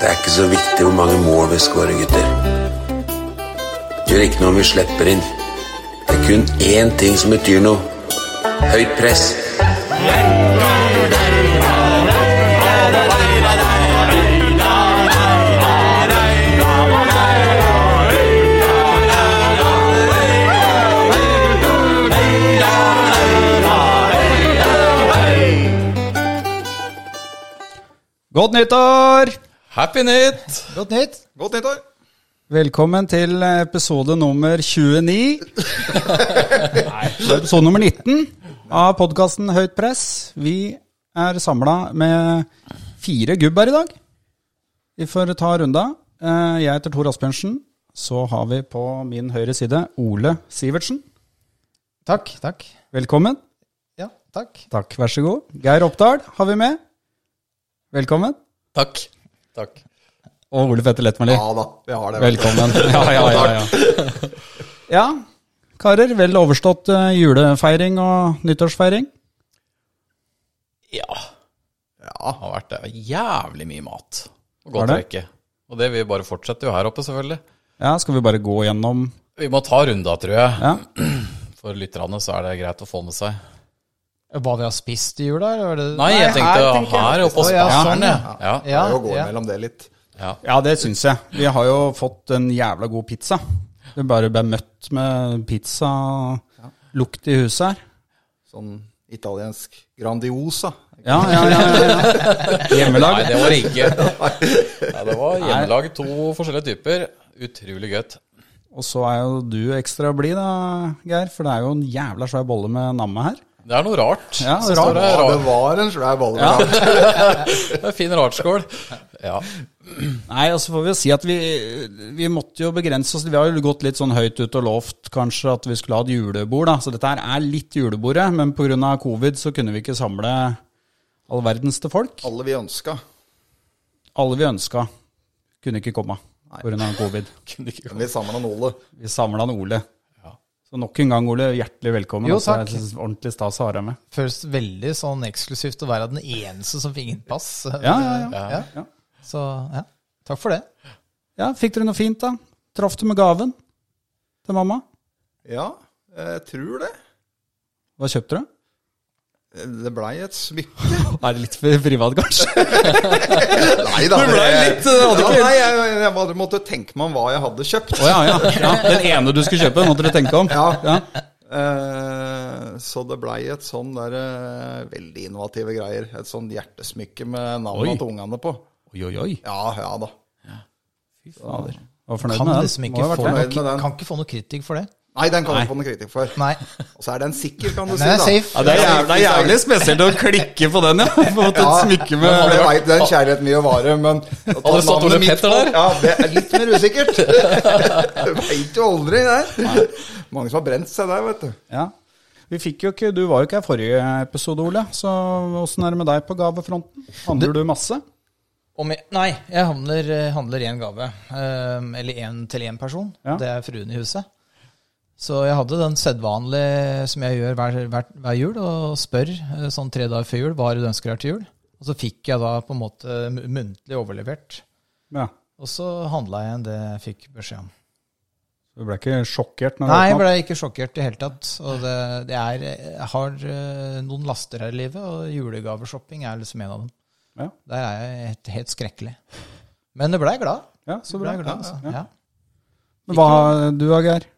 Det er ikke så viktig hvor mange mål vi skårer, gutter. Det gjør ikke noe om vi slipper inn. Det er kun én ting som betyr noe. Høyt press. Godt nyttår! Happy nytt! Godt nytt. Godt nyttår! Velkommen til episode nummer 29 Nei, episode nummer 19 av podkasten Høyt press. Vi er samla med fire gubber i dag. Vi får ta runda. Eh, Jeg heter Tor Asbjørnsen. Så har vi på min høyre side Ole Sivertsen. Takk, takk. Velkommen. Ja, takk. Takk, vær så god. Geir Oppdal har vi med. Velkommen. Takk. Takk. Og Ole Petter Lettmeli. Ja da, vi har det. Velkommen. Ja, ja, ja, ja. ja, karer. Vel overstått eh, julefeiring og nyttårsfeiring. Ja. Ja. Det har vært eh, jævlig mye mat og Har godt det? drikke. Og det vil bare fortsette jo her oppe, selvfølgelig. Ja, Skal vi bare gå gjennom Vi må ta runda, tror jeg. Ja. For lytterne så er det greit å få med seg. Hva vi har spist i jula, eller? var Det... Nei, jeg tenkte her, oppe på Å, ja, Sparen, sånn, jeg. Ja. Ja, Det er jo å gå ja. mellom det litt. Ja, det syns jeg. Vi har jo fått en jævla god pizza. Du bare ble møtt med pizzalukt i huset her. Sånn italiensk Grandiosa. Ja, ja, ja. ja, ja. Nei, Hjemmelag. det var det ikke. Nei, det var hjemmelag. To forskjellige typer. Utrolig godt. Og så er jo du ekstra blid da, Geir, for det er jo en jævla svær bolle med namme her. Det er noe rart. Ja, Så rart. står det Ja, det rar- var en svær bolle. Det er fin rartskål. Ja. Nei, og så får vi jo si at vi, vi måtte jo begrense oss. Vi har jo gått litt sånn høyt ut og lovt kanskje at vi skulle ha et julebord, da. Så dette her er litt julebordet, men pga. covid så kunne vi ikke samle all verdens til folk. Alle vi ønska. Alle vi ønska kunne ikke komme pga. covid. Kunne ikke Men vi samla noen Ole. Vi samla en Ole. Så nok en gang, Ole, hjertelig velkommen. Jo, Altså, takk. jeg synes ordentlig stas å ha deg med. Føles veldig sånn eksklusivt å være den eneste som fikk innpass. Ja, ja, ja. Ja. ja. Så ja, takk for det. ja fikk dere noe fint, da? Traff du med gaven til mamma? Ja, jeg tror det. Hva kjøpte du? Det blei et smykke. Er det litt privat, kanskje? Nei da. ble det- litt, eh, hadde ja, ikke- nei, jeg, jeg bare måtte tenke meg om hva jeg hadde kjøpt. Å ja, ja, ja. Den ene du skulle kjøpe, måtte du tenke om. Ja. Ja. Eh, så det blei et sånn der eh, veldig innovative greier. Et sånn hjertesmykke med Oi. navnet til ungene på. Oi, oi, oi. Ja, ja da. Fader. Var fornøyd Kan med den. liksom Må ikke ha vært få det. noe, fornøyd med den. kan ikke få noe kritikk for det. Nei, den kan du få noe kritikk for. Nei. Og så er den sikker, kan du si. Den er da. safe. Ja, det, er jævlig, det er jævlig spesielt å klikke på den, ja. Få et smykke med Jeg vet, det er en kjærlighet mye å vare, men å ta Hadde det stått navnet Ole mitt Petter på- der? Ja, det er litt mer usikkert. Veit jo aldri, det. Mange som har brent seg der, vet du. Ja. Vi fikk jo ikke, Du var jo ikke her forrige episode, Ole. Så åssen er det med deg på gavefronten? Handler du masse? Om jeg, nei, jeg handler, handler én gave. eh, eller én til én person. Ja. Det er fruen i huset. Så jeg hadde den sedvanlige som jeg gjør hver, hver, hver jul, og spør eh, sånn tre dager før jul hva er det du ønsker deg til jul. Og så fikk jeg da på en måte mu- muntlig overlevert. Ja. Og så handla jeg det jeg fikk beskjed om. Du ble ikke sjokkert? Når Nei, jeg du åpnet ble ikke sjokkert i det hele tatt. Og det, det er, jeg har eh, noen laster her i livet, og julegaveshopping er liksom en av dem. Ja. Der er jeg helt, helt skrekkelig. Men det blei glad. opp? Ja, så Det bra. ble glad altså. ja. Men Hva har du da, Geir?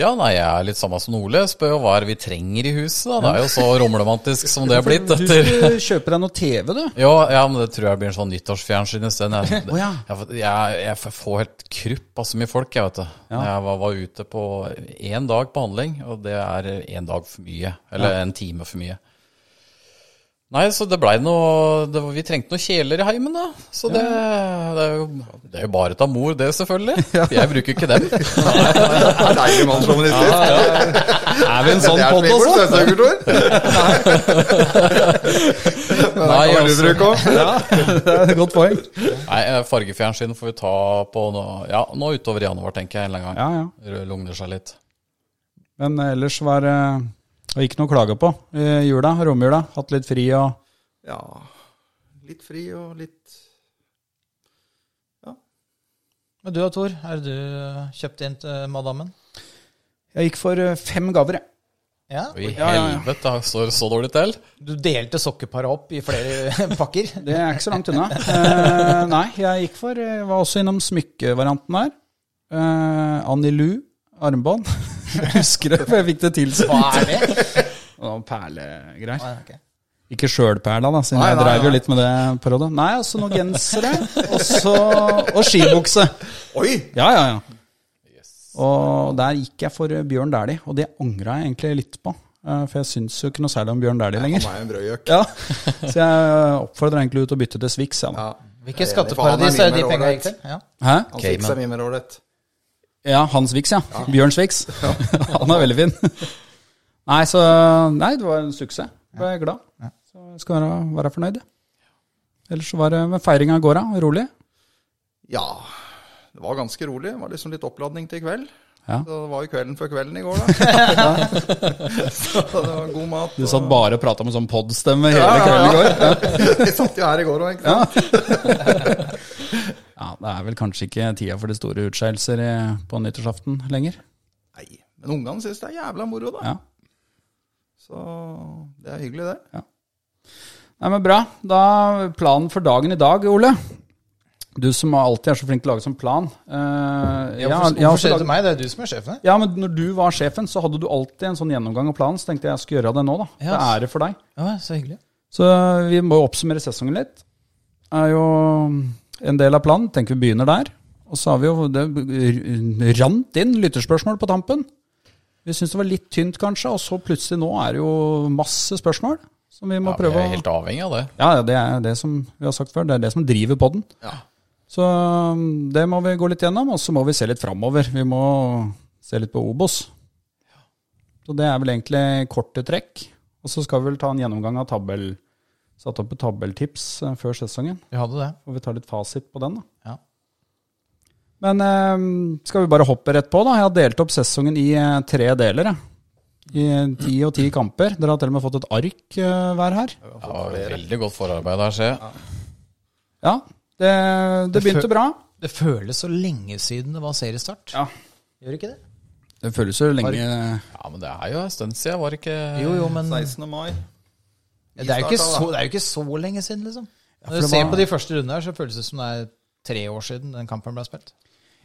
Ja, nei, jeg er litt samme som Ole. Spør jo hva er det vi trenger i huset, da. Det er jo så romlemantisk som det er blitt Du etter skulle kjøpe deg noe TV, du. Jo, ja, men det tror jeg blir en sånn nyttårsfjernsyn i stedet. Jeg, Å, ja. jeg, jeg, jeg får helt krupp av så mye folk, jeg, vet du. Jeg var, var ute på én dag på handling, og det er én dag for mye. Eller en time for mye. Nei, så det blei noe det, var- Vi trengte noen kjeler i heimen, da. Så det, det, er, jo, det er jo bare til mor, det, selvfølgelig. Jeg bruker ikke dem. Det er deilig mann som minister. Er vi en sånn Det er podd slik altså? for også? støvsuger, Tor. Nei, altså. Det er et godt poeng. Nei, eh, fargefjernsyn får vi ta på nå, ja, nå utover i januar, tenker jeg. en eller annen gang. Ja, ja. Det Lugner seg litt. Men eh, ellers var det og ikke noe å klage på i jula, romjula. Hatt litt fri og Ja, litt fri og litt Men du da, Tor? Er det du kjøpte inn til madammen? Jeg gikk for eh, fem gaver, jeg. Ja. I Ja, ja, ja. helvete, står det så dårlig til? Du delte sokkeparet opp i flere pakker? Det er ikke så langt unna. Eh, nei, jeg gikk for Jeg var også innom smykkevarianten der. Eh, Annie Lou, armbånd. Jeg husker det, for jeg fikk det tilsendt. Hva er det? Noen perlegreier. Nei, ok. Ikke sjølperla, da, siden Nei, jeg nei, dreiv jo nei. litt med det på rådet. Nei, altså noen gensere, og så- Og skibukse. Oi! Ja, ja, ja. Og der gikk jeg for eh, Bjørn Dæhlie, og det angra jeg egentlig litt på. eh, For jeg syns jo ikke noe særlig om Bjørn Dæhlie Han lenger. er jo en brødgjøk. Ja. Så jeg eh, oppfordrer egentlig ut å bytte til Swix. jeg, da. Ja. Hvilket Jeg er enig, for han er skatteparadis mye er de mer penga ålreit. gikk til? Ja. Hæ? Han Cayman. fikk seg mye mer ålreit. Ja, Hans Vix, ja. Bjørn Swix. Han er veldig fin. Nei, så Nei, det var en suksess. Ble glad. Så jeg skal være, være fornøyd. jeg. Ellers så var det med feiringa i går, da. Rolig. Ja, det var ganske rolig. Det var liksom litt oppladning til i kveld. Ja. Så det var jo kvelden før kvelden i går, da. så det var god mat. Du og- satt bare og prata med sånn podstemme hele Ja, ja, kvelden i går. ja. Vi satt jo her i går òg, ikke sant. Ja, Det er vel kanskje ikke tida for de store utskeielser i- på nyttårsaften lenger. Nei, men ungene syns det er jævla moro, da. Ja. Så det er hyggelig, det. Nei, men Bra. Da Planen for dagen i dag, Ole. Du som alltid er så flink til å lage sånn plan. Eh, jeg har- Hvorfor, jeg har hvorfor også laget- skjer det til meg? Det er du som er sjefen her. Ja, men når du var sjefen, så hadde du alltid en sånn gjennomgang av planen. Så tenkte jeg jeg skulle gjøre det nå, da. Det er Ja. ære for deg. Ja, så hyggelig. Så vi må jo oppsummere sesongen litt. Er jo en del av planen. Tenker vi begynner der. Og så har vi jo det rant inn lytterspørsmål på tampen. Vi syns det var litt tynt, kanskje, og så plutselig nå er det jo masse spørsmål. Som vi må Ja, vi prøve å er helt avhengig av det. Ja, ja, det er det som vi har sagt før. Det er det som driver podden. Ja. Så um, det må vi gå litt gjennom, og så må vi se litt framover. Vi må se litt på Obos. Så det er vel egentlig korte trekk. Og så skal vi vel ta en gjennomgang av tabell. Satt opp et tabelltips eh, før sesongen. Du hadde det. Og vi tar litt fasit på den, da. Ja. Men eh, skal vi bare hoppe rett på, da? Jeg har delt opp sesongen i eh, tre deler. Jeg. I eh, ti og ti kamper. Dere har til og med fått et ark eh, hver her. Ja, veldig godt forarbeid her, ser jeg. Ja, det, det begynte bra. Det føles så lenge siden det var seriestart. Ja. Gjør ikke det? Det føles jo lenge Ja, men det er jo en stund siden, var det ikke Jo, jo, men det 16. mai. er jo ikke så, det er jo ikke så lenge siden, liksom. Når det du ser var- på de første rundene her, så føles det som det er tre år siden den kampen ble spilt.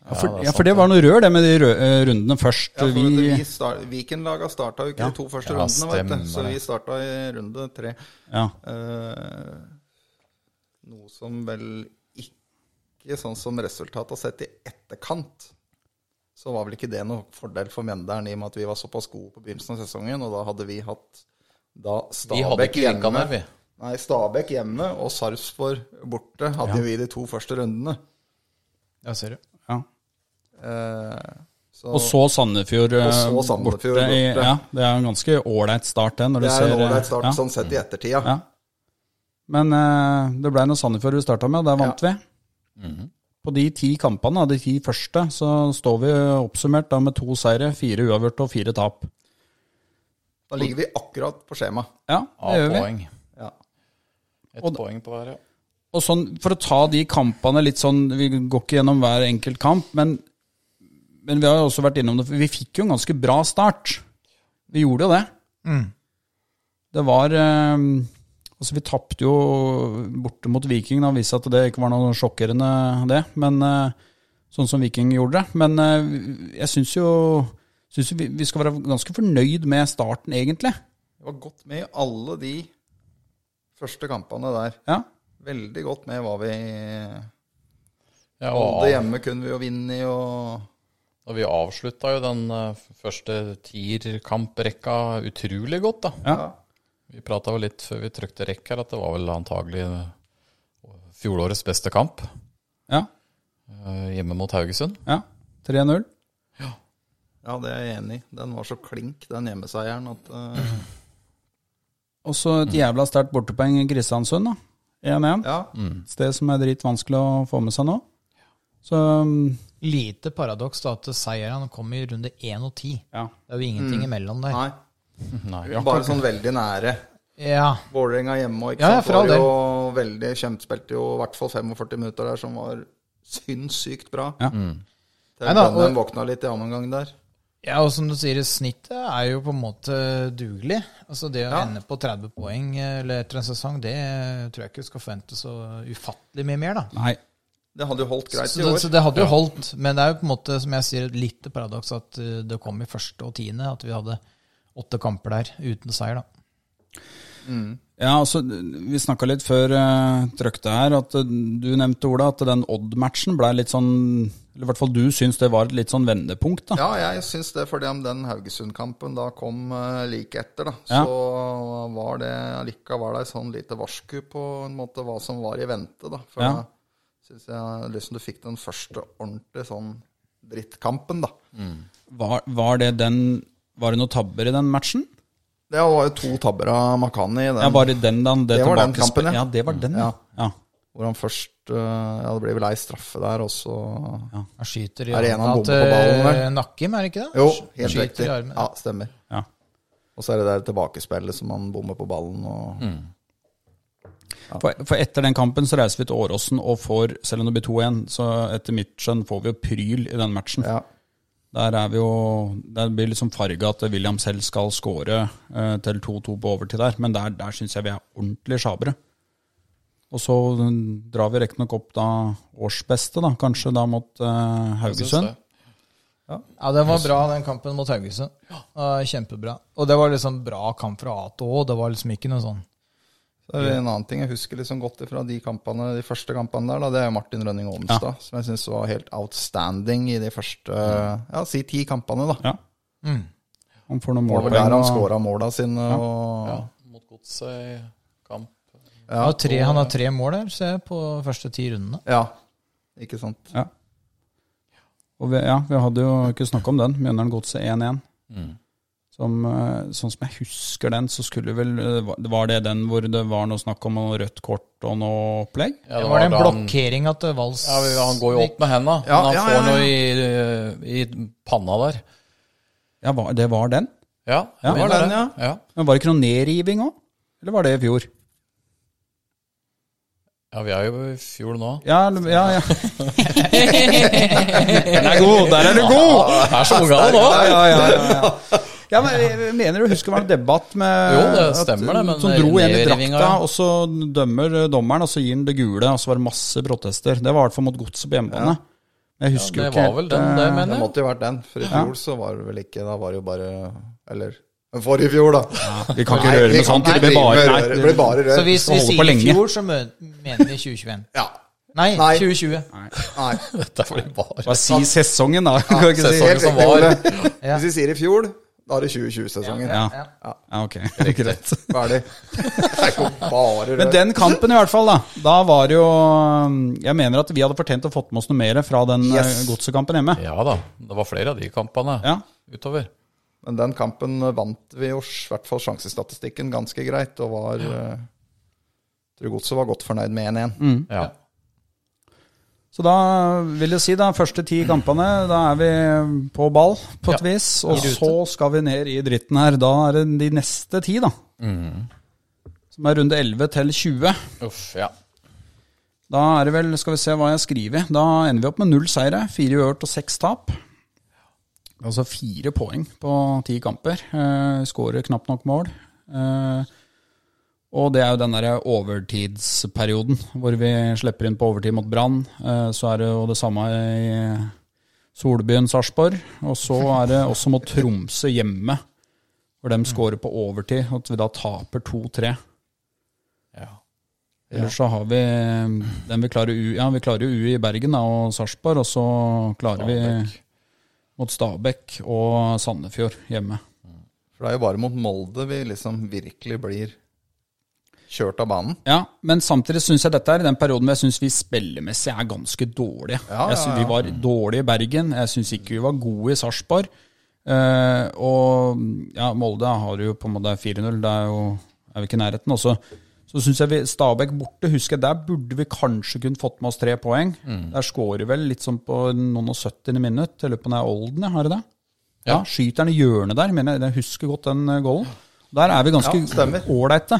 Ja, for, ja, for det var noe rør, det med de rø eh, rundene først. Ja, for vi, vi start, Vikenlaga starta jo ikke de to første Ja, rundene, vet du. stemmer Så det. vi starta i runde tre. ja. Eh, noe som vel ikke sånn som resultatet har sett i etterkant. Så var vel ikke det noe fordel for Mjøndalen i og med at vi var såpass gode på begynnelsen av sesongen, og da hadde vi hatt da Vi hadde Stabæk ikke linka hjemme. der, vi. Nei, Stabæk hjemme og Sarpsborg borte hadde vi de to første rundene. Ja, ser du. ja. Eh, så, Og så Sandefjord, eh, Og så Sandefjord borte. I, borte. ja, det er en ganske ålreit start, den. Når det du er ser, en eh, ålreit start ja. sånn sett i ettertida. Ja. Men eh, det ble noe Sandefjord vi starta med, og der vant vi. På de ti kampene, da, de ti første, så står vi oppsummert da med to seire, fire uavgjort og fire tap. Da ligger vi akkurat på skjema. Ja, det gjør vi. A-poeng. Ja. Ett poeng på hver, ja. Og sånn, For å ta de kampene litt sånn Vi går ikke gjennom hver enkelt kamp, men, men vi har jo også vært innom det. for Vi fikk jo en ganske bra start. Vi gjorde jo det. Det var eh, Altså, vi tapte jo borte mot Viking. Da viste at det ikke var noe sjokkerende, det. Men eh, sånn som Viking gjorde det. Men eh, jeg syns jo, synes jo vi, vi skal være ganske fornøyd med starten, egentlig. Vi var godt med i alle de første kampene der. Ja. Veldig godt med hva vi ja Ah. Både og, av, hjemme kunne vi jo vinne i, og og vi avslutta jo den eh, første tierkamprekka utrolig godt, da. Ja. Vi prata vel litt før vi trykte rekk her, at det var vel antagelig eh, fjorårets beste kamp Ja. eh, hjemme mot Haugesund. ja. 3-0. Ja, det er jeg enig i. Den var så klink, den hjemmeseieren, at eh, Mm. Og så et jævla sterkt bortepoeng i Kristiansund, da. 1-1. Ja. Mm. Et sted som er dritvanskelig å få med seg nå. Så Lite paradoks da at seieren kom i runde 1 og 10. ja. Det er jo ingenting imellom der. Nei. Mm. Nei. Bare sånn veldig nære. Ja, Vålerenga hjemme og ikke Ja, ja, sant. for all var jo veldig kjempespilte jo i hvert fall 45 minutter der som var sinnssykt bra. Ja. Til Nei da, bøndene og- våkna litt i annen gang der. Ja, og som du sier, snittet er jo på en måte dugelig. Altså det å Ja. ende på 30 poeng eh, eller etter en sesong, det tror jeg ikke skal forvente så ufattelig mye mer, da. Nei. Det hadde jo holdt greit Så i det, år. så det hadde jo holdt, men det er jo på en måte, som jeg sier, et lite paradoks at eh, det kom i første og tiende, at vi hadde åtte kamper der uten seier, da. Ja, altså, Vi snakka litt før uh, trøkte her, at eh, du nevnte, Ola, at den Odd-matchen ble litt sånn Eller i hvert fall du syns det var et litt sånn vendepunkt, da. Ja, jeg syns det, fordi om den Haugesund-kampen da kom eh, like etter, da, Ja. så var det likevel ei sånn lite varsku på en måte hva som var i vente, da. For Ja. da syns jeg liksom du fikk den første ordentlige sånn drittkampen, da. Var, var det den Var det noen tabber i den matchen? Det var jo to tabber av Makani i den, Ja, var det den, da? Det var den tilbakesp- kampen, ja. ja. Det var den, ja. ja. hvor han først eh, Ja, det blir vel ei straffe der, og så Han skyter i Er det en han hånda bommer på ballen, til eller? Nakkim, er det ikke det? Jo, Han helt skyter i riktig. armen. Ja, stemmer. ja. Og så er det der tilbakespillet som han bommer på ballen og Mm. For, for etter den kampen så reiser vi til Åråsen og får, selv om det blir 2-1, så etter mitt skjønn får vi jo pryl i den matchen. Ja. Der er vi jo Der blir liksom farga at William selv skal score eh, til 2-2 på overtid der, men der, der syns jeg vi er ordentlig sjabere. Og så mm, drar vi riktignok opp da årsbeste, da, kanskje da mot eh, Haugesund. Ja, den var bra, den kampen mot Haugesund. Ja, Kjempebra. Og det var liksom bra kamp fra A til Å. Det var liksom ikke noe sånn Så er det en annen ting jeg husker liksom godt fra de kampene, de første kampene der, da, det er Martin Rønning Olmstad, som jeg syns var helt outstanding i de første ja, si ti kampene. da. Mm. Ja. mm. Han får noen Det var vel der målpoeng. han og- skåra måla sine. og Ja, mot godset i kamp. Han har tre, Han har tre mål der, ser jeg, på første ti rundene. ja. Ikke sant. Ja. Og vi, ja, vi hadde jo ikke snakka om den. Mjøndalen Godset 1-1. Som, eh, sånn som jeg husker den, så skulle vel eh, var- Var det den hvor det var noe snakk om noe rødt kort og noe opplegg? Ja, det var den da han- blokkeringa til eh, Vals Ja, Han går jo opp med henda, Ja, men han ja, ja, får ja. noe i, i panna der. Ja, var, det var den? Ja, Ja, mener var den, det. ja. Men var det ikke noe nedriving òg? Eller var det i fjor? Ja, vi er jo i fjor nå. Ja, eller- ja. ja. den er god! Der er du god! Det er så unge nå! Ja, ja, ja, ja, ja. ja, men jeg- jeg mener du husker det var en debatt med Jo, det stemmer det, men Som dro en i nedrivinga, drakta, ja. og så dømmer eh, dommeren, og så gir han det gule, og så var det masse protester. Det var i hvert fall mot godset på hjemmebane. Men Jeg husker Det jo ikke var vel den, det, eh, Det mener jeg. måtte jo vært den, for i fjor så var det vel ikke Da var det jo bare Eller for i fjor, da. Vi kan ikke Nei, røre vi med sånt, kan det ikke blir bare drive nei, med røre, Det blir Så bare rør. hvis vi holde på sier i lenge. fjor, så mø- mener vi 2021. Ja. Nei, Nei. 2020. Nei. Det var bare Bare si sesongen, da. Kan ikke si- sesongen. Helt som riktig, var. Ole. Ja. Hvis vi sier i fjor, da er det 2020-sesongen. Ja. Ja. ja, ok. Greit. Ferdig. Det kom bare Men rør. den kampen, i hvert fall, da. Da var det jo eh, Jeg mener at vi hadde fortjent å fått med oss noe mer fra den eh, Yes. godsekampen hjemme. Ja da, det var flere av de kampene Ja. utover. Men den kampen vant vi jo i hvert fall sjansestatistikken ganske greit, og var eh, Tror Godset var godt fornøyd med 1-1. Ja. Så da vil jeg si da, første ti kampene, da er vi på ball på et Ja, vis. Og så skal vi ned i dritten her. Da er det de neste ti, da. Som er runde 11 til 20. Uff, ja. Da er det vel, skal vi se hva jeg skriver. Da ender vi opp med null seire, fire uørt og seks tap. Altså fire poeng på ti kamper. Eh, Skårer knapt nok mål. Eh, og det er jo den derre overtidsperioden hvor vi slipper inn på overtid mot Brann. Eh, så er det jo det samme i Solbyen Sarpsborg. Og så er det også mot Tromsø hjemme, hvor de skårer på overtid. At vi da taper 2-3. ja. Ellers så har vi eh, den vi klarer U, ja, vi klarer jo U i Bergen da, og Sarpsborg, og så klarer Stabæk. vi mot Stabæk og Sandefjord hjemme. For det er jo bare mot Molde vi liksom virkelig blir kjørt av banen. Ja, men samtidig syns jeg dette er den perioden hvor jeg syns vi spillemessig er ganske dårlige. Ja, Jeg synes vi var dårlige i Bergen, jeg syns ikke vi var gode i Sarpsborg. Eh, og ja, Molde har jo på en måte 4-0, det er jo er vi ikke i nærheten. Og så- så syns jeg vi Stabæk borte, husker jeg, der burde vi kanskje kunne fått med oss tre poeng. Mm. Der scorer vel litt sånn på noen og 70. minutt, jeg lurer på om det er Olden, ja, har det det? Ja, Ja. skyter han i hjørnet der, mener jeg, jeg husker godt den eh, goalen. Der er vi ganske Ja, stemmer. ålreite.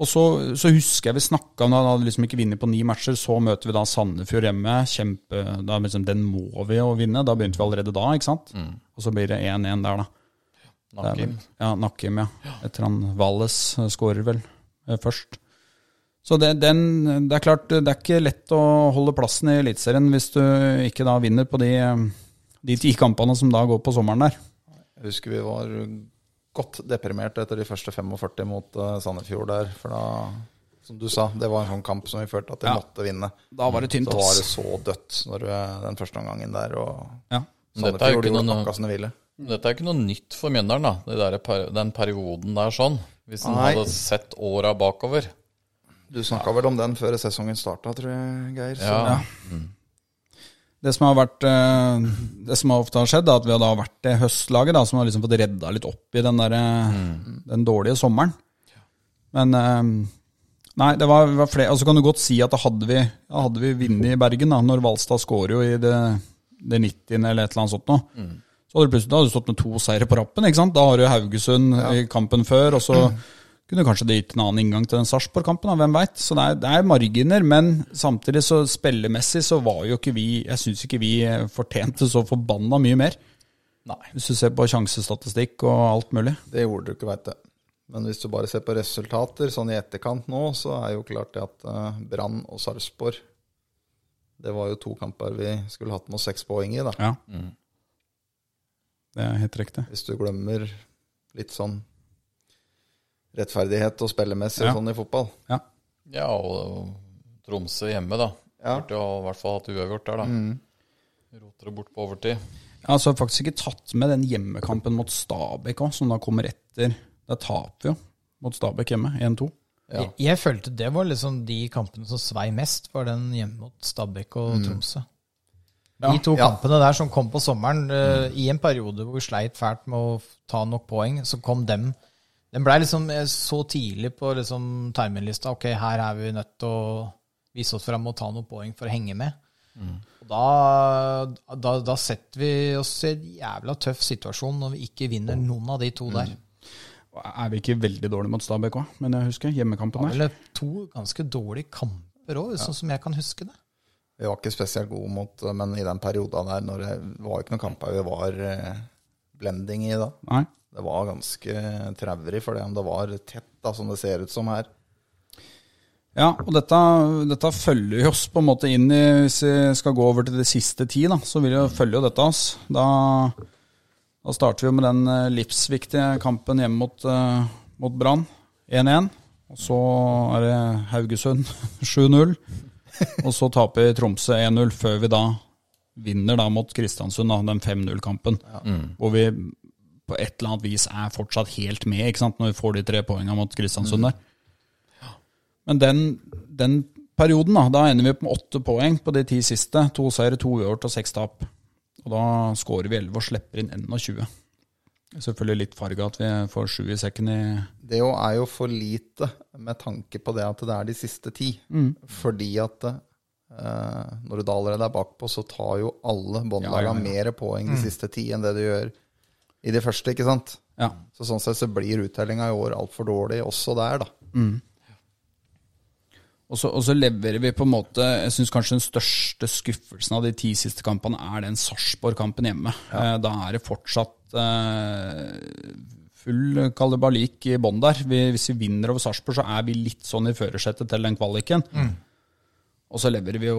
Og så, så husker jeg vi snakka om da, da hadde liksom ikke vunnet på ni matcher. Så møter vi da Sandefjord hjemme. Kjempe, da er vi liksom, den må vi jo vinne. Da begynte vi allerede da, ikke sant? Og så blir det 1-1 der, da. Det er Nakim. vel- Ja, Nakkim, ja. Etter han Valles eh, skårer vel eh, først. Så det, den, det er klart, det er ikke lett å holde plassen i Eliteserien hvis du ikke da vinner på de, eh, de ti kampene som da går på sommeren der. Jeg husker vi var godt deprimert etter de første 45 mot eh, Sandefjord der. For da, som du sa, det var en sånn kamp som vi følte at vi Ja. måtte vinne. Da var det tynt, Så var det ass. så dødt når vi, den første omgangen der. Og Ja. Men dette er jo Sandefjord ikke gjorde noe- akkurat som de ville. Dette er ikke noe nytt for Mjøndalen, da. Det der, per- den perioden der sånn. Hvis en Nei. hadde sett åra bakover. Du snakka vel om den før sesongen starta, tror jeg, Geir. Så Ja. Det som har vært eh, Det som ofte har skjedd, er at vi har da vært det høstlaget da, som har liksom fått redda litt opp i den, der, eh, den dårlige sommeren. Men eh, Nei, det var, var flere Og så kan du godt si at da hadde vi, da hadde vi vunnet i Bergen, da, når Valstad scorer jo i det, det 90. eller et eller annet sånt noe. Så hadde du plutselig da hadde du stått med to seire på rappen. ikke sant? Da har du Haugesund i kampen før, og så kunne kanskje det gitt en annen inngang til den Sarpsborg-kampen, da, hvem veit. Så det er, det er marginer, men samtidig så spillemessig så var jo ikke vi Jeg syns ikke vi eh, fortjente så forbanna mye mer. Nei. Hvis du ser på sjansestatistikk og alt mulig. Det gjorde du ikke, veit du. Men hvis du bare ser på resultater sånn i etterkant nå, så er jo klart det at eh, Brann og Sarpsborg Det var jo to kamper vi skulle hatt med oss seks poeng i, da. Ja. Det er helt riktig. Hvis du glemmer litt sånn rettferdighet og spillemessig Ja. og sånn i fotball. Ja. Ja, og Tromsø hjemme, da. Ja. Mm. Burde jo i hvert fall hatt uavgjort der, da. Roter det bort på overtid. Ja, så har jeg faktisk ikke tatt med den hjemmekampen mot Stabæk òg, som da kommer etter. Da taper vi jo mot Stabæk hjemme, 1-2. Ja. Jeg, jeg følte det var liksom de kampene som svei mest, var den hjemme mot Stabæk og Tromsø. De to Mm. ja. Mm. kampene der som kom på sommeren, eh, i en periode hvor vi sleit fælt med å f- ta nok poeng, så kom dem. Den blei liksom eh, så tidlig på liksom timelista. Ok, her er vi nødt til å vise oss fram og ta noen poeng for å henge med. Mm. Og da, da, da setter vi oss i en jævla tøff situasjon når vi ikke vinner Mm. noen av de to der. Er vi ikke veldig dårlige mot Stabæk òg, men jeg husker Det hjemmekampen var der. vel to ganske dårlige kamper òg, sånn som jeg kan huske det. Vi var ikke spesielt gode mot eh, Men i den perioden der når det var ikke noen kamper vi var eh, blending i da. Nei. Det var ganske traurig for det om det var tett, da, som det ser ut som her. Ja, og dette, dette følger jo oss på en måte inn i Hvis vi skal gå over til det siste ti, da, så vil jo følge jo dette oss. Da, da starter vi jo med den eh, livsviktige kampen hjemme mot, eh, mot Brann. 1-1. Og så er det Haugesund 7-0. Og så taper Tromsø 1-0 før vi da vinner da mot Kristiansund, da, den 5-0-kampen. Hvor vi på et eller annet vis er fortsatt helt med, ikke sant, når vi får de tre poengene mot Kristiansund der. Men den, den perioden, da, da ender vi opp med åtte poeng på de ti siste. To seire, to uavgjort og seks tap. Og da scorer vi 11 og slipper inn 21. Selvfølgelig litt farga at vi får sju i sekken i Det jo er jo for lite med tanke på det at det er de siste ti. Mm. Fordi at eh, når du da allerede er bakpå, så tar jo alle båndlaga Ja, ja, ja. mer poeng Mm. de siste ti enn det du gjør i de første, ikke sant? Ja. Så sånn sett så blir uttellinga i år altfor dårlig også der, da. Og så, og så leverer vi på en måte Jeg syns kanskje den største skuffelsen av de ti siste kampene er den Sarpsborg-kampen hjemme. Eh, Da er det fortsatt eh, full kalibalik i bånn der. Vi, hvis vi vinner over Sarpsborg, så er vi litt sånn i førersetet til den kvaliken. Mm. Og så leverer vi jo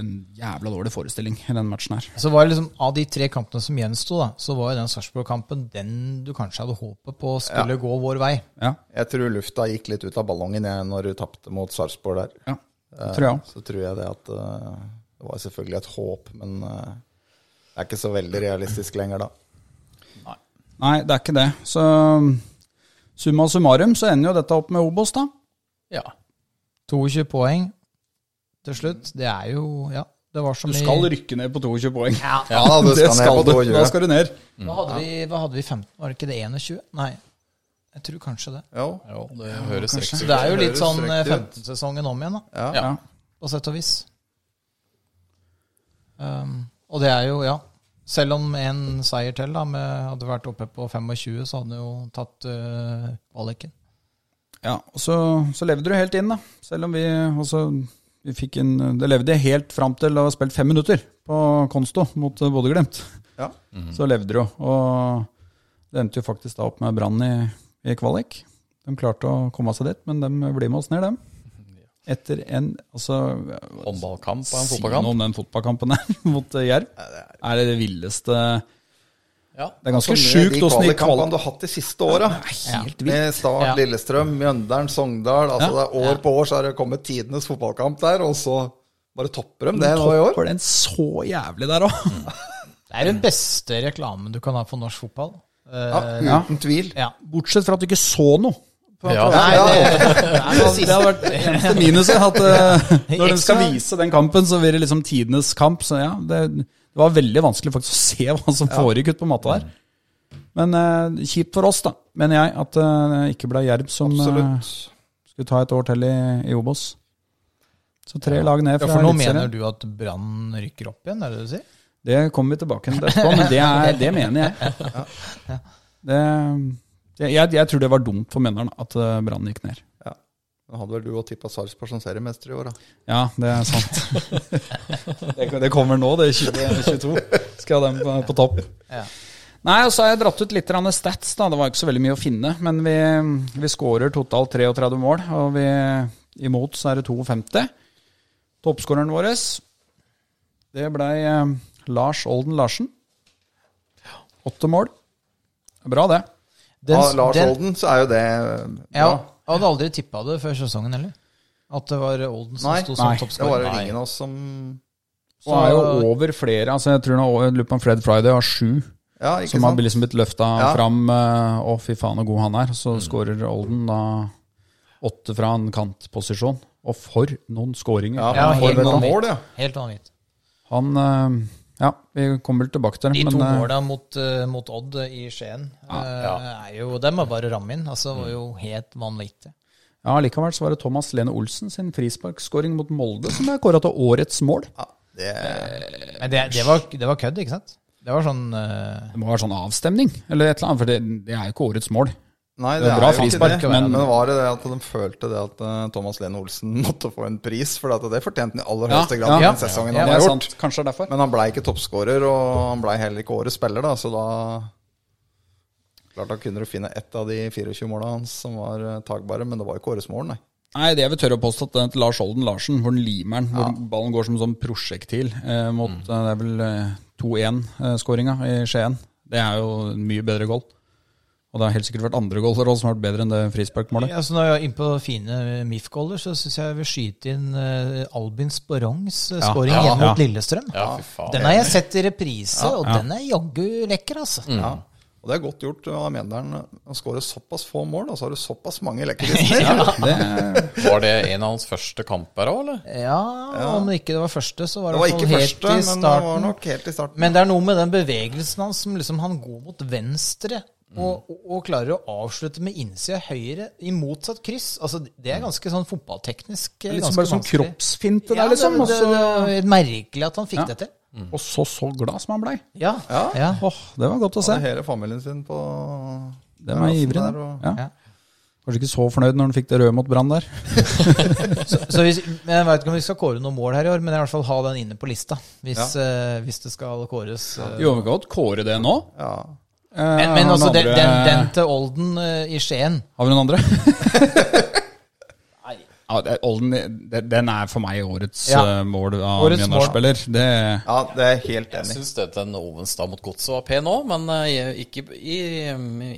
en jævla dårlig forestilling i den matchen her. Så var det liksom Av de tre kampene som gjensto, da, så var jo den Sarpsborg-kampen den du kanskje hadde håpet på skulle gå vår vei. Ja, Jeg tror lufta gikk litt ut av ballongen jeg, når du tapte mot Sarpsborg der. Eh, ja. Det tror jeg òg. Så tror jeg det at eh, Det var selvfølgelig et håp, men eh, det er ikke så veldig realistisk lenger, da. Nei, det er ikke det. Så summa summarum så ender jo dette opp med Obos, da. Ja. 22 poeng til slutt. Det er jo Ja, det var som Du skal rykke ned på 22 poeng. ja. Ja, da, du Det skal ned skal på du. 22. Da skal du ned. Hva hadde vi, hva hadde vi 15? Var det ikke det 21? Nei, jeg tror kanskje det. Jo, Jo, det høres kanskje. riktig Så ut. det er jo litt høres sånn eh, riktig ut. 15-sesongen om igjen, da. ja. Ja. på sett og vis. Um, og det er jo, ja Selv om en seier til da, med, hadde vært oppe på 25, så hadde han jo tatt uh, kvaliken. Ja, og så, så levde du helt inn, da. Selv om vi også vi fikk en Det levde helt fram til å ha spilt fem minutter på Konsto mot eh, Bodø-Glimt. Ja. Mhm. Så levde du jo. Og det endte jo faktisk da opp med Brann i, i kvalik. De klarte å komme seg dit, men de blir med oss ned, dem. Etter en altså, Håndballkamp og en Si noe fotballkamp. om den fotballkampen der mot eh, Jerv. Er det det villeste Ja. Det er ganske Så mye sjukt åssen Altså, de De kvalik... kvalikkampene du har hatt de siste åra. helt Med Start, Ja. Lillestrøm, Mjøndalen, Sogndal. Altså det er År på år så har det kommet tidenes fotballkamp der, og så bare topper de det nå i år. Var den så jævlig der òg? Mm. Det er den beste reklamen du kan ha for norsk fotball. Eh, Ja, Ja. uten tvil. ja. Bortsett fra at du ikke så noe. Ja. Nei, det, Det har vært eneste minuset. At eh, når de skal Ekstra- vise den kampen, så blir det liksom tidenes kamp. Så ja, det, det var veldig vanskelig faktisk å se hva som foregikk ute på matta der. Men eh, kjipt for oss, da, mener jeg, at eh, det ikke ble Jerv som eh, absolutt. skulle ta et år til i, i Obos. Så tre lag ned Ja, fra for nå Eliteserien. mener du at Brann rykker opp igjen, er det det du sier? Det kommer vi tilbake til etterpå, men det, er, det mener jeg. Det, jeg, jeg. Jeg tror det var dumt for Mjøndalen at eh, Brann gikk ned. Ja. Nå hadde vel du og tippa Sarpsborg som seriemester i år, da. Ja, det er sant. det, det kommer nå, det er 2022. Skal den på, på topp. Ja. Nei, og så har jeg dratt ut litt grann stats. da, Det var ikke så veldig mye å finne. Men vi, vi skårer totalt 33 mål, og vi, imot så er det 52. Toppskåreren vår, det blei eh, Lars Olden Larsen. Åtte mål. Bra, det. Den- Av Lars den- Olden, så er jo det eh, Ja, bra. jeg hadde aldri tippa det før sesongen heller. At det var Olden som Nei. sto Nei, som Det var toppskårer. jo ingen av oss som Så er jo over flere. altså Jeg tror nå lurer på om Fred Friday har sju. Ja, ikke Som har sant? liksom blitt løfta Ja. Mm. fram. eh, Å, fy faen, så god han er. Så skårer Olden da åtte fra en kantposisjon. Og for noen skåringer! Ja, Ja, men for helt noen vanvittig. mål, ja. Helt vanvittig. Han eh, Ja, vi kommer vel tilbake til det, De to eh, måla mot, eh, mot Odd i Skien eh, er jo Dem er bare å ramme inn. Altså, var jo helt vanvittig. ja, likevel så var det Thomas Lene Olsen sin frisparkskåring mot Molde som er kåra til årets mål. ja Eh, det, Men det, det, var, det var kødd, ikke sant? Det var sånn eh, Det må være sånn avstemning, eller et eller annet, for det, det er jo ikke årets mål. nei, Det det er er bra jo ikke frispark, det. men- men var det det at de følte det at eh, Thomas Lene Olsen måtte få en pris? For at det fortjente han i aller Ja, høyeste grad ja. den sesongen Det han er har sant, gjort. kanskje det er derfor. Men han blei ikke toppskårer, og han blei heller ikke årets spiller, da, så da Klart da kunne du finne ett av de 24 måla hans som var eh, tagbare, men det var jo ikke årets mål, nei. Nei, det jeg vil tørre å påstå at den til Lars Olden Larsen, hvor den limer den, hvor ballen går som sånn prosjektil eh, mot eh, det er vel eh, 2-1-skåringa i Skien. Det er jo en mye bedre goal. Og det har helt sikkert vært andre goaler også som har vært bedre enn det frisparkmålet. altså Når jeg er inne på fine MIF-goaler, så syns jeg jeg vil skyte inn eh, Albin Sporongs uh, scoring Ja. igjen mot Ja. Lillestrøm. ja, fy faen. Den har jeg sett i reprise, og den er jaggu lekker, altså. Ja. Og det er godt gjort av Mjøndalen å skåre såpass få mål, og så har du såpass mange lekkerlister. Det er Var det en av hans første kamper òg, eller? Ja, om det ikke det var første, så var Det det, i var hvert ikke fall helt første, i men det var starten. nok helt i starten. Men det er noe med den bevegelsen hans som liksom han går mot venstre. Og, og, og klarer å avslutte med innsida høyre i motsatt kryss. Altså, Det er ganske sånn fotballteknisk eh, liksom ganske bare sånn vanskelig. kroppsfinte Ja, der, liksom. det, Og det, så, det er helt merkelig at han fikk Ja. det til. og så så glad som han blei. Ja. ja. Åh, det var godt å se. Hadde hele familien sin på De er ivrige. der, og- da. Ja. Kanskje ikke så fornøyd når han fikk det røde mot Brann der. Så hvis, men Jeg vet ikke om vi skal kåre noen mål her i år, men jeg vil i hvert fall ha den inne på lista. Hvis, eh, hvis det skal kåres. eh. Jo, vi kan godt kåre det nå. Ja. Men, Eh, men også den, den, den til Olden eh, i Skien. Har vi noen andre? Ja, det, Olden, det, den er for meg årets Ja. eh, mål av Årets mål. Mjøndalen-spiller. Det ja, det er jeg helt Jeg enig. syns det den Ovenstad mot Godset var pen òg, men eh, ikke i,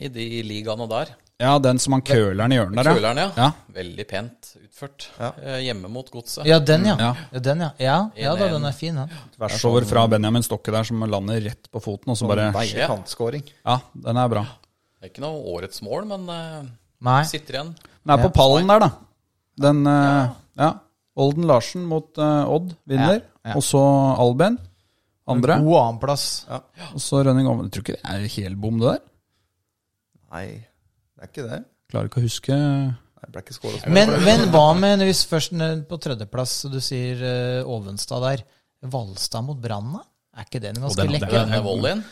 i de ligaene der. Ja, den som han køler den i hjørnet der, Kjøleren, ja. ja. Veldig pent utført. Ja. Eh, Hjemme mot Godset. Ja, den, ja. Ja. Ja, den, ja. ja, ja da, den er sånn- fin, den. Tvers over fra Benjamin Stokke der, som lander rett på foten, og så bare Deilig Ja. kantskåring. Ja, den er bra. Det er ikke noe årets mål, men eh, Nei. sitter igjen. Den er på pallen der, da. Den eh, Ja. Olden Larsen mot eh, Odd vinner. Ja, ja. Og så Alben. Andre. God annenplass. Og så Rønning Ommen. Tror ikke det er helbom, det der. Nei, det er ikke det. Klarer ikke å huske Det ble ikke skåret Men, men hva med hvis først ned på tredjeplass så du sier eh, Ovenstad der, Valstad mot Branna? Er ikke den ganske den- lekker? den- Denne volleyen.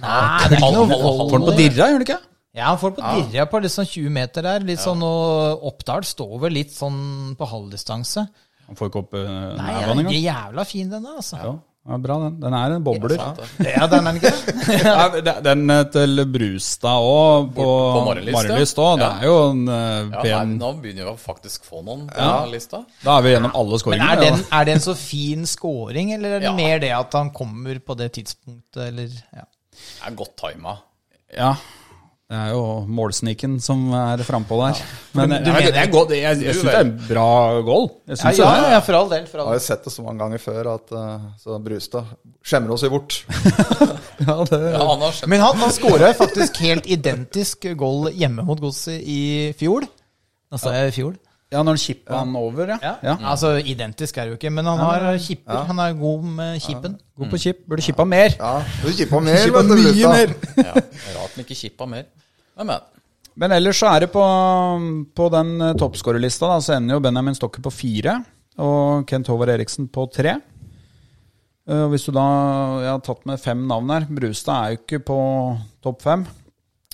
Nei, det er ikke noe Halv- halv- Får den på volley. dirra, gjør den ikke? Ja, han får på dirra på litt sånn 20 meter der. Litt sånn, og Oppdal står vel litt sånn på halvdistanse. Han får ikke opp uh, Nei, nevene den engang. er jævla fin, den der, altså. Ja, ja, bra, den. Den er en bobler. Ja, den er den ikke det? Ja, det- Den eh, til Brustad òg, på, På Marienlyst, ja. Marienlyst òg. Det Ja. er jo en eh, Ja, nei, pen nå begynner vi å faktisk få noen på denne lista. Da er vi gjennom alle Men skåringene. er den, ja. er det en så fin scoring, eller er det Ja. mer det at han kommer på det tidspunktet, eller ja. Det er godt tima. ja. Det er jo målsniken som er frampå der. Men du ja, mener- det er godt. Jeg, jeg, syns det er en bra goal. Jeg Ja, synes ja, det. ja, for all del. For Jeg har all del. jo sett det så mange ganger før at eh, så Brustad skjemmer oss jo bort. Ja, Ja, han har skjønt Men han, han skåra jo faktisk helt identisk goal hjemme mot Godset i fjor. Da sa jeg i fjor. ja, når han kippa han over, ja. ja. Altså, identisk er det jo ikke, men han har kipper. Han er god med Mm. kippen. God på kip. Burde kippa mer. Ja, Du kippa mer, Kippa vet du, mye Brustad. mer. ja, Rart han ikke kippa mer. Men, men. Men ellers så er det på, på den eh, toppskårerlista, da, så ender jo Benjamin Stokke på fire. Og Kent Håvard Eriksen på tre. Eh, og Hvis du da Jeg har tatt med fem navn her. Brustad er jo ikke på topp fem.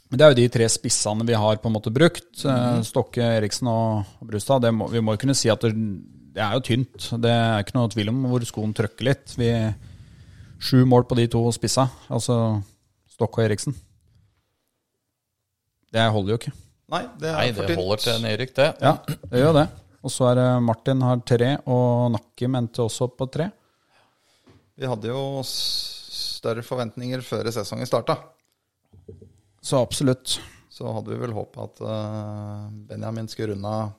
Men Det er jo de tre spissene vi har på en måte brukt. eh, Stokke, Eriksen og og Brustad. Det må, vi må jo kunne si at det, det er jo tynt. Det er ikke noe tvil om hvor skoen trykker litt. Vi, sju mål på de to spissa, altså Stokke og Eriksen. Det holder jo ikke. Nei, det er Nei, for det tynt. holder til nedrykk, det. Ja, det gjør det. Og så er det Martin har tre, og Nakkim endte også på tre. Vi hadde jo s- større forventninger før sesongen starta. Så absolutt. Så hadde vi vel håpet at eh, Benjamin skulle runde av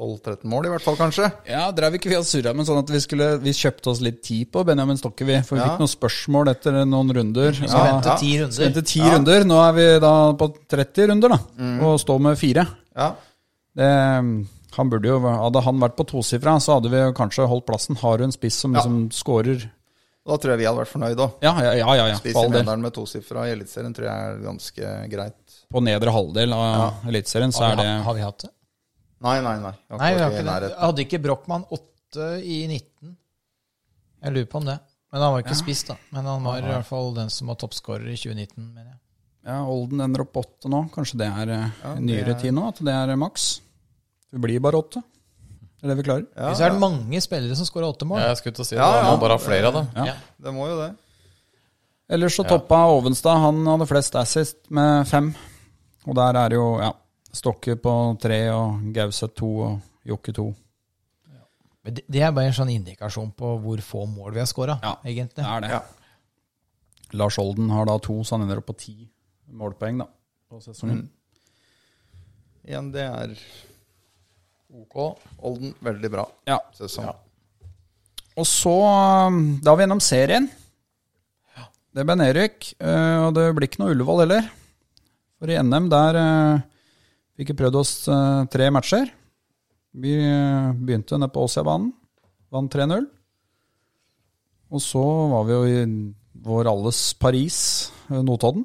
12-13 mål, i hvert fall, kanskje. Ja, drev ikke vi og surra, men sånn at vi, skulle, vi kjøpte oss litt tid på Benjamin Stokke, vi. For vi Ja. fikk noen spørsmål etter noen runder. Vi Skal vente ti Skal runder. vente ti runder. Nå er vi da på 30 runder, da. Og står med fire. Ja, Det, han burde jo, hadde han vært på tosifra, så hadde vi jo kanskje holdt plassen. Har du en spiss som liksom scorer Da tror jeg vi hadde vært fornøyd òg. Ja, ja, ja. ja, ja Spiss for i all del. Mjøndalen med tosifra i Eliteserien tror jeg er ganske greit. På nedre halvdel av Eliteserien, så Har er vi, det hatt- har vi hatt det? Nei, nei, nei. Jeg Nei, vi vært har i ikke det. nærheten. Hadde ikke Brochmann åtte i 19? Jeg lurer på om det. Men han var ikke spiss, da. Men han var i hvert fall den som var toppskårer i 2019, mener jeg. Ja, Olden ender opp på åtte nå. Kanskje det er eh, nyere tid nå, at det er eh, maks. Det blir bare åtte. Det er det vi klarer. Ja, Så er det mange spillere som skårer åtte mål. Jeg skulle til å si det. Ja, Da ja. må bare ha flere av dem. Ja. Det må jo det. Ellers så toppa Ovenstad. Han hadde flest assist med fem. Og der er jo ja, Stokke på tre og Gauseth to og Jokke to. Men det- Det er bare en sånn indikasjon på hvor få mål vi har skåra, Ja. Det egentlig. er det. Ja. Lars Olden har da to, så han ender opp på ti målpoeng da, på sesongen. Mm. Igjen, det er Ok. Olden veldig bra Ja. sesong. Og så um, Da er vi gjennom serien. Det ble nedrykk, eh, og det blir ikke noe Ullevål heller. For i NM der eh, fikk vi prøvd oss eh, tre matcher. Vi eh, begynte nede på Åsiabanen, vant 3-0. Og så var vi jo i vår alles Paris, eh, Notodden.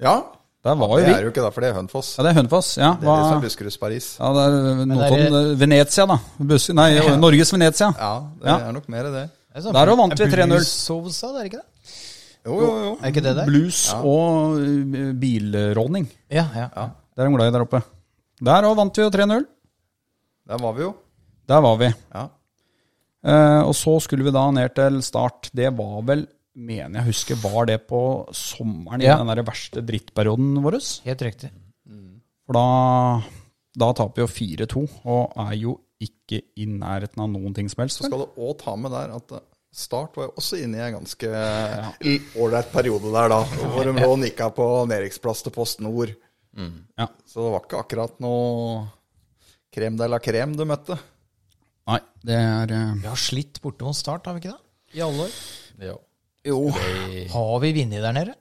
Ja. Der var jo vi. Det er jo ikke derfor det er Hønefoss. Ja, det er Hønefoss. Ja, Det er det som hva- er Buskeruds Paris. ja, det er Notodden. det eh, Venezia, da. Bus nei, Norges Venezia. Ja, det Ja. er nok mer det. Det er sånn- Der og vant vi er 3-0. Bullsovsa, det er ikke det? Jo, jo, jo. Er ikke det der? Blues og eh, bilråning. Ja, ja. Det er de glad i der oppe. Der òg vant vi jo 3-0. Der var vi jo. Der var vi. Ja. Eh, og så skulle vi da ned til start. Det var vel, mener jeg husker, var det på sommeren i Ja. den der verste drittperioden vår? Helt riktig. For da, da taper vi jo 4-2, og er jo ikke i nærheten av noen ting som helst. Så vel? skal du òg ta med der at eh, Start var jo også inne i en ganske l- ålreit periode der, da. Hvor de lå og nikka på Neriksplass til Post Nord. Mm. Ja. Så det var ikke akkurat noe krem de la krem du møtte. Nei, det er eh, Vi har slitt borte mot Start, har vi ikke det? I alle år. Jo. Jo. Har vi vunnet der nede?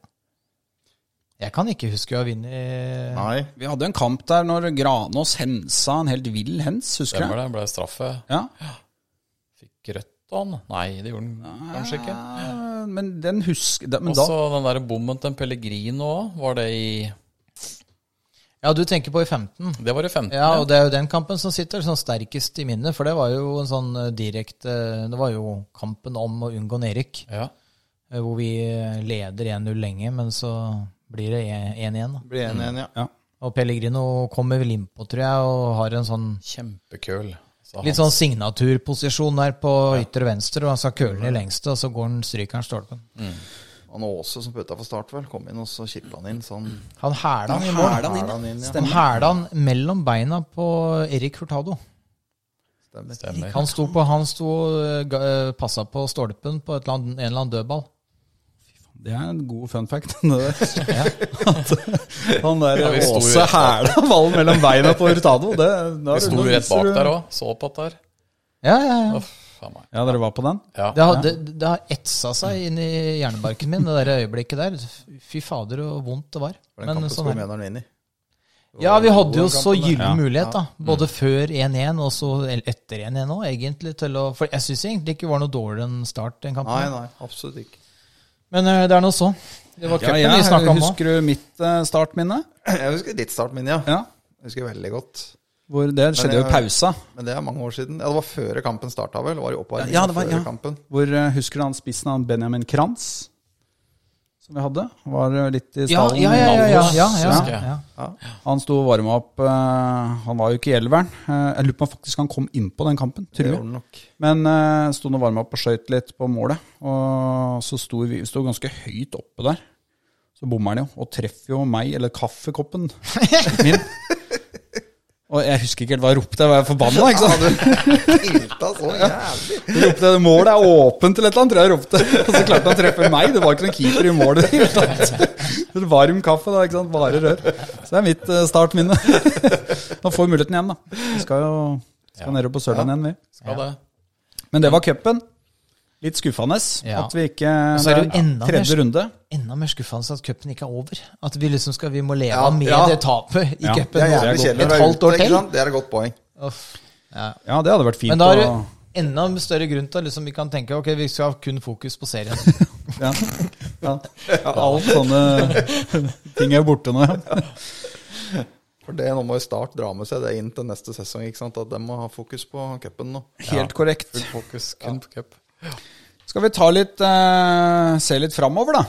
Jeg kan ikke huske å ha vunnet Nei. Vi hadde en kamp der når Granås hensa en helt vill hens, husker Stemmer jeg. det. Ble straffe. Ja. Fikk rødt av han. Nei, det gjorde han kanskje ikke. Eh, Men den husker da- Men Og da så den der bommen til Pellegrino òg. Var det i Ja, du tenker på i 15. Det var i 15. Ja, og det er jo den kampen som sitter sånn sterkest i minnet, for det var jo en sånn eh, direkte Det var jo kampen om å unngå nedrykk, ja. eh, hvor vi eh, leder 1-0 lenge, men så blir det én igjen. da. Blir enig igjen, ja. Ja. Og Pellegrino kommer vel innpå, tror jeg, og har en sånn Kjempekøl. sa litt han. sånn signaturposisjon der på ytre venstre, og han skal køle ned lengste, og så går han, stryker han stolpen. Han Aase som putta for start, vel, kom inn, og så kippa han inn sånn. Han hæla han i mål. Hæla han inn, ja. Han hæla han mellom beina på Erik Hurtado. Stemmer. Stemmer. Han sto på, han sto eh, ga- eh, passa på stolpen på et eller annet, en eller annen dødball. Det er en god fun fact. det der. At eh, han der Ja, vi sto jo Åse rett bak. hæla ballen mellom beina på Hurtado. Det, da er Vi sto det- jo rett bak viser du- der òg, så på det der. Ja, ja, ja. Uff, faen meg. Ja, dere var på den? Ja. Det har, det, det har etsa seg inn i hjernebarken min, det der øyeblikket der. Fy fader, så vondt det var. For den Men kampen sånn skulle er det. Mjøndalen inn i. Ja, vi hadde jo Gode så kampen, gyllen Ja. Mm. mulighet, da. Både før 1-1 og så el- etter 1-1 òg, egentlig. Til å, for jeg syns egentlig ikke var noe dårligere enn start den Nei, kampen. nei, absolutt ikke. Men eh, det er nå så. Det var Ja, cupen jeg vi snakka om òg. Husker du mitt eh, startminne? Jeg husker ditt start, min, ja. Ja. Jeg husker veldig godt. Hvor det skjedde jo i jeg- pausa. Men det er mange år siden. Ja, Det var før kampen starta, vel? Det var i oppvarmingen Ja, ja, det var- før ja. kampen. Hvor eh, Husker du han spissen han Benjamin Kranz? Som vi hadde? Var eh, litt i Ja, stallen. ja, ja. ja, ja, ja, ja, husker jeg. ja. Han sto og varma opp. eh, han var jo ikke i elveren. Eh, jeg lurer på om faktisk han kom innpå den kampen. Det Tror jeg. gjorde den nok. Men uh, sto og varma opp og skøyt litt på målet. Og så sto vi, vi sto ganske høyt oppe der. Så bommer han jo, og treffer jo meg, eller kaffekoppen min. Og jeg husker ikke helt hva jeg ropte, jeg var forbanna, ikke sant? Tilta så jævlig! Jeg ropte målet er åpent eller et eller annet, tror jeg jeg ropte. Og så klarte han å treffe meg, det var ikke noen keeper i mål i det hele tatt. Så Varm kaffe, da, ikke sant. Bare rør. Så det er mitt eh, startminne. Han får muligheten igjen, da. Vi skal jo skal ned på Sørlandet igjen, vi. Skal det. Men det var cupen. Litt skuffende Ja. at vi ikke Og så er det jo enda Tredje mer- runde. Enda mer skuffende at cupen ikke er over. At vi liksom skal, vi må leve Ja, med ja. det tapet i Ja. Det cupen er nå. jævlig et kjedelig å være halvt ute. år ikke til. sant? Det er et godt poeng. Uff. Ja. Ja, det hadde vært fint. Men da er det å, enda større grunn til at liksom, vi kan tenke ok, vi skal ha kun fokus på serien. ja. Ja. Alt sånne ting er borte nå. ja. For det, Nå må jo Start dra med seg det inn til neste sesong. ikke sant? At de må ha fokus på cupen nå. Helt korrekt. Fokus kun på cup. Skal vi ta litt, eh, se litt framover, da?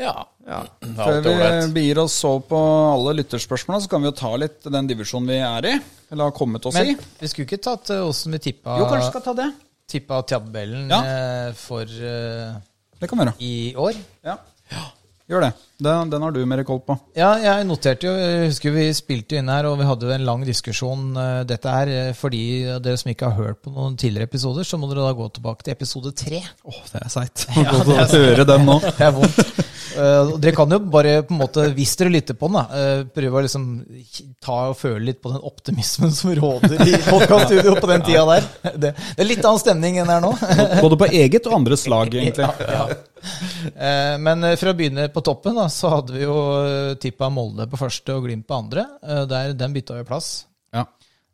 Ja. Ja. Det er Før alltid vi eh, ålreit. begir oss så på alle lytterspørsmåla, så kan vi jo ta litt den divisjonen vi er i. Eller har kommet oss i. Men vi skulle ikke tatt eh, åssen vi tippa, Jo, kanskje vi skal ta det. tippa tabellen Ja. eh, for eh, Det kan vi gjøre. i år. Ja. Gjør det. Den, den har du mer koll på. Ja, jeg noterte jo, jeg husker vi spilte inn her, og vi hadde jo en lang diskusjon. eh, Dette her, eh, fordi dere som ikke har hørt på noen tidligere episoder, så må dere da gå tilbake til episode tre. Åh, det er seigt. Å høre den nå. Det er vondt. Eh, og dere kan jo bare, på en måte, hvis dere lytter på den, da, eh, prøve å liksom ta og føle litt på den optimismen som råder i podkaststudioet på den tida der. Det, det er litt annen stemning enn det er nå. Både på eget og andres lag, egentlig. Eh, Men eh, for å begynne på toppen, da, så hadde vi jo eh, tippa Molde på første og Glimt på andre. Eh, Der, den bytta jo plass. Ja.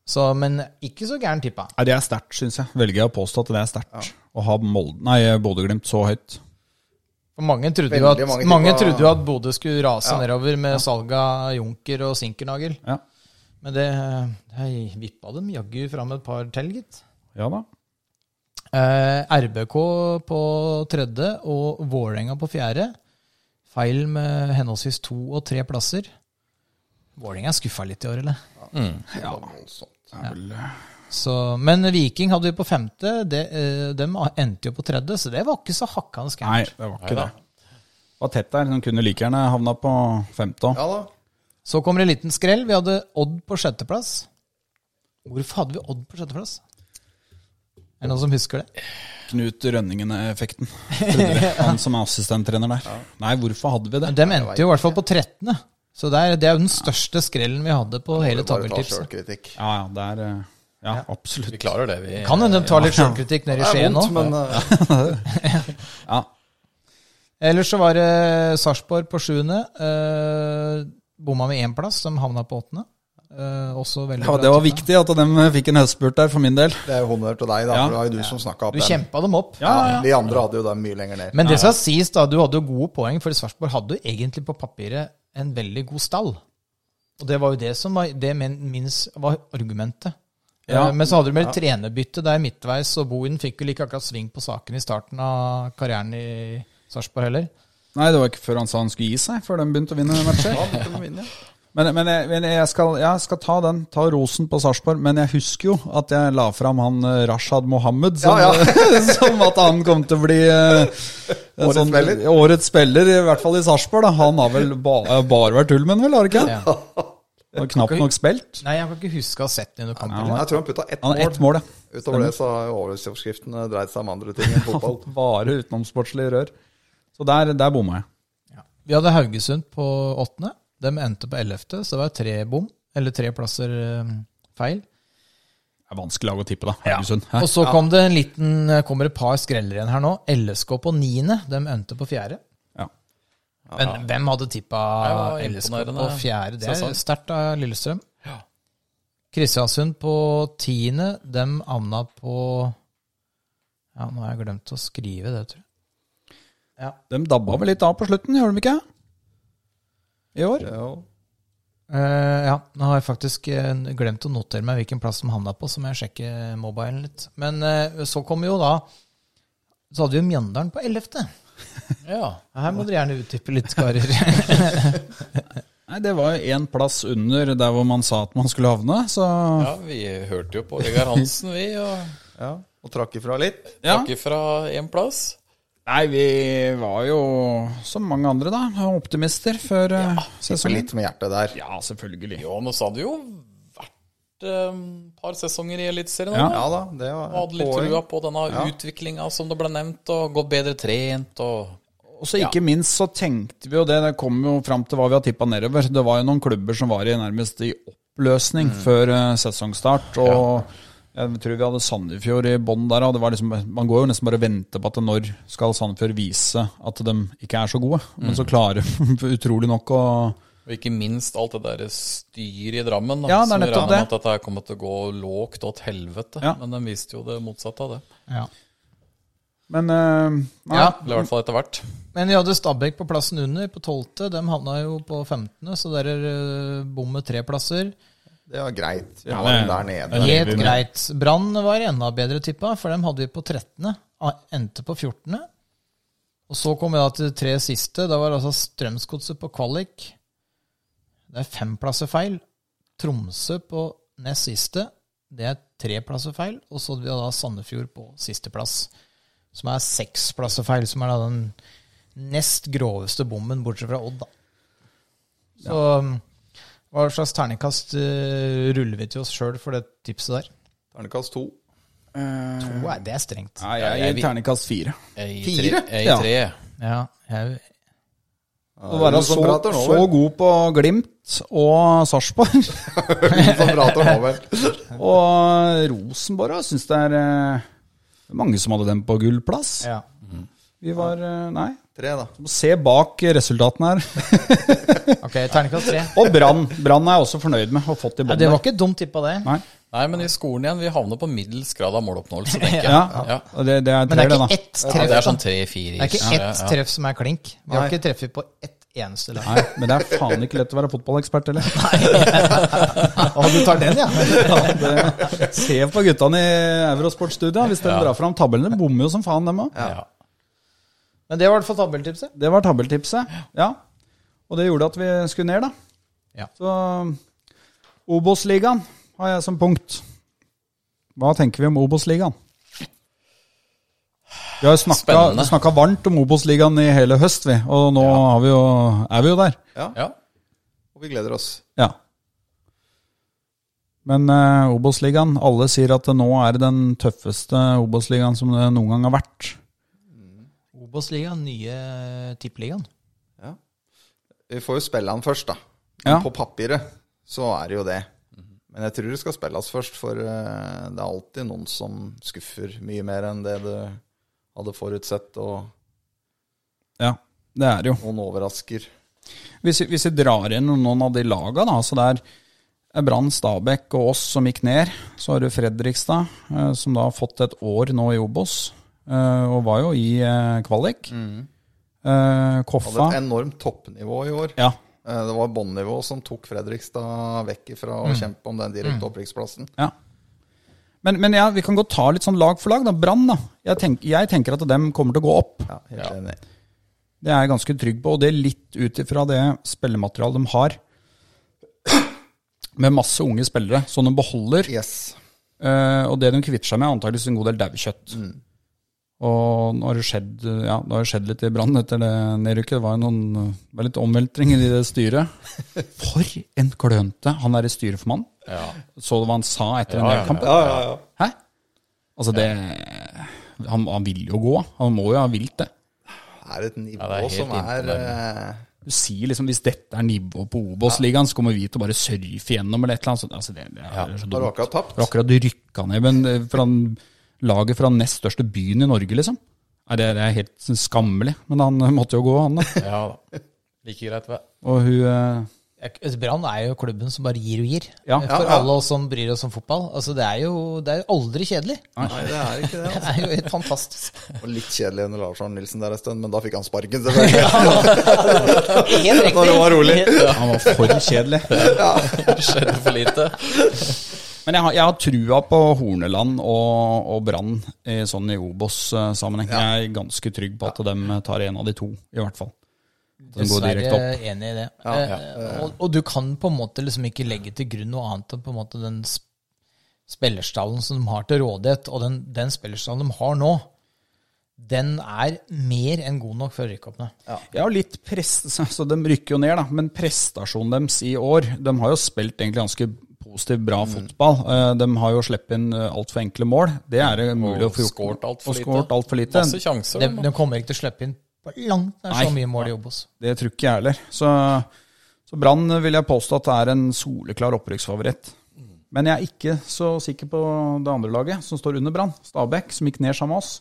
Så, men ikke så gæren tippa. Nei, det er sterkt, syns jeg. Velger jeg å påstå at det er sterkt. Å ha Molde, nei, Bodø-Glimt så høyt. For mange trodde jo Veldig at, mange mange tippa- trodde jo at Bodø skulle rase nedover med salg av Junker og Sinkernagel. Ja, Men det, det vippa dem jaggu fram et par til, gitt. ja da. Eh, RBK på tredje og Vålerenga på fjerde. Feil med henholdsvis to og tre plasser. Vålerenga er skuffa litt i år, eller? Ja. voldsomt. Så, men Viking hadde vi på femte. Det, eh, dem endte jo på tredje, så det var ikke så hakkende Nei, gærent. det var ikke Neida. det. Det var tett der. De kunne like gjerne havna på femte òg. Ja da. Så kommer en liten skrell. Vi hadde Odd på sjetteplass. Hvorfor hadde vi Odd på sjetteplass? Er det noen som husker det? Knut Rønningen-effekten. trodde vi. Han som er assistenttrener der. Nei, hvorfor hadde vi det? Men dem endte jo i hvert fall på 13. Så det er, det er jo den største skrellen vi hadde på hele Vi Bare ta tabelltipset. sjølkritikk. Ja, ja, det er eh, Ja, Vi absolutt. klarer det, vi. Kan hende de tar litt sjølkritikk nede i Det er Skien nå. vondt, men eh, Ja. Ellers så var det Sarpsborg på sjuende. Eh, bomma med én plass, de havna på åttende. Eh, også veldig ja, bra det var tippa. viktig at de fikk en høstspurt der, for min del. det er jo honnør til deg, da. Ja. For det var jo du som snakka opp Du den. kjempa dem opp. Ja, De andre hadde jo den mye lenger ned. Men det skal sies, da, du hadde jo gode poeng, for Sarpsborg hadde jo egentlig på papiret en veldig god stall. Og det var jo det som var, det men, minst var argumentet. Ja. Eh, Men så hadde du med et trenerbytte der midtveis, og Bohin fikk vel ikke akkurat sving på saken i starten av karrieren i Sarpsborg heller. Nei, det var ikke før han sa han skulle gi seg, før de begynte å vinne matcher. Da begynte de å vinne. Men, men, jeg, men jeg, skal, jeg skal ta den, ta rosen på Sarpsborg. Men jeg husker jo at jeg la fram han eh, Rashad Mohammed som, Ja, som at han kom til å bli eh, en Årets spiller. årets spiller, i hvert fall i Sarpsborg. da. Han har vel ba, bare vært Ullmann, vel? Har han ikke? Ja. Og knapt nok spilt. Nei, jeg kan ikke huske å ha sett den i noen kamper. Jeg tror han putta ett Han mål. har ett mål, ja. Utover det så har jo overskriftene dreid seg om andre ting enn fotball. Bare utenomsportslige rør. Så der, der bomma jeg. Vi hadde Haugesund på åttende. De endte på ellevte, så det var tre bom, eller tre plasser eh, feil. Det er vanskelig lag å tippe, da. Haugesund. Hæ? Og så kom det en liten, eh, kommer et par skreller igjen her nå. LSK på niende, de endte på fjerde. Ja. Men hvem hadde tippa Det var LSK på imponerende fjerde? Det sesong. er sterkt av Lillestrøm. Kristiansund på tiende, de havna på Ja, nå har jeg glemt å skrive det, tror jeg. De dabba vel litt av på slutten, gjorde de ikke? I år? Jo. Eh, ja, nå har jeg faktisk eh, glemt å notere meg hvilken plass de havna på, så må jeg sjekke mobilen litt. Men eh, så kom jo da Så hadde vi jo Mjøndalen på 11. Ja. Her må dere gjerne utdype litt, karer. Nei, det var jo én plass under der hvor man sa at man skulle havne, så ja, vi hørte jo på Vegard Hansen, vi. Og Ja. Og trakk ifra litt. Ja. takk ifra én plass. Nei, vi var jo som mange andre, da, optimister før eh, Så sesongen. litt med hjertet der. Ja, selvfølgelig. Jo, men så hadde vi jo vært et par sesonger i Eliteserien. Ja. da. Ja da, det var Og hadde litt poeng. trua på denne utviklingen utviklinga som det ble nevnt, og gått bedre trent og Og så ikke minst så tenkte vi jo det, det kom jo fram til hva vi har tippa nedover. Det var jo noen klubber som var i nærmest i oppløsning Mm. før eh, sesongstart. og... Jeg tror vi hadde Sandefjord i bånn der. Og det var liksom, man går jo nesten bare og venter på at når skal Sandefjord vise at de ikke er så gode. Mm. Men så klarer de utrolig nok å Og ikke minst alt det der styret i Drammen. da, Ja, det er som nettopp vi regner med det. At dette her kommer til å gå lågt og til helvete. Ja. Men den viste jo det motsatte av det. ja. Men eh, nei, ja. Eller i hvert fall etter hvert. Men vi hadde Stabæk på plassen under, på 12. De havna jo på 15., så der er eh, bom med tre plasser. Det var greit. Vi Ja, var det- der nede. det- Helt greit. Brann var enda bedre tippa, for dem hadde vi på 13. ah, Endte på 14. Og så kom vi da til de tre siste. Da var altså Strømsgodset på kvalik. Det er fem plasser feil. Tromsø på nest siste. Det er tre plasser feil. Og så hadde vi da Sandefjord på sisteplass, som er seks plasser feil. Som er da den nest groveste bommen, bortsett fra Odd, da. Så um, hva slags terningkast eh, ruller vi til oss sjøl for det tipset der? Ternekast to. To er det er strengt. nei, jeg gir terningkast fire. Fire? Ja. E Tre. Ja, jeg, Å være Ingen så, som prater nå, så vel? god på Glimt og Sarpsborg. Ingen som prater nå, vel. og Rosenborg òg syns det er eh, mange som hadde dem på gullplass. ja. Vi var eh, Nei. Tre, da. Må Se bak resultatene her. Ok, terningkast tre. Og Brann. Brann er jeg også fornøyd med å ha fått i Nei, det bånn. var ikke dumt tippa, det. Nei. Nei, men i skolen igjen, vi havner på middels grad av måloppnåelse, tenker jeg. Ja, Ja. og Det, det er Men det tre, er det, ikke da. ett Ja, treff. det er sånn da. tre-fire. det er ikke ett treff som er klink. Vi har Nei. ikke treffet på ett eneste lag. Nei, men det er faen ikke lett å være fotballekspert heller. Å, du tar den, ja? Det- Se på guttene i Eurosportstudia. Hvis de drar fram tabellene, bommer jo som faen, dem òg. Ja. Men det var i hvert fall tabelltipset. Det var tabeltipset, ja. Og det gjorde at vi skulle ned, da. Ja. Så Obos-ligaen har jeg som punkt. Hva tenker vi om Obos-ligaen? Vi har jo snakka Spennende. snakka varmt om Obos-ligaen i hele høst, vi. Og nå har vi jo, er vi jo der. Ja. Og vi gleder oss. Ja. Men eh, Obos-ligaen Alle sier at det nå er den tøffeste Obos-ligaen som det noen gang har vært. Obos-ligaen, nye eh, tippeligaen. Vi får jo spille han først, da. Ja. På papiret så er det jo det. Men jeg tror det skal spilles først, for eh, det er alltid noen som skuffer mye mer enn det du hadde forutsett, og Ja, det er det jo. noen overrasker. Hvis, vi- hvis vi drar inn noen av de laga, da, så det er Brann, Stabæk og oss som gikk ned. Så har du Fredrikstad, eh, som da har fått et år nå i Obos, eh, og var jo i eh, kvalik. Eh, Hadde et Koffa enormt toppnivå i år. ja, Eh, Det var bånnivå som tok Fredrikstad vekk ifra å kjempe om den direkte opprykksplassen. ja. Men, men ja, vi kan godt ta litt sånn lag for lag. da, Brann, da. Jeg, tenk, jeg tenker at dem kommer til å gå opp. Ja, helt enig. Det er jeg ganske trygg på, og det er litt ut ifra det spillematerialet de har. Med masse unge spillere, som de beholder. Yes. Eh, og det de kvitter seg med, er antakeligvis en god del daukjøtt. Mm. Og nå har det skjedd, ja, det har jo skjedd litt i Brann etter det nedrykket. Det var jo noen det var litt omveltringer i det styret. For en klønete han er i styreformann. Ja. Så du hva han sa etter den Ja, ja, nedkampen? Ja, ja, ja. Hæ? Altså, det han, han vil jo gå. Han må jo ha vilt det. Det er et nivå det er helt som er imponerende. eh, Du sier liksom hvis dette er nivået på Obos-ligaen, så kommer vi til å bare surfe gjennom eller et eller annet. sånt. Altså, det, det er så Har du dumt. akkurat tapt? Har akkurat rykka ned men eh, fra en- laget fra den nest største byen i Norge, liksom. Nei, det, det er helt sånn skammelig. Men han eh, måtte jo gå, han da. ja da. Like greit, vel. Og hun eh, Et Brann er jo klubben som bare gir og gir. Ja. For Ja, ja. alle oss som bryr oss om fotball. Altså, det, er jo, det er jo aldri kjedelig. Nei, det er ikke det. Det altså. er jo helt fantastisk. Og litt kjedelig under Lars Arne Nilsen der en stund, men da fikk han sparken, selvfølgelig. Helt riktig. Når det var rolig. Han var for kjedelig. Skjedde for lite. Men jeg har, jeg har trua på Horneland og, og Brann i sånn i Obos-sammenheng. Jeg er ganske trygg på at de tar en av de to, i hvert fall. At De går direkte opp. Dessverre enig i det. Eh, og, og du kan på en måte liksom ikke legge til grunn noe annet enn på en måte den sp- spillerstallen som de har til rådighet, og den, den spillerstallen de har nå, den er mer enn god nok for rykkoppene. Ja, litt prest, så så de rykker jo ned, da. Men prestasjonen deres i år De har jo spilt egentlig ganske positivt bra Mm. fotball. Eh, De har jo sluppet inn eh, altfor enkle mål. Det er det mulig å få gjort. skåret alt for og lite. skåret alt for lite. Masse sjanser. De, de kommer ikke til å slippe inn på langt nær så Nei. mye mål i Obos. Det tror ikke jeg heller. Så, så Brann eh, vil jeg påstå at det er en soleklar opprykksfavoritt. Mm. Men jeg er ikke så sikker på det andre laget, som står under Brann. Stabæk, som gikk ned sammen med oss.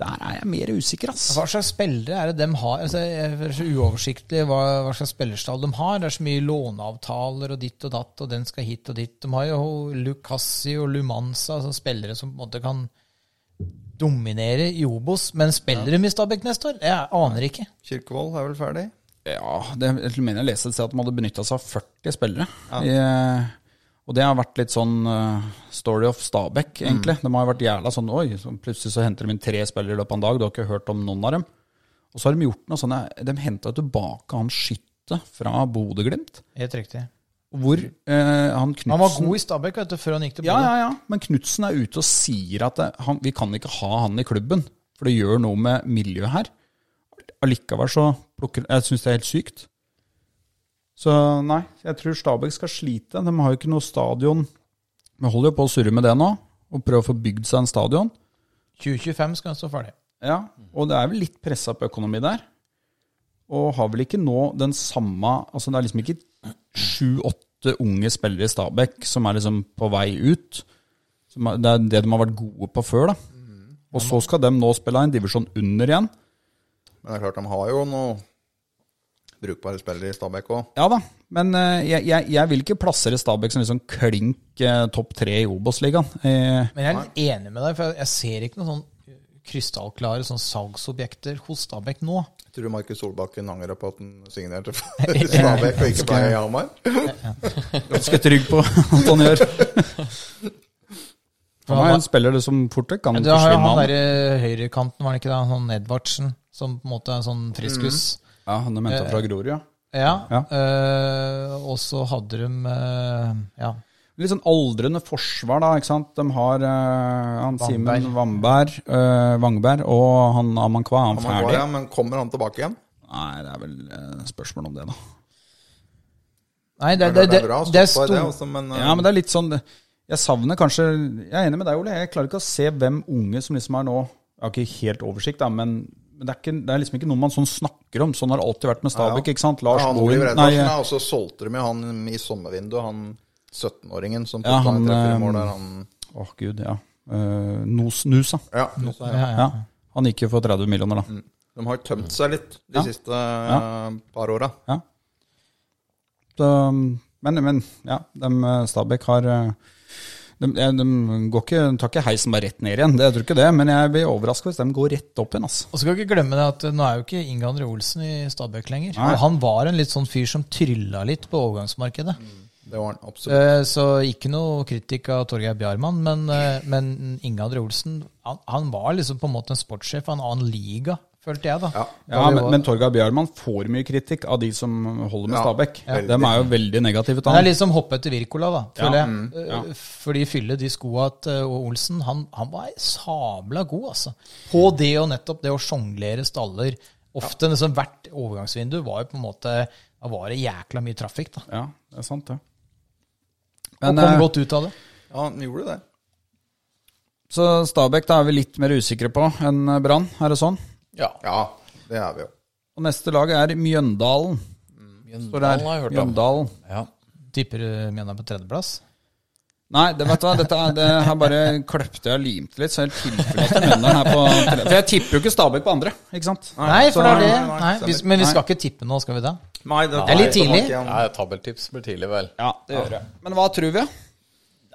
Der er jeg mer usikker, ass. Hva slags spillere er det de har? Altså, jeg er så uoversiktlig hva, hva slags spillerstall de har. Det er så mye låneavtaler og ditt og datt, og den skal hit og dit. De har jo Lucassi og Lumanza, altså spillere som på en måte kan dominere i Obos. Men spiller de i Stabæk neste år? Jeg aner ikke. Kirkevold er vel ferdig? Ja, det jeg mener jeg leste et sted at de hadde benytta seg av 40 spillere. I, eh, og det har vært litt sånn eh, story of Stabæk, egentlig. De har jo vært jævla sånn Oi, så plutselig så henter de inn tre spillere i løpet av en dag. Du har ikke hørt om noen av dem. Og så har de gjort noe sånn De henta tilbake han skyttet fra Bodø-Glimt. Helt riktig. Hvor eh, han Knutsen Han var god i Stabæk vet du, før han gikk til Ja, Bodø. ja, ja. Men Knutsen er ute og sier at det, han, vi kan ikke ha han i klubben, for det gjør noe med miljøet her. Allikevel så plukker Jeg syns det er helt sykt. Så nei, jeg tror Stabæk skal slite. De har jo ikke noe stadion. Vi holder jo på å surre med det nå, og prøve å få bygd seg en stadion. 2025 skal han stå ferdig. Ja, og det er vel litt pressa på økonomi der. Og har vel ikke nå den samme Altså det er liksom ikke sju-åtte unge spillere i Stabæk som er liksom på vei ut. Som er, det er det de har vært gode på før, da. Og så skal de nå spille en divisjon under igjen. Men det er klart, de har jo noen brukbare spillere i Stabæk òg. Ja da, men eh, jeg, jeg, jeg vil ikke plassere Stabæk som liksom klink eh, topp tre i Obos-ligaen. Eh, Men jeg er litt enig med deg, for jeg- jeg ser ikke noen sånn krystallklare sånn salgsobjekter hos Stabæk nå. Tror du Markus Solbakken angrer på at han signerte for Stabæk og ikke ble i Hamar? ganske trygg på at han gjør. Han er jo en spiller det som fort vekk kan Ja, du har jo forsvinne. han han. derre høyrekanten, var det ikke det? Han sånn Edvardsen, som på en måte er sånn friskus. Ja, han er menta Eh, fra Grorud, ja. Ja. Ja. eh, og så hadde de eh, Ja. Litt sånn aldrende forsvar, da. ikke sant? De har eh, han Vamberg. Simen Vamberg, eh, Vangberg og han Amankwa. Er han Hamar var, ferdig? ja, men kommer han tilbake igjen? Nei, det er vel eh, spørsmål om det, da. Nei, det, Det, det, er det, bra å det stå er på i det, stor... altså, men, Ja, men det er litt sånn Jeg savner kanskje Jeg er enig med deg, Ole. Jeg klarer ikke å se hvem unge som liksom er nå Jeg har ikke helt oversikt, da, men men det er, ikke, det er liksom ikke noe man sånn snakker om. Sånn har det alltid vært med Stabæk. ikke sant? Lars han Bohin Oliver nei, eh, Edvardsen, ja, og så solgte de jo han i sommervinduet, han 17-åringen som Ja, putta han, en treffer i mål eh, der han Åh, gud, ja. Eh, Nos, Nusa. Ja, Ja, ja. Ja. Han gikk jo for 30 millioner, da. de har tømt seg litt de Ja. siste eh, par åra. Ja. Så, men, men ja, dem, eh, Stabæk har eh, de, eh, de går ikke, de tar ikke heisen bare rett ned igjen, det, jeg tror ikke det. Men jeg blir overraska hvis de går rett opp igjen. Altså. Og så skal vi ikke glemme det at eh, nå er jo ikke Inge André Olsen i Stabæk lenger. Nei. Og han var en litt sånn fyr som trylla litt på overgangsmarkedet. Det var han absolutt. Eh, så ikke noe kritikk av Torgeir Bjarmann, men, eh, men Inge André Olsen han, han var liksom på en måte en sportssjef av en annen liga følte jeg, da. Ja. Ja, men, men Torgeir Bjørman får mye kritikk av de som holder med Ja, Stabæk. De er jo veldig negative til Han er han. liksom hoppe etter Wirkola, da, føler Ja, jeg. Eh, Fordi fylle de skoa til eh, Olsen han, han var sabla god, altså. På Mm. det og nettopp det å sjonglere staller. Ofte liksom hvert overgangsvindu var jo på en måte Da var det jækla mye trafikk, da. Ja, det er sant, det. Og Men, kom eh, godt ut av det. Ja, han gjorde det. så Stabæk da er vi litt mer usikre på enn Brann, er det sånn? Ja. Ja, det er vi jo. Og neste lag er Mjøndalen. Står det Mjøndalen har her. jeg hørt om. Mjøndalen. Ja. Tipper du mener på tredjeplass? Nei, det vet du hva, dette er, det her bare kløpte jeg og limte litt, så helt tilfelle at Mjøndalen er på tredje. For jeg tipper jo ikke Stabæk på andre, ikke sant? Nei, for det er det. nei, nei, Nei, vi, stemmer. men vi skal ikke tippe nå, skal vi det? Nei, det er litt tidlig. Nei, tabeltips blir tidlig, vel. Ja, det gjør jeg. Men hva tror vi?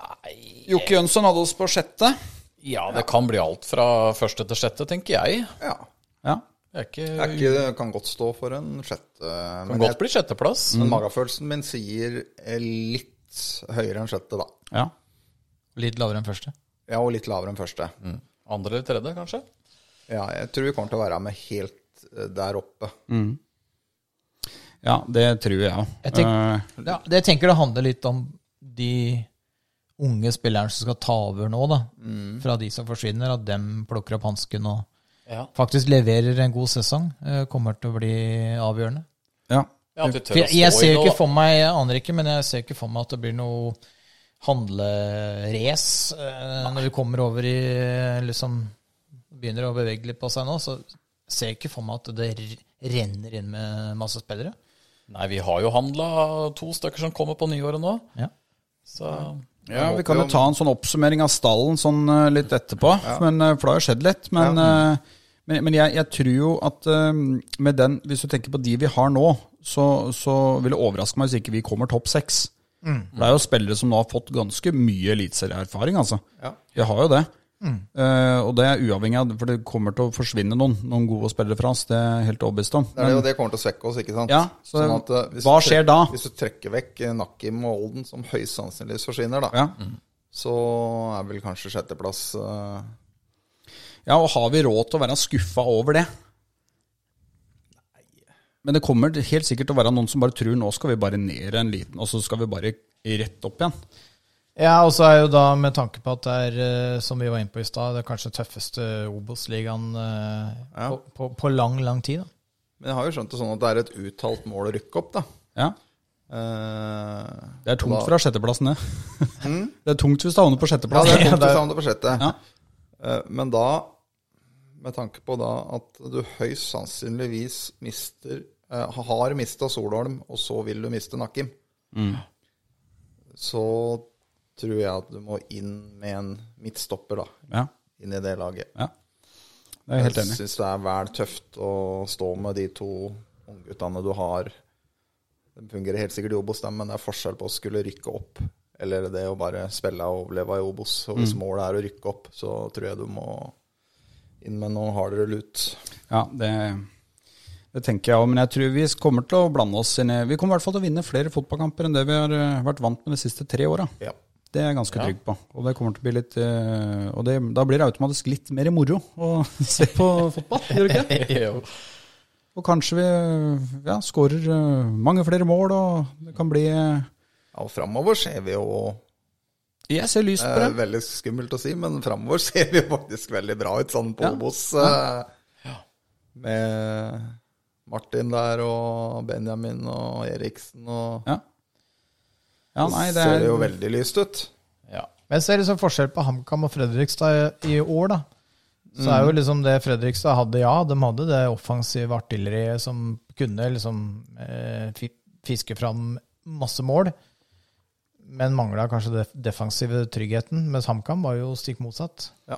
Nei Jokke Jønsson hadde oss på sjette. Ja, det kan bli alt fra første til sjette, tenker jeg. Ja. Ja. Det er ikke, Det, er ikke, det kan godt stå for en sjette. kan Men, godt jeg, bli sjetteplass. men magefølelsen min sier eh, litt høyere enn sjette, da. ja. Litt lavere enn første. Ja, og litt lavere enn første. Andre eller tredje, kanskje? Ja, jeg tror vi kommer til å være med helt eh, der oppe. Ja, det tror jeg Eh, òg. Jeg tenk- Ja, det jeg tenker det handler litt om de unge spillerne som skal ta over nå, da. Mm. Fra de som forsvinner, at dem plukker opp hansken og Ja. faktisk leverer en god sesong. eh, Kommer til å bli avgjørende. ja. ja at du For tør å jeg, stå jeg i ser jo det, ikke da. for meg, jeg aner ikke, men jeg ser ikke for meg at det blir noe handlerace eh, når vi kommer over i eh, liksom Begynner å bevege litt på seg nå, så ser jeg ikke for meg at det r- renner inn med masse spillere. Nei, vi har jo handla to stykker som kommer på nyåret nå, Ja. så ja, vi kan jo ta en sånn oppsummering av stallen sånn eh, litt etterpå, men, eh, for det har jo skjedd litt. Men, eh, men, men jeg, jeg tror jo at eh, med den, hvis du tenker på de vi har nå, så, så vil det overraske meg hvis ikke vi kommer topp seks. Mm. For Det er jo spillere som nå har fått ganske mye eliteserieerfaring, altså. Ja. Mm. Jeg har jo det. Eh, og det er uavhengig av, for det kommer til å forsvinne noen, noen gode spillere fra oss. Det er jeg helt overbevist om. Det er det, og det kommer til å svekke oss, ikke sant? Ja, så eh, hvis hva du skjer trekker- da? Hvis du trekker vekk eh, Nakim og Olden, som høyst sannsynlig forsvinner, da, Ja. så er vel kanskje sjetteplass eh, Ja, og har vi råd til å være skuffa over det? Men det kommer helt sikkert til å være noen som bare tror nå skal vi bare ned en liten, og så skal vi bare rett opp igjen. Ja, og så er jo da med tanke på at det er, eh, som vi var inne på i stad, det er kanskje tøffeste Obos-ligaen eh, Ja. på, på, på lang, lang tid. da. Men jeg har jo skjønt det sånn at det er et uttalt mål å rykke opp, da. Ja, Eh, Det er tungt og fra sjetteplassen, det. Det er tungt hvis du havner på da, sjetteplass. Hm? Ja, det er tungt å savne på sjette. Ja. Eh, men da, med tanke på da at du høyst sannsynligvis mister eh, Har mista Solholm, og så vil du miste Nakim, Mm. så tror jeg at du må inn med en midtstopper, da. Ja, Inn i det laget. ja. Det er jeg helt enig. Jeg syns det er vel tøft å stå med de to ungguttene du har. De fungerer helt sikkert i Obos, dem, men det er forskjell på å skulle rykke opp eller det å bare spille og overleve i Obos. Og Mm. hvis målet er å rykke opp, så tror jeg du må inn med noe hardere lut. Ja, det, det tenker jeg òg, men jeg tror vi kommer til å blande oss inn i Vi kommer i hvert fall til å vinne flere fotballkamper enn det vi har eh, vært vant med de siste tre åra. Ja. Det er jeg ganske trygg på. Og det kommer til å bli litt eh, Og det, da blir det automatisk litt mer moro å se på fotball, gjør det ikke? Jo. Og kanskje vi eh, ja, skårer eh, mange flere mål, og det kan bli eh, Ja, og framover ser vi jo Jeg ser lyst på eh, det. Veldig skummelt å si, men framover ser vi jo faktisk veldig bra ut sånn på Ja. Obos. eh, Med Martin der og Benjamin og Eriksen og Ja. ja, nei, det ser er det jo veldig lyst ut. Ja. Men jeg ser liksom forskjell på HamKam og Fredrikstad i i år, da. Så er jo liksom det Fredrikstad hadde, ja, de hadde det offensive artilleriet som kunne liksom eh, fi- fiske fram masse mål, men mangla kanskje den defensive tryggheten, mens HamKam var jo stikk motsatt. Ja.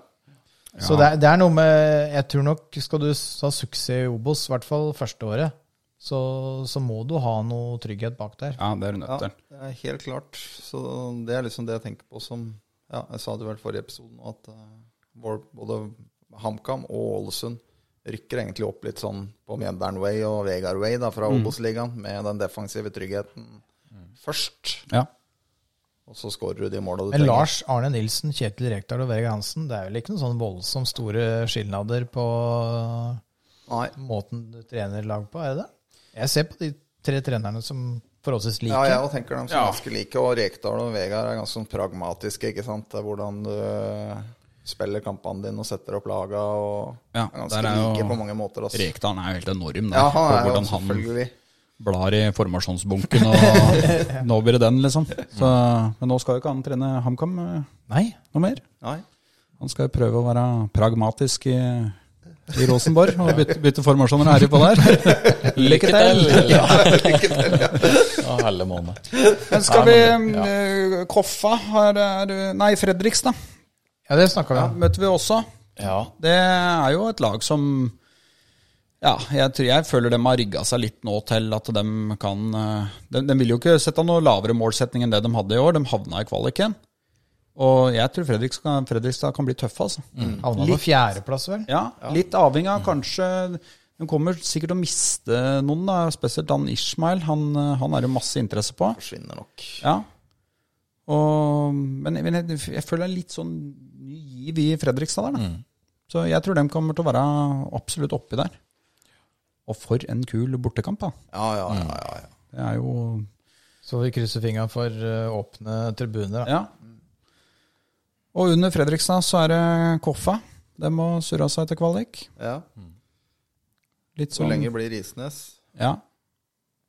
Så det er, det er noe med Jeg tror nok skal du s- ha suksess i Obos, i hvert fall første året, så, så må du ha noe trygghet bak der. Ja, det er du nødt Ja, til. det er helt klart. Så det er liksom det jeg tenker på som ja, Jeg sa det vel forrige episode nå, at eh, vår, både HamKam og Ålesund rykker egentlig opp litt sånn på Mjøndalen Way og Vegard Way da, Mm. fra Obos-ligaen, med den defensive tryggheten først. Ja. Og så skårer du de måla du Men Lars Arne Nilsen, Kjetil Rekdal og Vegard Hansen, det er vel ikke noen sånn voldsomt store skilnader på Nei. måten du trener lag på, er det det? Jeg ser på de tre trenerne som forholdsvis like. Ja, jeg også tenker dem som ganske like. Og Rekdal og Vegard er ganske sånn pragmatiske. ikke sant? Det er hvordan du eh, spiller kampene dine og setter opp laga. og Ja, er ganske der er jo- like på mange måter. Altså. Rekdal er jo helt enorm der, Ja, han på er jo hvordan han selvfølgelig blar i formasjonsbunken og nå blir det den, liksom. Så, men nå skal jo ikke han trene HamKam eh, Nei. noe mer. Nei. Han skal jo prøve å være pragmatisk i, i Rosenborg og bytte, bytte formasjoner her på der. Lykke til! Ja, Å, helle måned. Men skal vi eh, Koffa har eh, Nei, Fredrikstad Ja, det snakka vi ja. om. møter vi også. Ja. Det er jo et lag som ja, jeg, tror, jeg føler de har rigga seg litt nå til at de kan eh, De, de vil jo ikke sette noe lavere målsetting enn det de hadde i år. De havna i kvaliken. Og jeg tror Fredrikstad kan, Fredrikstad kan bli tøffe, altså. Havna på fjerdeplass, vel? Ja, Litt avhengig av kanskje De kommer sikkert til å miste noen, da, spesielt han Ishmael. Han, eh, han er det masse interesse på. forsvinner nok. Ja. Og, men men jeg, jeg føler det er litt sånn ny giv i Fredrikstad der, da. Så jeg tror de kommer til å være absolutt oppi der. Og for en kul bortekamp, da. Ja, ja, Mm. ja. ja, ja. Det er jo Så vi krysser fingra for eh, åpne tribuner. da. Ja. Og under Fredrikstad så er det Koffa. De må surre av seg til kvalik. ja. Litt Så sånn lenge blir Risnes Ja.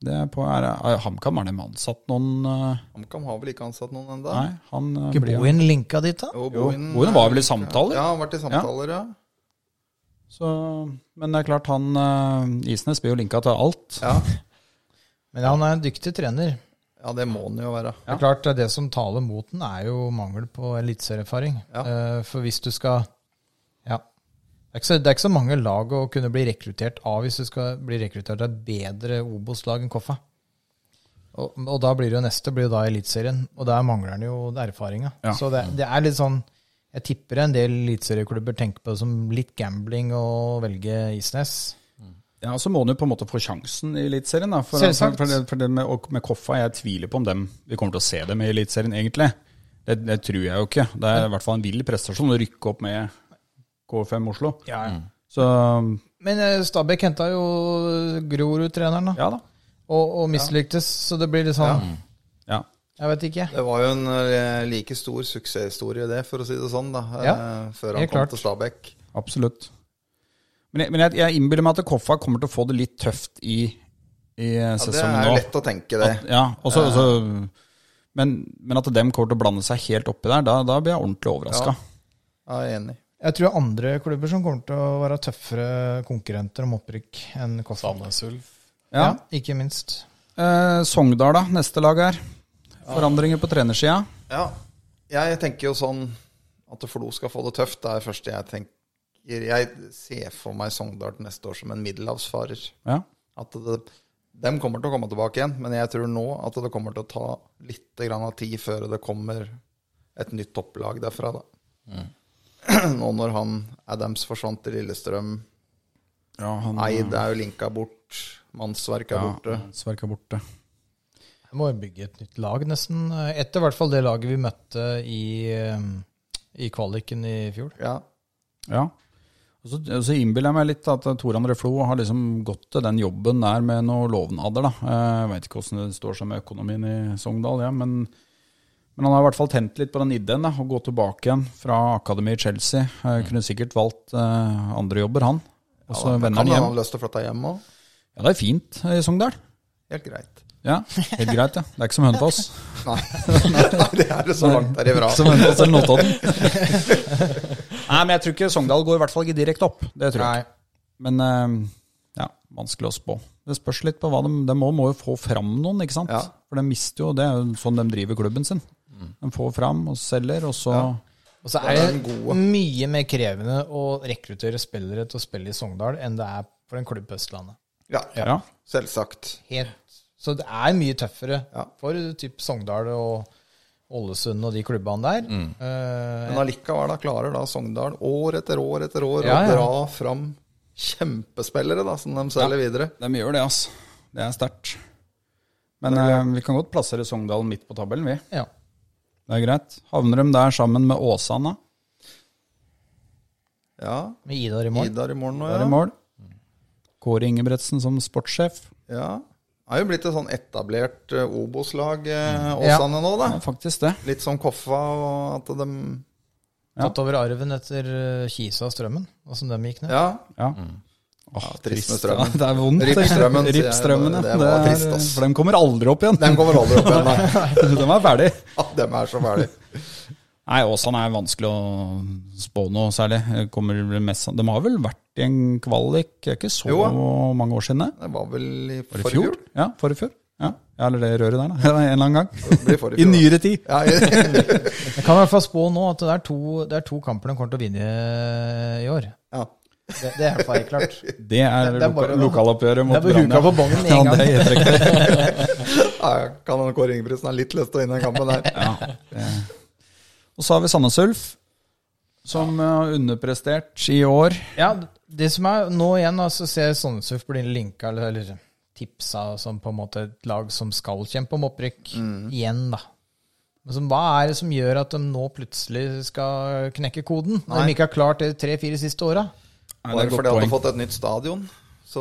Det er på er, er, HamKam, har de ansatt noen eh, HamKam har vel ikke ansatt noen ennå? Nei, han eh, Ikke blir Bohin linka dit, da? Jo, Bohin var vel i samtaler? Ja, han har vært i samtaler, ja. så, Men det er klart, han eh, Isnes blir jo linka til alt. Ja, ja. Men han er en dyktig trener. det må han jo være. Det er klart, det som taler mot den, er jo mangel på eliteserieerfaring. Ja. Eh, For hvis du skal Ja. Det er, ikke så, det er ikke så mange lag å kunne bli rekruttert av hvis du skal bli rekruttert av et bedre Obos-lag enn Koffa. Og, og da blir det jo neste blir jo da Eliteserien, og der mangler han jo erfaringa. Ja. Så det, det er litt sånn Jeg tipper en del eliteserieklubber tenker på det som litt gambling å velge Isnes. Ja, så må han jo på en måte få sjansen i Eliteserien. da. For, for, Selvsagt. for, det- for det med, og med Koffa, jeg tviler på om dem vi kommer til å se dem i Eliteserien, egentlig. Det, det tror jeg jo ikke. Det er i hvert fall en vill prestasjon å rykke opp med K5 Oslo. Mm. Så Men eh, Stabæk henta jo Grorud-treneren, da. ja da. og, og mislyktes, så det blir litt sånn Ja. Jeg vet ikke. Det var jo en eh, like stor suksesshistorie, det, for å si det sånn, da. eh, Ja, Før han helt kom klart. til Stabæk. Absolutt. Men jeg, men jeg, jeg innbiller meg at Koffa kommer til å få det litt tøft i, i eh, Ja, det sesongen er nå. jo lett å tenke, det. At, ja, også, også, men, men at dem kommer til å blande seg helt oppi der, da, da blir jeg ordentlig overraska. Ja, jeg er enig. Jeg tror andre klubber som kommer til å være tøffere konkurrenter om opprykk enn Koffa. Sandnes Ulf. Ja. Ja. ikke minst. Eh, Sogndal, da. Neste lag her. Forandringer på trenersida. Ja, jeg tenker jo sånn at Flo skal få det tøft. Det er det første jeg tenker. Jeg ser for meg Sogndal til neste år som en middelhavsfarer. Ja. At det, dem kommer til å komme tilbake igjen, men jeg tror nå at det kommer til å ta litt grann av tid før det kommer et nytt topplag derfra. da. Mm. Nå når han Adams forsvant til Lillestrøm, ja han Eid er jo linka bort, Mannsverk er borte. Sverk er borte. Jeg må bygge et nytt lag, nesten. Etter i hvert fall det laget vi møtte i, eh, i kvaliken i fjor. Ja, Ja. Og så, og så innbiller jeg meg litt at Tor André Flo har liksom gått til den jobben der med noen lovnader. da. Eh, Jeg vet ikke hvordan det står seg med økonomien i Sogndal, ja, men, men han har i hvert fall tent litt på den ideen. da, Å gå tilbake igjen fra akademi i Chelsea. Mm. Eh, Kunne sikkert valgt eh, andre jobber, han. Og så da vender kan han han ha hjem. lyst til å flytte hjem òg. Ja, det er fint eh, i Sogndal. Helt greit. Ja, Helt greit, ja. Det er ikke som Hønefoss. Nei, Nei det er det så langt derifra. Som Hønefoss eller Notodden. Nei, men jeg tror ikke Sogndal går i hvert fall ikke direkte opp. Det tror jeg ikke. Men eh, ja, vanskelig å spå. Det spørs litt på hva de De må, må jo få fram noen, ikke sant? Ja. For de mister jo Det er jo sånn de driver klubben sin. De får fram og selger, og så Og så er det mye mer krevende å rekruttere spillere til å spille i Sogndal enn det er for en klubb på Østlandet. Ja, Ja. selvsagt. Helt. Så det er mye tøffere Ja. for typ Sogndal og Ålesund og de klubbene der. Eh, Men allikevel da klarer da Sogndal år etter år etter år Ja, ja. å dra fram kjempespillere da, som de selger videre. De gjør det, altså. Det er sterkt. Men eh, vi kan godt plassere Sogndal midt på tabellen, vi. ja. Det er greit. Havner de der sammen med Åsane? Ja, Med Idar i morgen. Idar i morgen nå, Der i ja. mål. Kåre Ingebretsen som sportssjef. Ja. Det er jo blitt et sånn etablert eh, Obos-lag, eh, Ja. Åsane, nå, da. Ja, faktisk det. Litt som Koffa og at de Tatt over arven etter eh, Kisa og Strømmen, og som de gikk ned. Ja. Ja. Trist Ja, med strømmen. det er vondt. Ripp strømmen, sier jeg. Ripp strømmen, ja. Det var Det er- trist, ass. For de kommer aldri opp igjen. Den kommer aldri opp igjen, nei. de er ferdig. Ja, dem er så fæle. Nei, Åsan er vanskelig å spå noe særlig. Kommer vel mest, de har vel vært i en kvalik, det er ikke så Jo. mange år siden det. Det var vel i Var det i forrige fjor? jul? Ja, forrige fjor. Ja. ja, eller det røret der, da. En eller annen gang. Det blir forrige I fjor. nyere tid. Ja, i- Jeg kan i hvert fall spå nå at det er to, det er to kamper de kommer til å vinne i år. ja. Det, det er i hvert fall helt klart. Det er, Det er bare- loka lokaloppgjøret mot Det er bare Brann, huka på bongen med en Ja, det er helt riktig. ja, ja. Kan hende Kåre Ingebrigtsen har litt lyst til å vinne den kampen der. Og så har vi Sandnes Ulf, som eh, har underprestert i år. Ja, det som er nå igjen, altså, ser jeg Sandnesurf bli linka eller, eller tipsa som på en måte et lag som skal kjempe om opprykk igjen, da. Men som, hva er det som gjør at de nå plutselig skal knekke koden? Når de ikke har klart det tre-fire siste åra? Nei, Bare fordi at de har fått et nytt stadion. Så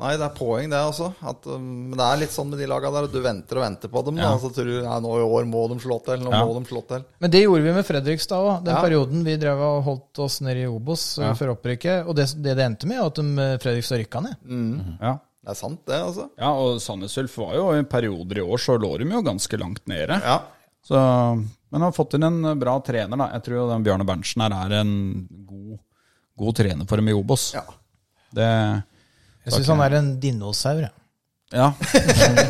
Nei, det er poeng, det, altså. At, um, men det er litt sånn med de laga der at du venter og venter på dem. Da, så tror du nei, nå i år må de slå til. Nå må de slå til. Men det gjorde vi med Fredrikstad òg, den Ja. perioden vi drev og holdt oss nede i Obos eh, for opprykket. Og det det, det endte med, var at de, eh, Fredrikstad rykka ned. Ja. Det er sant, det, altså. ja, og Sandnes Ulf var jo i perioder i år, så lå de jo ganske langt nede. Ja. Så, men han har fått inn en bra trener, da. Jeg tror jo den Bjarne Berntsen her er en god, god trener for dem i Obos. ja. Det, Jeg syns han er en dinosaur. jeg. ja.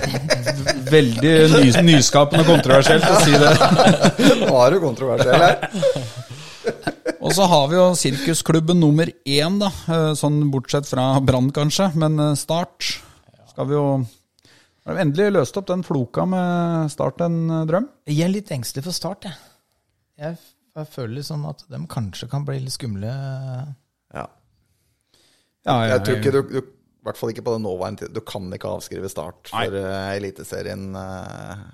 Veldig nys nyskapende og kontroversielt å si det. Nå er du kontroversiell her. Og så har vi jo sirkusklubben nummer én, da. eh, Sånn bortsett fra Brann, kanskje. Men eh, Start skal vi jo Har de endelig løst opp den floka med Start en eh, drøm? Jeg er litt engstelig for start, jeg. Jeg, f- jeg føler liksom at de kanskje kan bli litt skumle. Ja. Ja, Jeg tror ikke du, du I hvert fall ikke på den nåværende tid. Du kan ikke avskrive Start for eh, Eliteserien. eh.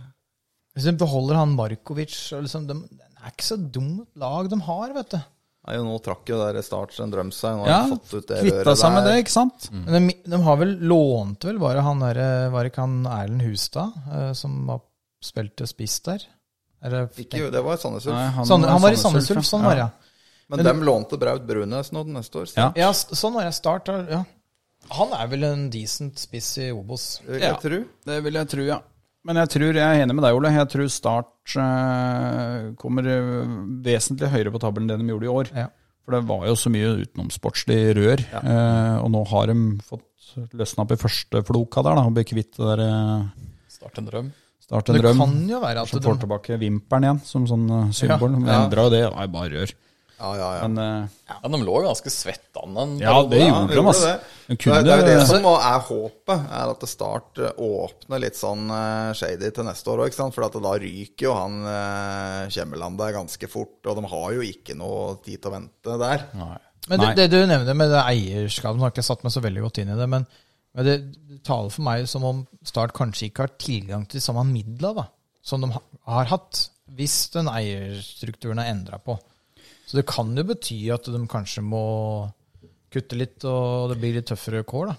Hvis de beholder han Markovic og liksom, de, Det er ikke så dumt lag de har, vet du. Nei, jo, nå trakk jo der Start en drøm seg. Nå har Ja, de fått ut det kvitta seg med det, ikke sant? Men de, de har vel lånt vel bare han der, eh, Var ikke han Erlend Hustad eh, som var, spilte spiss der? Er det, Ikke, jo, det var Sandnes Ulf. Nei, Sand, han var i Sandnes Ulf, sånn var det. ja. Men dem lånte Braut Brunes nå neste år. så Ja. Ja, s- sånn var jeg start. Ja. Han er vel en decent spiss i Obos. det vil jeg Ja. tro. Det vil jeg tro, ja. Men jeg tror jeg er enig med deg, Ole. Jeg tror Start eh, kommer eh, vesentlig høyere på tabellen enn de gjorde i år. Ja. For det var jo så mye utenomsportslig rør. Eh, og nå har de fått løsna opp i første floka der, da, og blitt kvitt det der eh, Start en drøm. Start en Det drøm. kan jo være at Så de får tilbake vimpelen igjen som sånn eh, symbol. Ja, ja. Endra jo det, det var jo bare rør. Ja, ja, ja. Men eh, Ja, De lå ganske svettende en ja, periode, det da. gjorde de, gjorde altså. det. De Det er, det er jo det kunne som er håpet, er at det Start eh, åpner litt sånn eh, shady til neste år òg, ikke sant. For at da ryker jo han eh, Kjemmeland der ganske fort, og de har jo ikke noe tid til å vente der. Men Nei. det, det du nevner med det eierskapet, nå har ikke jeg satt meg så veldig godt inn i det, men, men det taler for meg som om Start kanskje ikke har tilgang til de samme midler da, som de ha, har hatt, hvis den eierstrukturen er endra på. Så det kan jo bety at de kanskje må kutte litt, og det blir litt tøffere kår, da.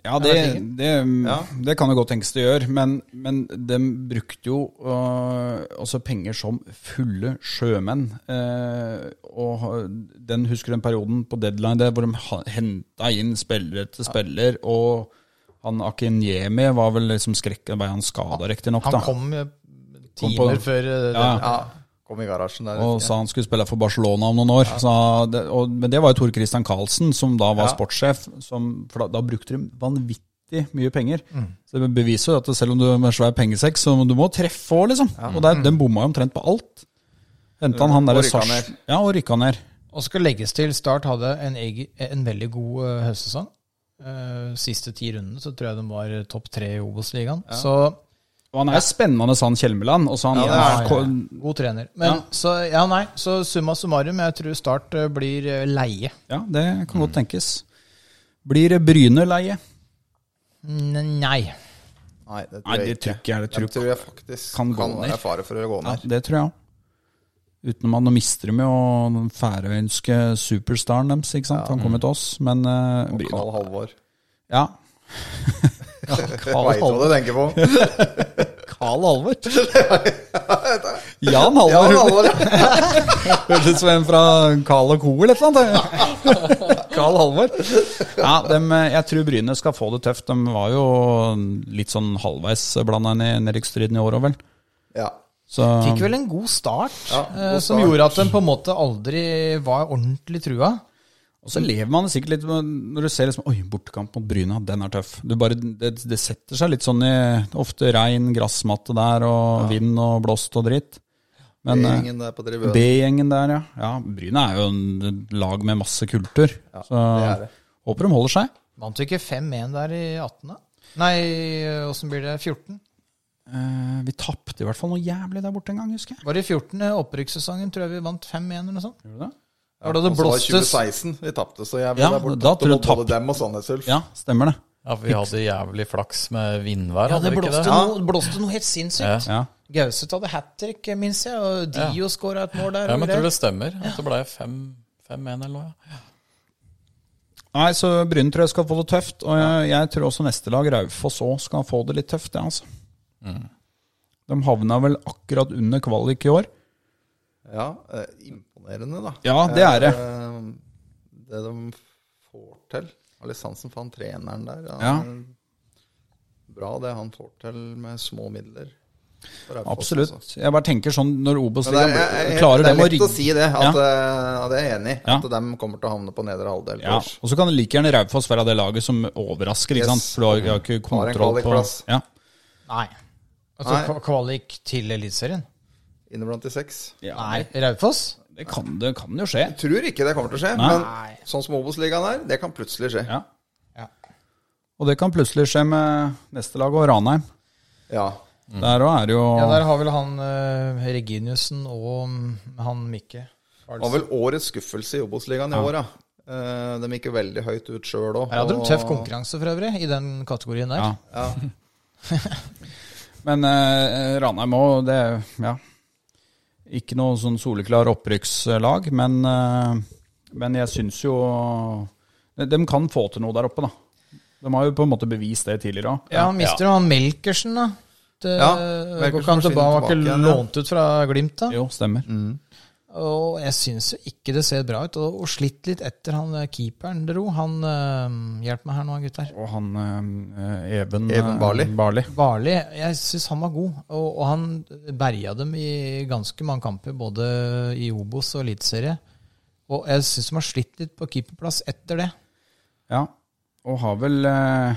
Ja, det, det, um, det kan jo godt tenkes det gjør, men, men de brukte jo øh, også penger som fulle sjømenn. eh, og den husker den perioden på deadline der hvor de henta inn spillere til spiller, og han Akinyemi var vel liksom skrekken var han skada riktignok, Han da. kom eh, Kom på- timer før eh, Ja. den- Ja, kom i garasjen der. Og sa han skulle spille for Barcelona om noen år. Så det, og, men det var jo Tor Christian Karlsen, som da var sportssjef. Som, for da, da brukte de vanvittig mye penger. Mm. Så det beviser jo at selv om du har svær pengesekk, så må- du må treffe òg, liksom. Og der, den bomma jo omtrent på alt. Henta han han Og derre rykka Sars ned. Ja, og rykka ned. Og skal legges til, Start hadde en, egen, en veldig god eh, høstsesong. Eh, siste ti rundene så tror jeg de var topp tre i Obos-ligaen. Så Og han er spennende, sa han Kjelmeland. Og så han Ja, ko- god trener. Men Ja. så, ja, nei, så summa summarum, jeg tror Start eh, blir eh, leie. ja, det kan Mm. godt tenkes. Blir Bryne leie? N- Nei. Nei, det Nei, tror jeg det ikke. tror ikke jeg. Det Dem tror tror jeg faktisk kan kan, gå ned. være fare for å gå Ja, ned. det tror jeg òg. Utenom at nå mister de jo den færøyske superstaren deres, ikke sant? Han kommer til oss, men eh, Bryne Karl Halvor. Ja. ja Karl, Veit hva Halvor. du tenker på. Karl Halvor. Jan Halvor. Ja, Halvor, ja. Hørtes ut som en fra Carl og Co. eller et eller annet. Carl Halvor. Ja, dem, eh, jeg tror Bryne skal få det tøft. De var jo litt sånn halvveis blanda inn i nedrykksstriden i år òg, vel. ja. Så Fikk vel en god start, Ja, god eh, som start. gjorde at den på en måte aldri var ordentlig trua. og så lever man sikkert litt med når du ser liksom, oi, bortekamp mot Bryne, den er tøff. Du bare, det, det setter seg litt sånn i ofte regn, gressmatte der, og vind og blåst og dritt. Men, eh, Ingen der på tribunen. B-gjengen der, ja. ja. Bryne er jo en lag med masse kultur. så det er det. håper de holder seg. Vant vi ikke 5-1 der i 18.? Nei, åssen blir det? 14? Eh, vi tapte i hvert fall noe jævlig der borte en gang, husker jeg. Var det i 14. eh, opprykkssesongen, tror jeg vi vant 5-1 eller noe sånt. Gjorde du det? Var det det Og så var det blåstes 2016. Vi tapte, så jeg Ja, der borte. da tror jeg mot både tapt. dem og Sandnes Ulf. Ja, stemmer det. Ja, for vi hadde jævlig flaks med vindvær, Ja, hadde det vi ikke blåste, det? noe, blåste noe helt sinnssykt. Ja. Gauseth hadde hat trick, minnes jeg, og Dio skåra et mål der. Ja, og men jeg tror greier. det stemmer. At det ble 5-1 eller noe. ja. Nei, så Bryne tror jeg skal få det tøft. Og jeg, jeg tror også neste lag, Raufoss, òg skal få det litt tøft, ja, altså. Mm. De havna vel akkurat under kvalik i år. Ja, eh, imponerende, da. Ja, det er det. Eh, Det de får til. Har litt sansen for han treneren der. Han, Ja. Bra det han får til med små midler. For Raufoss også. Absolutt. Jeg bare tenker sånn når Men det er, Obos-ligaen jeg- jeg- klarer det er dem å lett å rigge si det, at, Ja. eh, ja, det er jeg enig i. Ja. At de kommer til å havne på nedre halvdel. Ja, kanskje. og så kan like gjerne Raufoss være det laget som overrasker, ikke Yes. sant? For du har, du har ikke Har en kontroll på kvalikplass. ja. Nei. Altså Nei. kva- kvalik til Eliteserien? Inneblant i seks. Nei. Raufoss? Det kan, det kan jo skje. Jeg tror ikke det kommer til å skje, Nei. men sånn som Obos-ligaen er, det kan plutselig skje. Ja. Ja. Og det kan plutselig skje med neste lag og Ranheim. Ja. Der òg er det jo Ja, der har vel han eh, Reginiussen og mm, han Mikke. Det var vel årets skuffelse i Obos-ligaen i år, ja. Eh, De gikk jo veldig høyt ut sjøl òg. Her hadde de tøff konkurranse for øvrig, i den kategorien der. Ja. Men eh, Ranheim òg, det Ja. Ikke noe sånn soleklar opprykkslag, men, eh, men jeg syns jo de, de kan få til noe der oppe, da. De har jo på en måte bevist det tidligere òg. Ja, han mister jo han Melkersen, da. Det, Ja, går ikke Melkersen han forsvinner tilbake, var ikke tilbake igjen, ja. lånt ut fra Glimt, da. Jo, stemmer. Mm. Og jeg syns jo ikke det ser bra ut. Og, og slitt litt etter han eh, keeperen dro. Han eh, Hjelp meg her nå, gutter. Og han eh, Even, Even Barli. eh, Barli. Barli, jeg syns han var god. Og, og han berga dem i ganske mange kamper, både i Obos og Eliteserie. Og jeg syns de har slitt litt på keeperplass etter det. Ja, og har vel eh,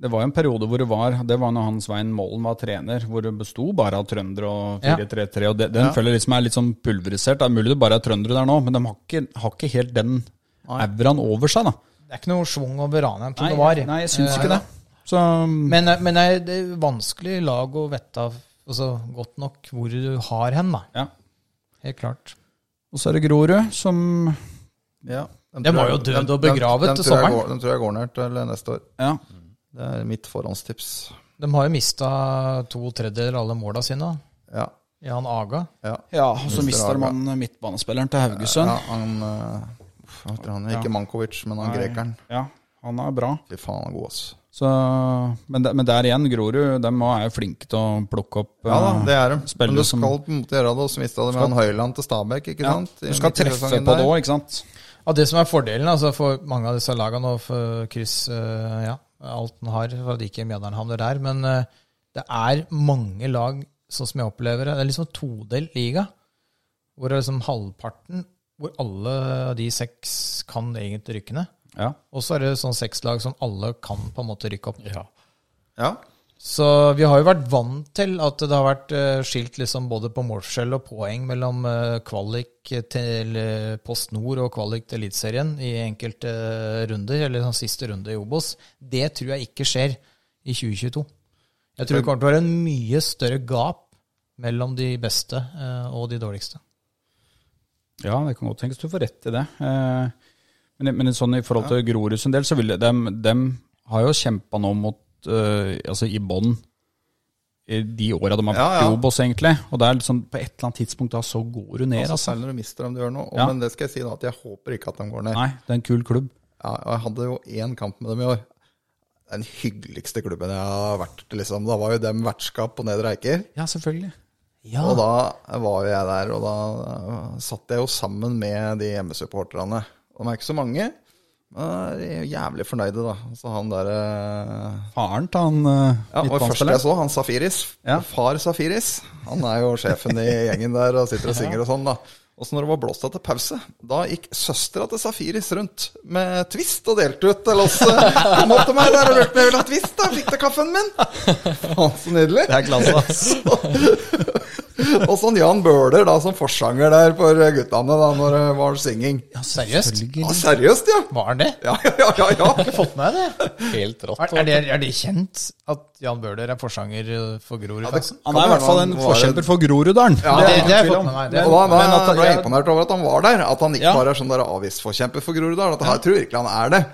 Det var jo en periode hvor det var Det var når han Svein Målen var trener, hvor det besto bare av trøndere og 4-3-3. Og det, den føler jeg liksom er litt sånn pulverisert. Det er mulig det bare er trøndere der nå, men de har ikke, har ikke helt den auraen over seg, da. Det er ikke noe schwung over Ranheim som det var. nei jeg syns Eh, ikke det. Så Men, eh, men det er- det er vanskelig lag å vette av altså, godt nok hvor du har hen, da. ja. Helt klart. Og så er det Grorud som Ja. De Den tror var jo jeg- død den- og den- begravet den til tror jeg sommeren. går- Den tror jeg går ned til neste år. Ja. Det er mitt forhåndstips. De har jo mista to tredjedeler av alle måla sine. da. Ja. Ja, han Aga. ja. ja og Ah, så Mister mister man midtbanespilleren til Haugesund. ja han eh, uff, Hva heter han? Ikke Mankovic, men han grekeren. Ja, han er bra. Fy faen, han er god, ass. Så, men, der, men der igjen, Grorud de er jo flinke til å plukke opp Ja da, eh, det er de. spillere Men du som- skal på en måte gjøre det, og så mista du med han Høyland til Stabæk, ikke Ja, sant? I Du skal midt i treffe sesongen på det der. òg, ikke sant? Ja, det som er fordelen altså, for mange av disse lagene og for kryss eh, ja, alt den har, for at ikke Mjøndalen havner der, men eh, det er mange lag, sånn som jeg opplever det. Det er liksom en todelt liga, hvor det er liksom halvparten hvor alle de seks kan egentlig rykke ned. Ja. Og så er det sånn seks lag som alle kan på en måte rykke opp. Ja. Ja. Så vi har jo vært vant til at det har vært eh, skilt liksom både på målforskjell og poeng mellom eh, kvalik til eh, Post Nord og kvalik til Eliteserien i enkelte runder, eller sånn siste runde i Obos. Det tror jeg ikke skjer i 2022. Jeg tror det kommer til å være en mye større gap mellom de beste eh, og de dårligste. ja, det kan godt tenkes du får rett i det. Eh, Men, men sånn i forhold til Grorud sin del, så vil de, har jo kjempa nå mot eh, Altså i bånn i de åra de har vært Ja, i ja. Obos, egentlig. Og det er liksom på et eller annet tidspunkt da så går du ned, Altså, altså. særlig når du mister dem du gjør nå. Og, Ja. Men det skal jeg si da, at jeg håper ikke at de går ned. Nei, det er en kul klubb. Ja, og jeg hadde jo én kamp med dem i år. Det er den hyggeligste klubben jeg har vært til, liksom. Da var jo dem vertskap på Nedre Eiker. Ja, selvfølgelig. Og da var jo jeg der, og da eh, satt jeg jo sammen med de hjemmesupporterne. Og de er ikke så mange, men de er jo jævlig fornøyde, da. Så han der eh, Faren til han uh, ja, og første jeg så, han Safiris, Ja. far Safiris, han er jo sjefen i gjengen der og sitter og synger og sånn, da. Og så når det var blåst etter pause, da gikk søstera til Safiris rundt med Twist og delte ut til oss. eh, Kom opp til meg der og lurte på om jeg ville ha Twist, da. Fikk du kaffen min? Faen, så nydelig. Det er klasse, ass. Og sånn Jan Bøhler, da, som forsanger der for guttene da når det var singing. Ja, seriøst? Ja, seriøst, ja! Var han det? Ja, ja, ja. ja. Jeg har fått med meg det. Helt rått. Er, er, det, er det kjent at Jan Bøhler er forsanger eh, for Grorudfansen? Han er i hvert fall en forkjemper for Groruddalen. Ja, det, det det er har ingen jeg tvil fått om. med meg. Det, Og da, da Men at- ble jeg ja. imponert over at han var der. At han ikke Ja. bare er sånn der avgiftsforkjemper for Groruddalen. At jeg tror virkelig han er det.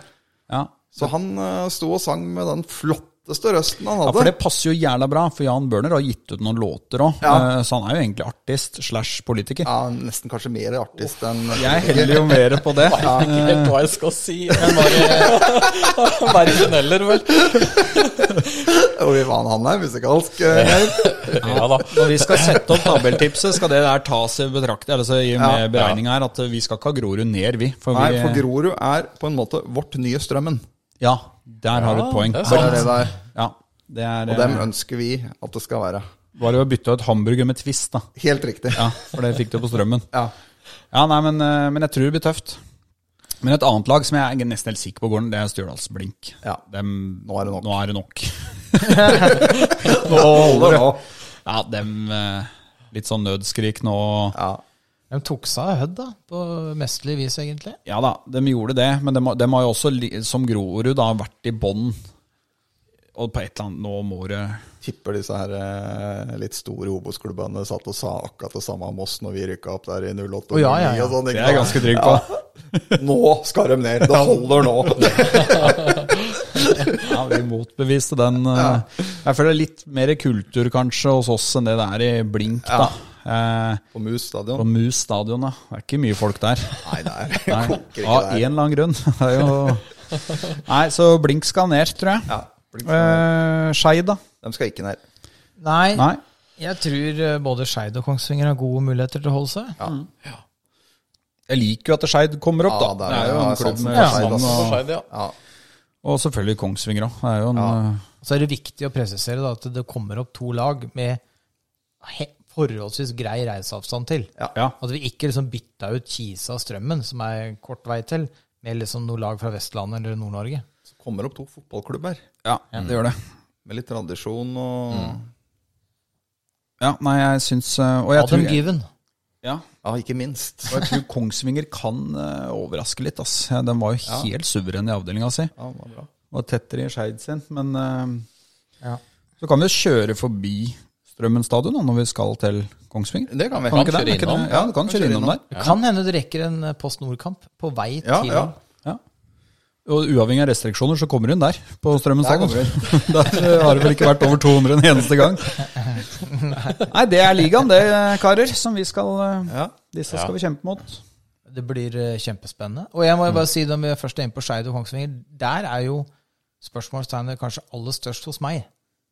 Ja. Så han eh, sto og sang med den flotteste røsten han Ja, for hadde. det passer jo jævla bra, for Jan Bøhler har gitt ut noen låter òg. Ja. Så han er jo egentlig artist slash politiker. Ja, Nesten kanskje mer artist enn Jeg heller jo mer på det. Jeg vet ikke helt hva jeg skal si. eh, Men bare Bergeneller, vel. Og vi vant han her musikalsk. eh, Ja da. Når vi skal sette opp tabelltipset, skal det der tas i betraktning. Altså, I og med beregninga her at vi skal ikke ha Grorud ned, vi. For Nei, vi for Grorud er på en måte vårt nye Strømmen. ja, der har du et poeng. det er Det sant. er det det er. Ja, det er, Og dem eh, ønsker vi at det skal være. Bare å bytte ut hamburger med Twist, da. Helt riktig. Ja, For det fikk du på strømmen. Ja. Ja, nei, men, eh, men jeg tror det blir tøft. Men et annet lag som jeg er nesten helt sikker på går ned, det er Stjørdals-Blink. Ja. Dem- Nå er det nok. Nå er det nok. Nå holder det. Ja, dem eh, Litt sånn nødskrik nå. Ja. de tok seg av Hødd, da, på mesterlig vis, egentlig. Ja da, de gjorde det, men de, har- de har jo også, li- som Grorud, da, vært i bånn. Og på et eller annet Nå må det Tipper disse her eh, litt store Obos-klubbene satt og sa akkurat det samme om oss når vi rykka opp der i 08 Å, og ja, ja, ja. og sånn. Det ikke er jeg sant? ganske trygg på. Nå skal de ned! Det holder nå! Ja, Vi motbeviste den. eh, Jeg føler litt mer kultur kanskje hos oss enn det det er i Blink, da. Eh, På Mus På stadion. Mus stadion, da. Det er ikke mye folk der. Nei, det er Nei, koker ikke Av en der. eller annen grunn. Det er jo Nei, så Blink skal ned, tror jeg. Ja, blink. Eh, Skeid, da? de skal ikke ned. Nei, Nei. jeg tror eh, både Skeid og Kongsvinger har gode muligheter til å holde seg. Ja. Jeg liker jo at Skeid kommer opp, Ja, da. det er- ja, sansen med Skeid, for Skeid, og, altså. For Skeid, ja. Ja. og selvfølgelig Kongsvinger òg. Det er jo en eh, Så er det viktig å presisere da, at det kommer opp to lag med he forholdsvis grei reiseavstand til. Ja. At vi ikke liksom bytta ut Kisa og Strømmen, som er kort vei til, med liksom noen lag fra Vestlandet eller Nord-Norge. Så kommer opp to fotballklubber ja, det gjør det. med litt tradisjon og Mm. Ja, nei, jeg syns eh, Og jeg Adam tror, Given. ja, Ja, ikke minst. og jeg tror Kongsvinger kan eh, overraske litt, ass. Ja, Den var jo helt suveren i avdelinga si. Ja, det var bra. Og tettere i Skeid sin, men eh, Ja. Så kan vi jo kjøre forbi Strømmen stadion da, når vi skal til Kongsvinger. Det kan vi. ikke kjøre det? Er ikke innom. det? Ja, du kan kjøre innom der. Det kan hende du rekker en eh, Post Nord-kamp på vei Ja, til ja. Ja. Og uavhengig av restriksjoner, så kommer hun der, på Strømmen Der stadion. kommer Der eh, har det vel ikke vært over 200 en eneste gang. Nei, det er ligaen, det, eh, karer, som vi skal eh, Ja. Disse skal vi kjempe mot. Det blir eh, kjempespennende. Og jeg må jo bare si, når vi er først er inne på Skeid og Kongsvinger, der er jo spørsmålstegnet kanskje aller størst hos meg.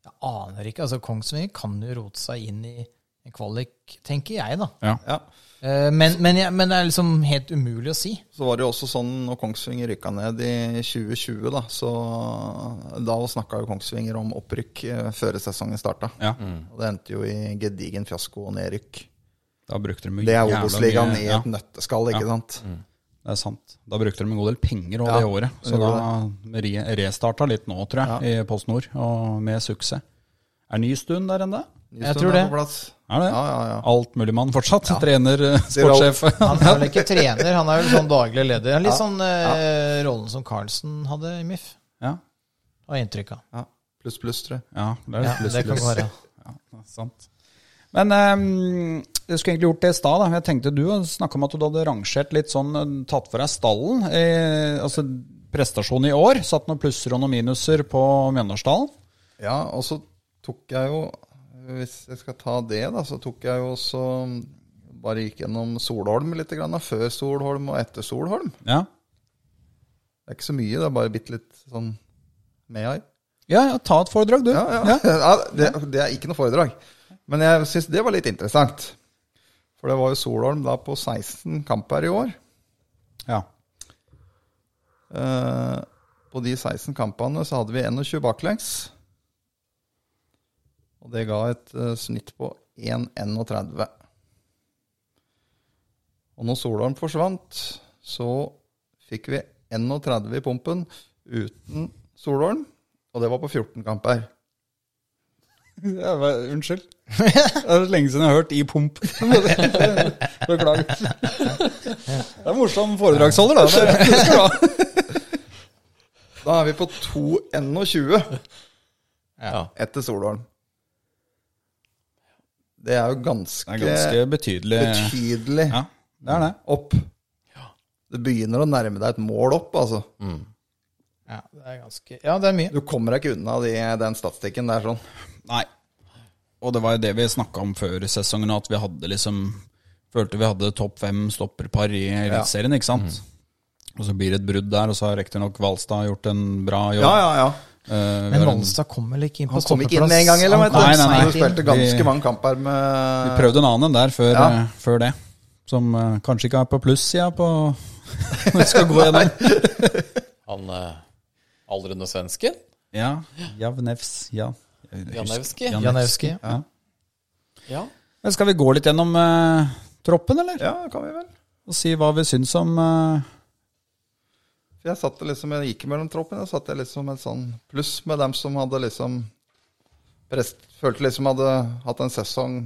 Jeg aner ikke. Altså, Kongsvinger kan jo rote seg inn i en kvalik, tenker jeg, da. Ja. Eh, Men, men, jeg, men det er liksom helt umulig å si. Så var det jo også sånn når Kongsvinger rykka ned i 2020, da så da snakka jo Kongsvinger om opprykk eh, før sesongen starta. Ja. Og det endte jo i gedigen fiasko og nedrykk. Da brukte de jo Det er jævla Obos-ligaen mye- i ja, Mm. et nøtteskall, ikke sant? Det er sant. Da brukte de en god del penger også Ja, det året. Så det da gjorde re- restarta litt nå, tror jeg, i Post Nord, og med suksess. Er ny stund der ennå? Jeg tror det. Er på plass. Er det? Ja, ja, ja. Altmuligmann fortsatt? Trener, eh, Sier alt. sportssjef? Han er vel ikke trener, han er vel sånn daglig leder. Litt sånn eh, rollen som Carlsen hadde i MIF, ja. har jeg inntrykk av. Ja. Pluss, pluss, tror jeg. ja, det er Ja, pluss, det kan pluss. være. Ja, sant. Men ehm, jeg skulle egentlig gjort det i stad. da. Jeg tenkte du snakka om at du hadde rangert litt sånn, eh, tatt for deg stallen. Eh, altså prestasjonen i år. Satt noen plusser og noen minuser på Mjøndalsdalen. Ja, og så tok jeg jo eh, Hvis jeg skal ta det, da, så tok jeg jo også mm, Bare gikk gjennom Solholm litt, grann, da, før Solholm og etter Solholm. Ja. Det er ikke så mye, det er bare bitte litt sånn med her. Ja, ja, ta et foredrag, du. Ja, ja. Ja, det, det er ikke noe foredrag. Men jeg syns det var litt interessant. For det var jo Solholm da på 16 kamper i år. Ja. Eh, på de 16 kampene så hadde vi 21 baklengs. Og det ga et eh, snitt på 1,31. Og når Solholm forsvant, så fikk vi 31 i pumpen uten Solholm. Og det var på 14 kamper. Jeg var- Unnskyld. Det er så lenge siden jeg har hørt i pump. Beklager. Det er morsom foredragsholder, da. Det, det skal du ha. Da er vi på 2,21 Ja. etter Solholm. Det er jo ganske, Det er ganske betydelig. betydelig Ja, det er det. opp. Det begynner å nærme deg et mål opp, altså. Ja, det er ganske Ja, det er mye. Du kommer deg ikke unna de, den statistikken der sånn. Nei. Og det var jo det vi snakka om før sesongen, at vi hadde liksom Følte vi hadde topp fem stopperpar i Eliteserien, ikke sant? Mm. Og så blir det et brudd der, og så har riktignok Hvalstad gjort en bra jobb. ja, ja. Eh, vi Men har en- Valstad kom vel ikke inn på Han kom ikke inn med en gang, eller? Han vet du. kom Nei, nei, nei. Du seint inn. spilte ganske Vi- mange kamper Vi med prøvde en annen enn der før, Ja. eh, før det. Som eh, kanskje ikke er på plussida på når vi skal gå gjennom. Han eh, aldrende svensken, Ja. Javnevs, ja. Jeg husker- Janewski. Janewski. Ja. Ja. Men Skal vi gå litt gjennom eh, troppen, eller? Ja, kan vi vel. Og si hva vi syns om eh, For Jeg satt liksom, jeg gikk mellom troppene, satt jeg liksom et sånn pluss med dem som hadde liksom prest, Følte liksom hadde hatt en sesong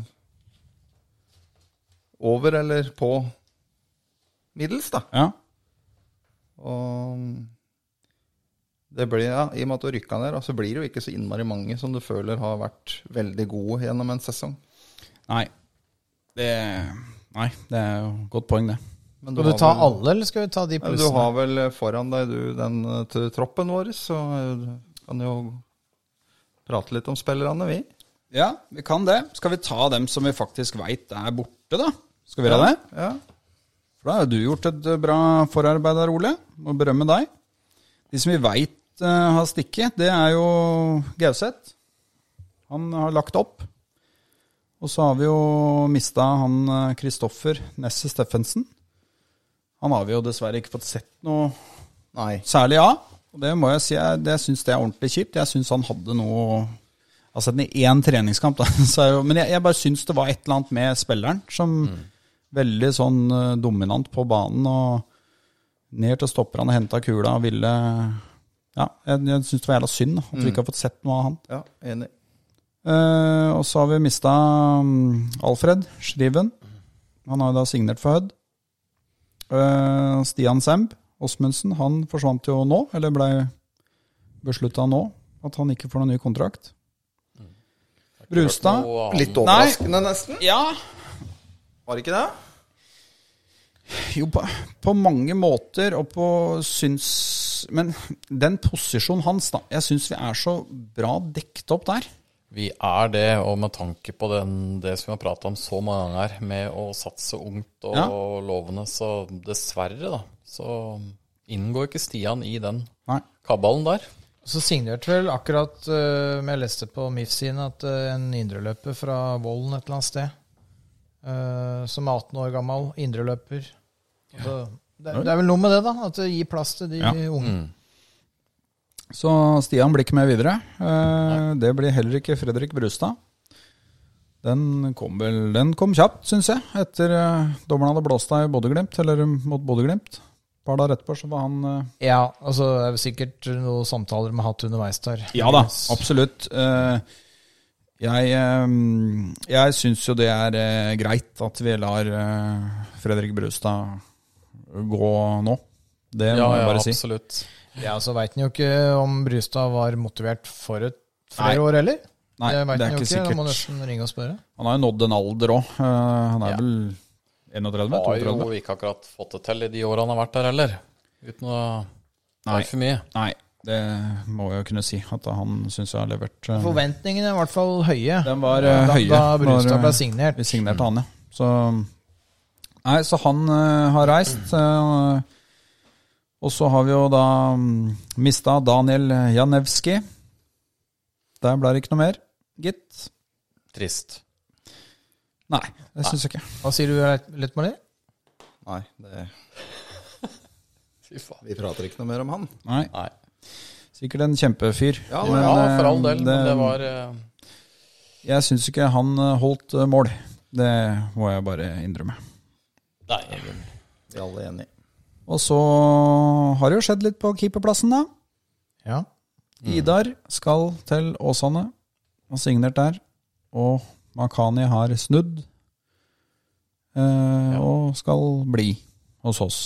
over eller på middels, da. Ja. Og det blir, ja, I og med at du rykka ned, da, så blir det jo ikke så innmari mange som du føler har vært veldig gode gjennom en sesong. Nei. Det Nei, det er jo et godt poeng, det. Men Skal du har ta vel- alle, eller skal vi ta de Ja, Du plussene? har vel foran deg du, den eh, t- troppen vår, så eh, kan jo prate litt om spillerne, vi. Ja, vi kan det. Skal vi ta dem som vi faktisk veit er borte, da? Skal vi gjøre det? Ja. For da har jo du gjort et eh, bra forarbeid der, Ole. Må berømme deg. De som vi veit har stikket, det er jo Gauseth. Han har lagt opp. Og så har vi jo mista han eh, Kristoffer Nesse Steffensen. Han har vi jo dessverre ikke fått sett noe Nei. særlig av. Og det må jeg si, jeg, det syns det er ordentlig kjipt. Jeg syns han hadde noe Altså den i én treningskamp, da. Så er jo, men jeg, jeg bare syns det var et eller annet med spilleren som veldig sånn eh, dominant på banen og ned til stopperne, henta kula og ville Ja, jeg, jeg syns det var jævla synd da, at vi ikke har fått sett noe av han. Ja, enig. Eh, og så har vi mista mm, Alfred Schriven. Han har jo da signert for Hødd. Eh, Stian Semb Osmundsen, han forsvant jo nå, eller blei beslutta nå, at han ikke får noen ny kontrakt. Brustad Og han- Litt overraskende, nesten. Ja, Var det ikke det? jo på, på mange måter og på syns Men den posisjonen hans, da. Jeg syns vi er så bra dekt opp der. Vi er det, og med tanke på den, det som vi har prata om så mange ganger, med å satse ungt og Ja. lovende, så dessverre, da, så inngår ikke Stian i den Nei. kabalen der. Så signerte vel akkurat, eh, men jeg leste på MIF sine, at eh, en indreløper fra Vollen et eller annet sted, eh, som er 18 år gammel, indreløper Så det, det er vel noe med det, da. At det gir plass til de Ja. Mm. unge. Så Stian blir ikke med videre. Eh, det blir heller ikke Fredrik Brustad. Den kom vel Den kom kjapt, syns jeg, etter eh, dommeren hadde blåst av i Bodø-Glimt, eller eh, mot Bodø-Glimt. Et par dager etterpå så var han eh, Ja, altså det er vel sikkert noen samtaler de har hatt underveis der. Ja da, absolutt. Eh, Jeg, eh, jeg syns jo det er eh, greit at vi lar eh, Fredrik Brustad gå nå. Det må Ja, jeg ja, bare si. absolutt. Ja, Så veit en jo ikke om Brustad var motivert for et flere Nei. år heller. Nei, det er vet en jo ikke Da Må sikkert. nesten ringe og spørre. Han har jo nådd en alder òg. Han er Ja. vel 31? Har jo 32? ikke akkurat fått det til i de åra han har vært der heller, uten å Nei. være for mye. Nei, det må jeg jo kunne si. At han syns jeg har levert eh, Forventningene er i hvert fall høye. Den var eh, da, høye da når, eh, Brustad ble signert. vi signerte han, ja. Så, nei, så han eh, har reist. eh, mm, og så har vi jo da um, mista Daniel Janewski. Der ble det ikke noe mer, gitt. Trist. Nei, det syns jeg ikke. Hva sier du, Lettmali? Nei, det, Fy faen. vi prater ikke noe mer om han. Nei, Nei. Sikkert en kjempefyr. Ja, Ja, ja, for all eh, del. Men det var eh, Jeg syns ikke han eh, holdt eh, mål. Det må jeg bare innrømme. Nei. Vi er alle enige. Og så har det jo skjedd litt på keeperplassen, da. Ja. Idar skal til Åsane og signert der. Og Makani har snudd eh, og skal bli hos oss.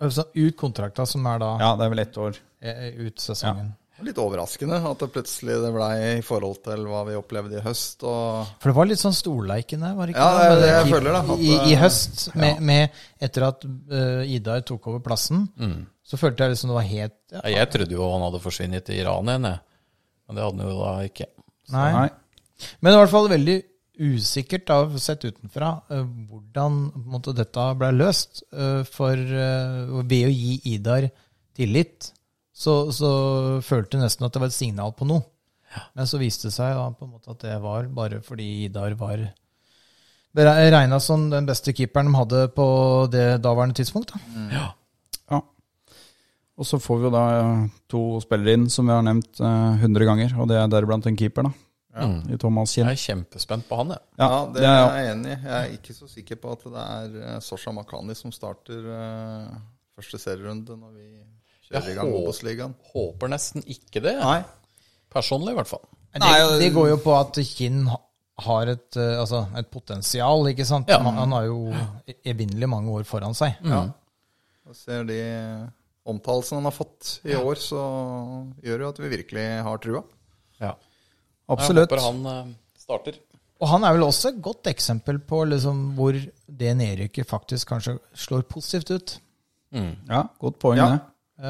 Altså, ut kontrakta, som er da Ja, det er vel ett år. eh, ut sesongen. Litt overraskende at det plutselig det blei i forhold til hva vi opplevde i høst. Og For det var litt sånn storleiken der, var det ikke? Ja, det er Med det jeg keep- føler, da, at- I, I høst, med, med, etter at eh, Idar tok over plassen, så følte jeg liksom det var helt ja, Jeg trodde jo han hadde forsvunnet til Iran igjen, jeg. Men det hadde han jo da ikke. nei. Nei. Men i hvert fall veldig usikkert, da, sett utenfra, eh, hvordan på en måte, dette ble løst. Eh, For eh, ved å gi Idar tillit, så, så følte jeg nesten at det var et signal på noe. Men så viste det seg da, på en måte at det var bare fordi Idar var regna som den beste keeperen de hadde på det daværende tidspunkt. Da. Ja. Og så får vi jo da eh, to spillere inn som vi har nevnt eh, 100 ganger, og det er deriblant en keeper, da. I Thomas Kinn. Jeg er kjempespent på han, jeg. Ja, ja, det det er, er jo- jeg enig i. Jeg er ikke så sikker på at det er eh, Sosha Makhani som starter eh, første serierunde når vi kjører Jeg i gang håper- Obos-ligaen. Håper nesten ikke det. Nei, Personlig, i hvert fall. Det, det går jo på at Kinn ha- har et, eh, altså, et potensial, ikke sant? Ja. Han, han har jo e-, evinnelig mange år foran seg. jeg ser de omtalelsene han har fått i år, så gjør jo at vi virkelig har trua. Ja. absolutt. Jeg håper han eh, starter. Og han er vel også et godt eksempel på liksom hvor det nedrykket faktisk kanskje slår positivt ut. Ja, godt poeng, Ja. det. Eh,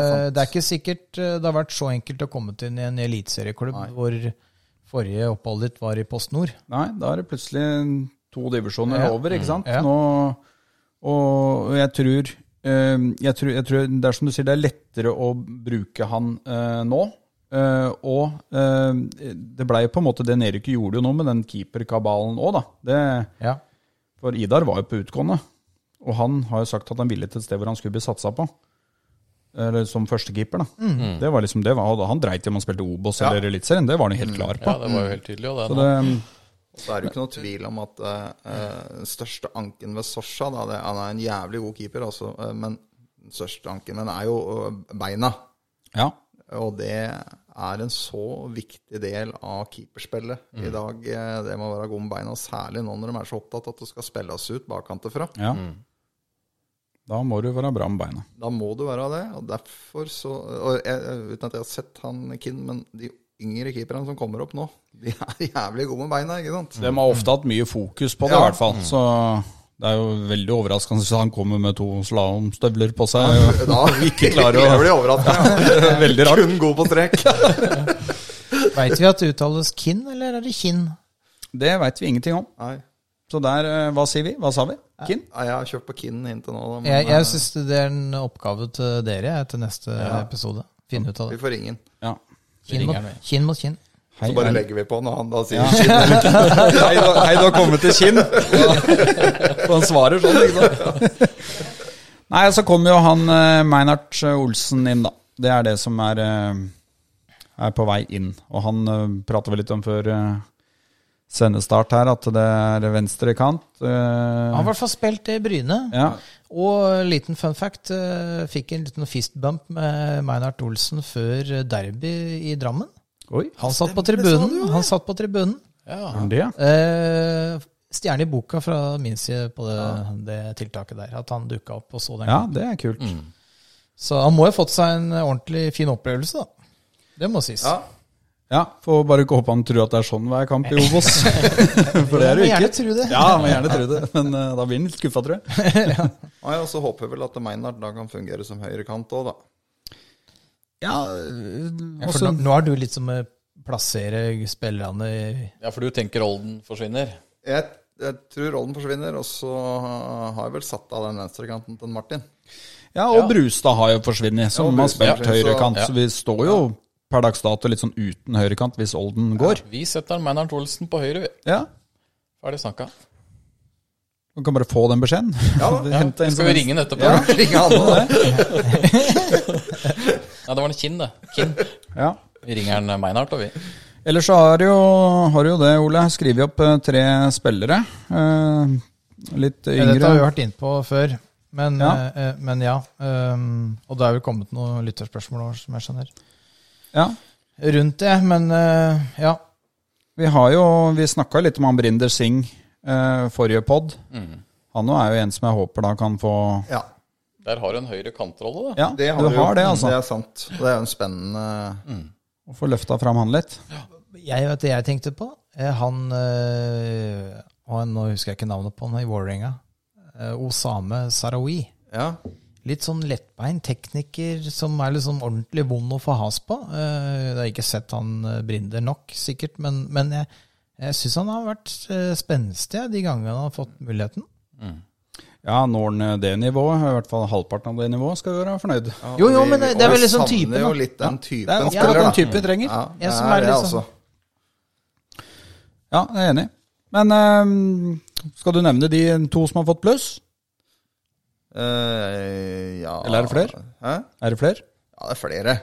sant. det er ikke sikkert eh, det har vært så enkelt å komme til en eliteserieklubb hvor forrige oppholdet ditt var i Post Nord. Nei, da er det plutselig to divisjoner Ja. Mm. over, ikke sant? Ja. Nå, og jeg tror, eh, jeg, tror, jeg tror Det er som du sier, det er lettere å bruke han eh, nå. Eh, og eh, det blei på en måte det nedrykket gjorde jo noe med den keeperkabalen òg, da. Det, Ja. for Idar var jo på utgående. Og han har jo sagt at han ville til et sted hvor han skulle bli satsa på. Eller som førstekeeper, da. Mm. Det var liksom det var, og Han dreit i om han spilte Obos eller Eliteserien, det var han jo Mm. helt klar på. Ja, det var jo helt tydelig. Og det, Så det, Og så er det jo ikke noe tvil om at eh, eh, den største anken ved Sosha da, det, Han er en jævlig god keeper, altså, eh, men den største anken den er jo eh, beina. ja. Og det er en så viktig del av keeperspillet Mm. i dag. eh, Det med å være god med beina, særlig nå når de er så opptatt at du skal spille oss ut bakkanterfra. Ja. Da må du være bra med beina. Da må du være det. Og derfor så og jeg, Uten at jeg har sett han Kinn, men de yngre keeperne som kommer opp nå, de er jævlig gode med beina, ikke sant? De har ofte hatt mye fokus på det, i hvert fall. Mm. Så det er jo veldig overraskende hvis han kommer med to slalåmstøvler på seg. Da Ikke klarer å- blir overraska. Veldig rart. Kun god på trekk. Veit vi at det uttales Kinn, eller er det Kinn? Det veit vi ingenting om. Nei, Så der eh, Hva sier vi? Hva sa vi? Kinn? Nei, jeg har kjørt på Kinn inntil nå. da, men, Jeg, eh, jeg syns det er en oppgave til dere jeg, til neste episode. Finne ut av Vi det. får ingen. Ja. Kinn mot kinn. Mot kinn. Hei, Så bare er- legger vi på når han da sier shit. hei, du, hei, du har kommet til Kinn. Og han svarer sånn, ikke sant. Nei, så kommer jo han eh, Meinert Olsen inn, da. Det er det som er, eh, er på vei inn. Og han eh, prater vi litt om før eh, sendestart her, at det er venstre kant. eh, Han har i hvert fall spilt i Bryne. ja. Og liten fun fact, eh, fikk en liten fistbump med Meinhard Olsen før eh, derby i Drammen. Oi, Han satt på tribunen. Han satt på tribunen. er han det? Eh, Stjerne i boka fra min side på det, det tiltaket der, at han dukka opp og så den. Ja, kampen. det er kult. Så han må jo ha fått seg en ordentlig fin opplevelse, da. Det må sies. Ja. Ja, Får bare ikke håpe han tror at det er sånn hver kamp i Obos. For det er Jeg må det jo gjerne ikke. tro det. Ja, må gjerne tro det, men eh, da blir han litt skuffa, tror jeg. Nei, og så håper jeg vel at Meinhard da kan fungere som høyrekant òg, da. Ja, Ja, for nå, nå er du litt som å plassere spillerne i Ja, for du tenker Olden forsvinner? Jeg, jeg tror rollen forsvinner, og så har jeg vel satt av den venstrekanten til Martin. Ja, og Brustad har jo forsvunnet, som Ja, har Brustad spilt har forsvunnet, høyrekant. så- Så vi står jo per dags dato litt sånn uten høyrekant hvis Olden går. Vi setter Meinhard Olsen på høyre, vi. Ja. Ferdig snakka. Du kan bare få den beskjeden. Hente en som Skal vi helst. ringe den etterpå? Ringe han nå. Nei, det var en Kinn, det. Kinn. Ja. Vi ringer en Meinhard, og vi. Ellers så har jo, har jo det, Ole, skrevet opp eh, tre spillere. Eh, litt Ja, yngre. Dette har vi vært innpå før, men ja. Ja. Men ja ehm, og det er vel kommet noen lytterspørsmål også, som jeg skjønner. Ja. Rundt det, men eh, ja. Vi har jo, vi snakka litt om han Brinder Singh eh, forrige pod. Han òg er jo en som jeg håper da kan få Ja, Der har du en høyre kantrolle, da. Ja, det har du vi jo. Mm, har det, altså. Mm. Det er sant. Og det er jo en spennende Å få løfta fram han litt. Jeg vet det jeg tenkte på. Eh, Han eh, og Nå husker jeg ikke navnet på han i Vålerenga. Eh, Osame Sarawi. Ja. Litt sånn lettbeint tekniker som er litt sånn ordentlig vond å få has på. Eh, Jeg har ikke sett han eh, Brinder nok, sikkert, men, men jeg, jeg syns han har vært eh, spenstig jeg, de gangene han har fått muligheten. Ja, når han eh, det nivået, i hvert fall halvparten av det nivået, skal vi være fornøyd. Jo, jo, men det, det er Og vi vel liksom savner typen. jo da. litt den Det er typen akkurat spiller, den da. typen vi trenger. Ja, det Jeg som er er det, liksom- altså. Ja, jeg er enig. Men ehm, skal du nevne de to som har fått pluss? Eh, ja Eller er det flere? Hæ? Er det flere? Ja, det er flere.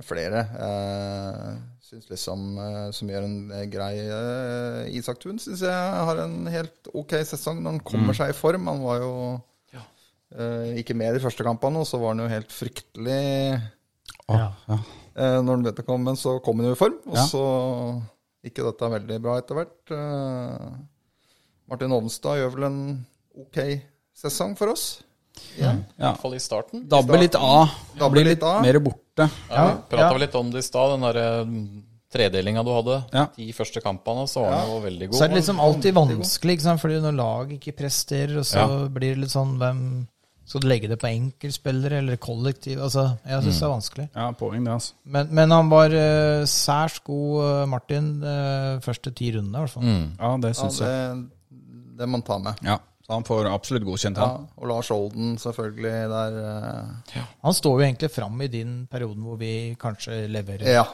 Det er flere. Jeg syns liksom eh, som gjør en eh, grei eh, Isak Thun syns jeg har en helt ok sesong når han Mm. kommer seg i form. Han var jo eh, ikke med de første kampene, og så var han jo helt fryktelig Å, ja. eh, når han begynte å komme, men så kom han jo i form. Og Ja. så gikk jo dette veldig bra etter hvert. Eh, Martin Ovenstad gjør vel en ok sesong for oss. Igjen. I hvert fall i starten. Dabbe litt av. Dabbe Bli litt litt av. mer borte. Ja, Ja, vi prata ja. vel litt om det i stad, den derre tredelinga du hadde. Ja. De første kampene, så var den jo veldig god. Så er det sånn liksom alltid vanskelig, ikke sant? fordi når lag ikke presterer, og så blir det litt sånn hvem Skal du legge det på enkeltspillere eller kollektiv? Altså, jeg syns det er vanskelig. Ja, poeng det, altså. Men, men han var eh, særs god, eh, Martin, eh, første ti rundene, i hvert fall. Ja, det Ja, syns det, jeg. det må han ta med. Ja, så han får absolutt godkjent, Ja, han. og Lars Olden selvfølgelig der. eh, Han står jo egentlig fram i din perioden hvor vi kanskje leverer Ja.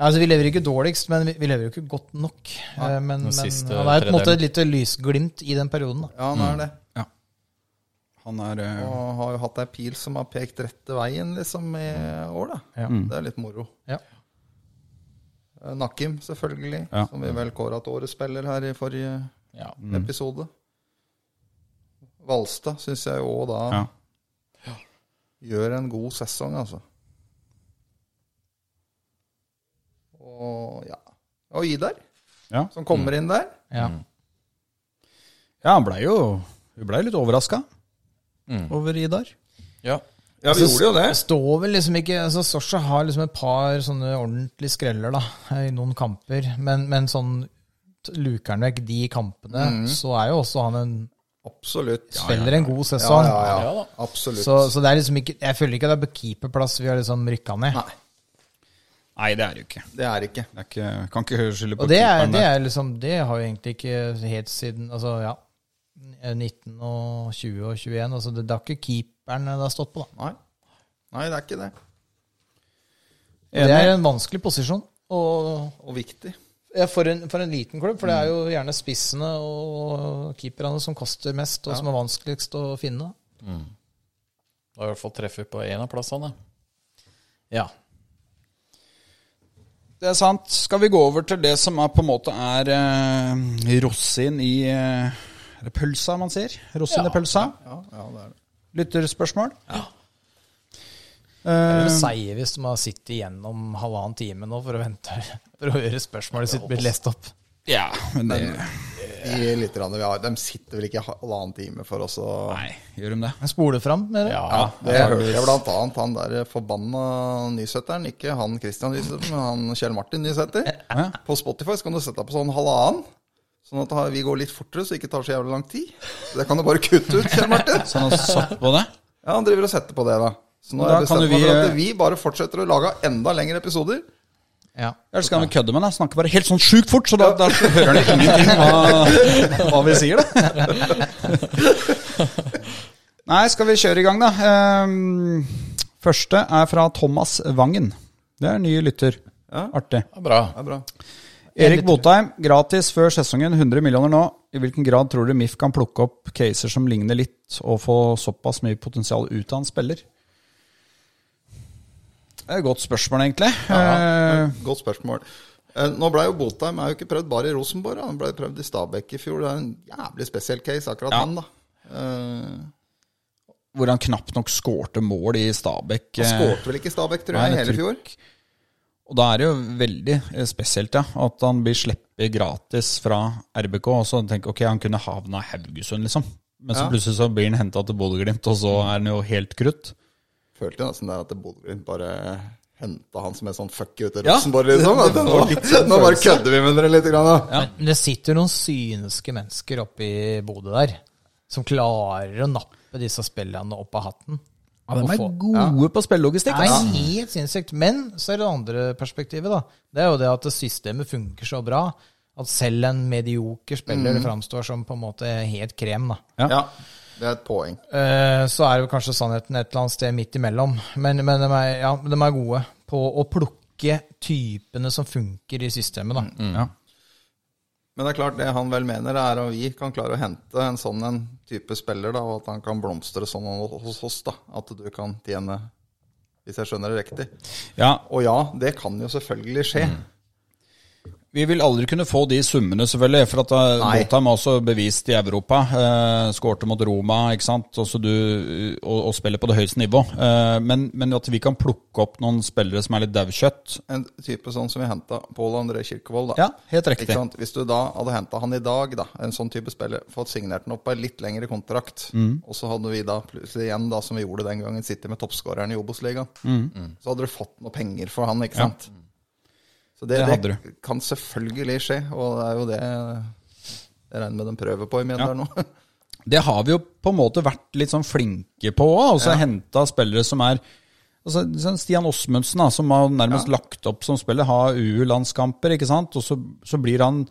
Altså, vi leverer ikke dårligst, men vi, vi leverer jo ikke godt nok. Eh, men men siste han er på en måte tredelen. et lite lysglimt i den perioden, da. ja, han Mm. er det. Han er eh, Og har jo hatt ei pil som har pekt rette veien liksom i Mm. år, da. Ja. Mm. Det er litt moro. Ja. Eh, Nakim, selvfølgelig, Ja. Mm. som vi vel kåra til årets spiller her i forrige sånn- Ja. episode. Valstad syns jeg jo òg da Ja. gjør en god sesong, altså. Og ja Og Idar, Ja. Mm. som kommer inn der. Ja. ja, han blei jo Vi blei litt overraska over Idar. Altså, ja. Ja, vi gjorde jo det. Altså, står vel liksom ikke altså Sosha har liksom et par sånne ordentlige skreller da, i noen kamper, men, men sånn t- luker han vekk de kampene, så er jo også han en Absolutt. spiller en god sesong. Mm. Ja, ja, Ja da. ja. Absolutt. Så, så det er liksom ikke Jeg føler ikke det er på keeperplass vi har liksom rykka ned. Nei, Nei, det er det jo ikke. det er ikke. Det er ikke kan ikke skylde på Og det er, keeperen det der. er liksom Det har jo egentlig ikke helt siden Altså, ja. 19 og 20 og 21. Altså, det, det er ikke keeperen det har stått på, da. Nei. Nei, det er ikke det. Det Enig. er en vanskelig posisjon. Og Og viktig. Ja, for en, for en liten klubb, for det er jo gjerne spissene og keeperne som koster mest, og som er vanskeligst å finne. Da har vi i hvert fall treffer på én av plassene. Ja. Det er sant. Skal vi gå over til det som er på en måte er eh, rosin i eh, Er det pølsa man sier? Rosin i pølsa? Ja, ja det er det. Lytterspørsmål? Eh, Det seier hvis man sitter igjennom halvannen time nå for å vente for å høre spørsmålet sitt bli lest opp. Ja, men det De litt vi har, de sitter vel ikke halvannen time for oss å Nei, gjør de det? Spole fram med det. Ja. Det hørte jeg blant annet han der forbanna nysetteren. Ikke han Christian Nysæter, men han Kjell Martin Nysæter. På Spotify så kan du sette deg på sånn halvannen. Sånn at vi går litt fortere, så det ikke tar så jævlig lang tid. Så det kan du bare kutte ut, Kjell Martin. Så han har satt på det? Ja, han driver og setter på det, Sånn da. Så nå Men har da jeg kan jo bestemt meg vi- for at vi eh, bare fortsetter å lage enda lengre episoder. Ja. Eller skal han kødde med deg? Snakke bare helt sånn sjukt fort, så da, da hører han ingenting hva, hva vi sier, da. Nei, skal vi kjøre i gang, da? Ehm, første er fra Thomas Vangen. Det er ny lytter. Ja. Artig. Ja, bra. Det er bra. Erik Botheim, gratis før sesongen, 100 millioner nå. I hvilken grad tror du MIF kan plukke opp caser som ligner litt, og få såpass mye potensial ut av en spiller? Det er et godt spørsmål, egentlig. Eh, Godt spørsmål. Eh, Nå ble jo Botheim er jo ikke prøvd bare i Rosenborg, da. han ble prøvd i Stabæk i fjor. Det er en jævlig spesiell case, akkurat han, da. Eh, hvor han knapt nok skårte mål i Stabæk. Han eh, skårte vel ikke i Stabæk, tror Nei, jeg, i jeg hele tror fjor? Og da er det jo veldig eh, spesielt, ja. At han blir sluppet gratis fra RBK. Og så tenker ok, han kunne havna i Haugesund, liksom. Men så Ja. plutselig så blir han henta til Bodø-Glimt, og så er han jo helt krutt. Følte jo nesten der at Bodø-Glimt bare henta han som en sånn fuck you til Ja, Rosenborg, liksom. At nå, nå bare kødder vi med dere litt. Grann, da. Men det sitter noen synske mennesker oppe i Bodø der, som klarer å nappe disse spillene opp av hatten. Ja, De Og er få- gode på spillelogistikk. Det ass. er helt sinnssykt. Men så er det det andre perspektivet, da. Det er jo det at systemet funker så bra at selv en medioker spiller framstår som på en måte helt krem, da. Ja. Ja, det er et poeng. Eh, Så er jo kanskje sannheten et eller annet sted midt imellom. Men, men de, er, ja, de er gode på å plukke typene som funker i systemet, da. Mm, Ja. Men det er klart, det han vel mener, er at vi kan klare å hente en sånn en type spiller, da, og at han kan blomstre sånn hos oss. da, At du kan tjene, hvis jeg skjønner det riktig. ja. Og ja, det kan jo selvfølgelig skje. Mm. Vi vil aldri kunne få de summene, selvfølgelig. For at eh, Nei. Botheim har også bevist i Europa. Eh, skårte mot Roma, ikke sant. Og så du, eh, og, og spiller på det høyeste nivå. Eh, men, men at vi kan plukke opp noen spillere som er litt daukjøtt. En type sånn som vi henta Pål André Kirkevold, da. Ja, helt riktig. Ikke sant? Hvis du da hadde henta han i dag, da, en sånn type spiller, fått signert han opp på en litt lengre kontrakt, Mm. og så hadde vi da plutselig igjen, da, som vi gjorde den gangen, sittet med toppskåreren i Obos-ligaen, Mm. så hadde du fått noe penger for han, ikke sant? Så det, Det det, hadde kan selvfølgelig skje, og det er jo det jeg regner med de prøver på i Mjøndalen nå. Det har vi jo på en måte vært litt sånn flinke på òg. Ja. Henta spillere som er altså, sånn Stian Åsmundsen, da, som har nærmest lagt opp som spiller, har U-landskamper, ikke sant. Og så, så blir han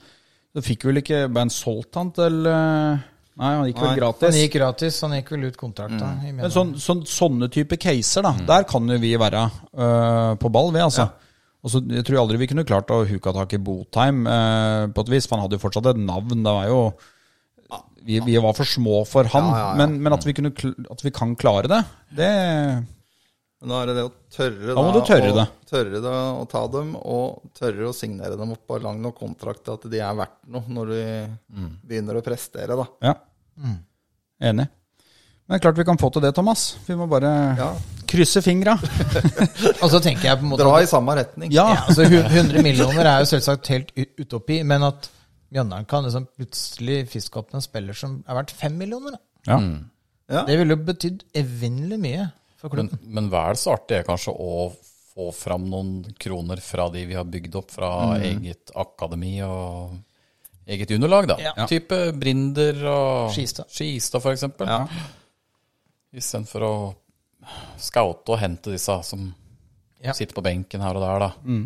Så fikk vel ikke Ble han solgt, han, til eh, Nei, han gikk vel Han gratis. gikk gratis, han gikk vel ut kontrakta. i Men Mjøndalen. sånn, sånn, sånne type caser, da. Der kan jo vi være øh, på ball, vi, altså. Og så Jeg tror aldri vi kunne klart å huka tak i Botheim øh, på et vis, for han hadde jo fortsatt et navn. Det var jo Vi, vi var for små for han, Men, men at, vi kunne, kl- at vi kan klare det, det Men Da er det det å tørre Da må du tørre å, det. tørre det å ta dem, og tørre å signere dem opp på lang nok kontrakt til at de er verdt noe når de Mm. begynner å prestere, da. Ja. Enig. Men det er klart vi kan få til det, Thomas. Vi må bare Ja. krysse fingra. Og så tenker jeg på en måte Dra i samme retning. Ja. Ja, altså hu- 100 millioner er jo selvsagt helt u- utopi, men at Mjøndalen kan liksom plutselig fiske opp en spiller som er verdt 5 millioner, da. ja. det ville jo betydd evinnelig mye for Men, klubben. men vel så artig er kanskje å få fram noen kroner fra de vi har bygd opp fra eget akademi og eget underlag, da. Ja. Type Brinder og Skistad. Skistad for eksempel. Ja. Istedenfor å scoute og hente disse som Ja. sitter på benken her og der, da.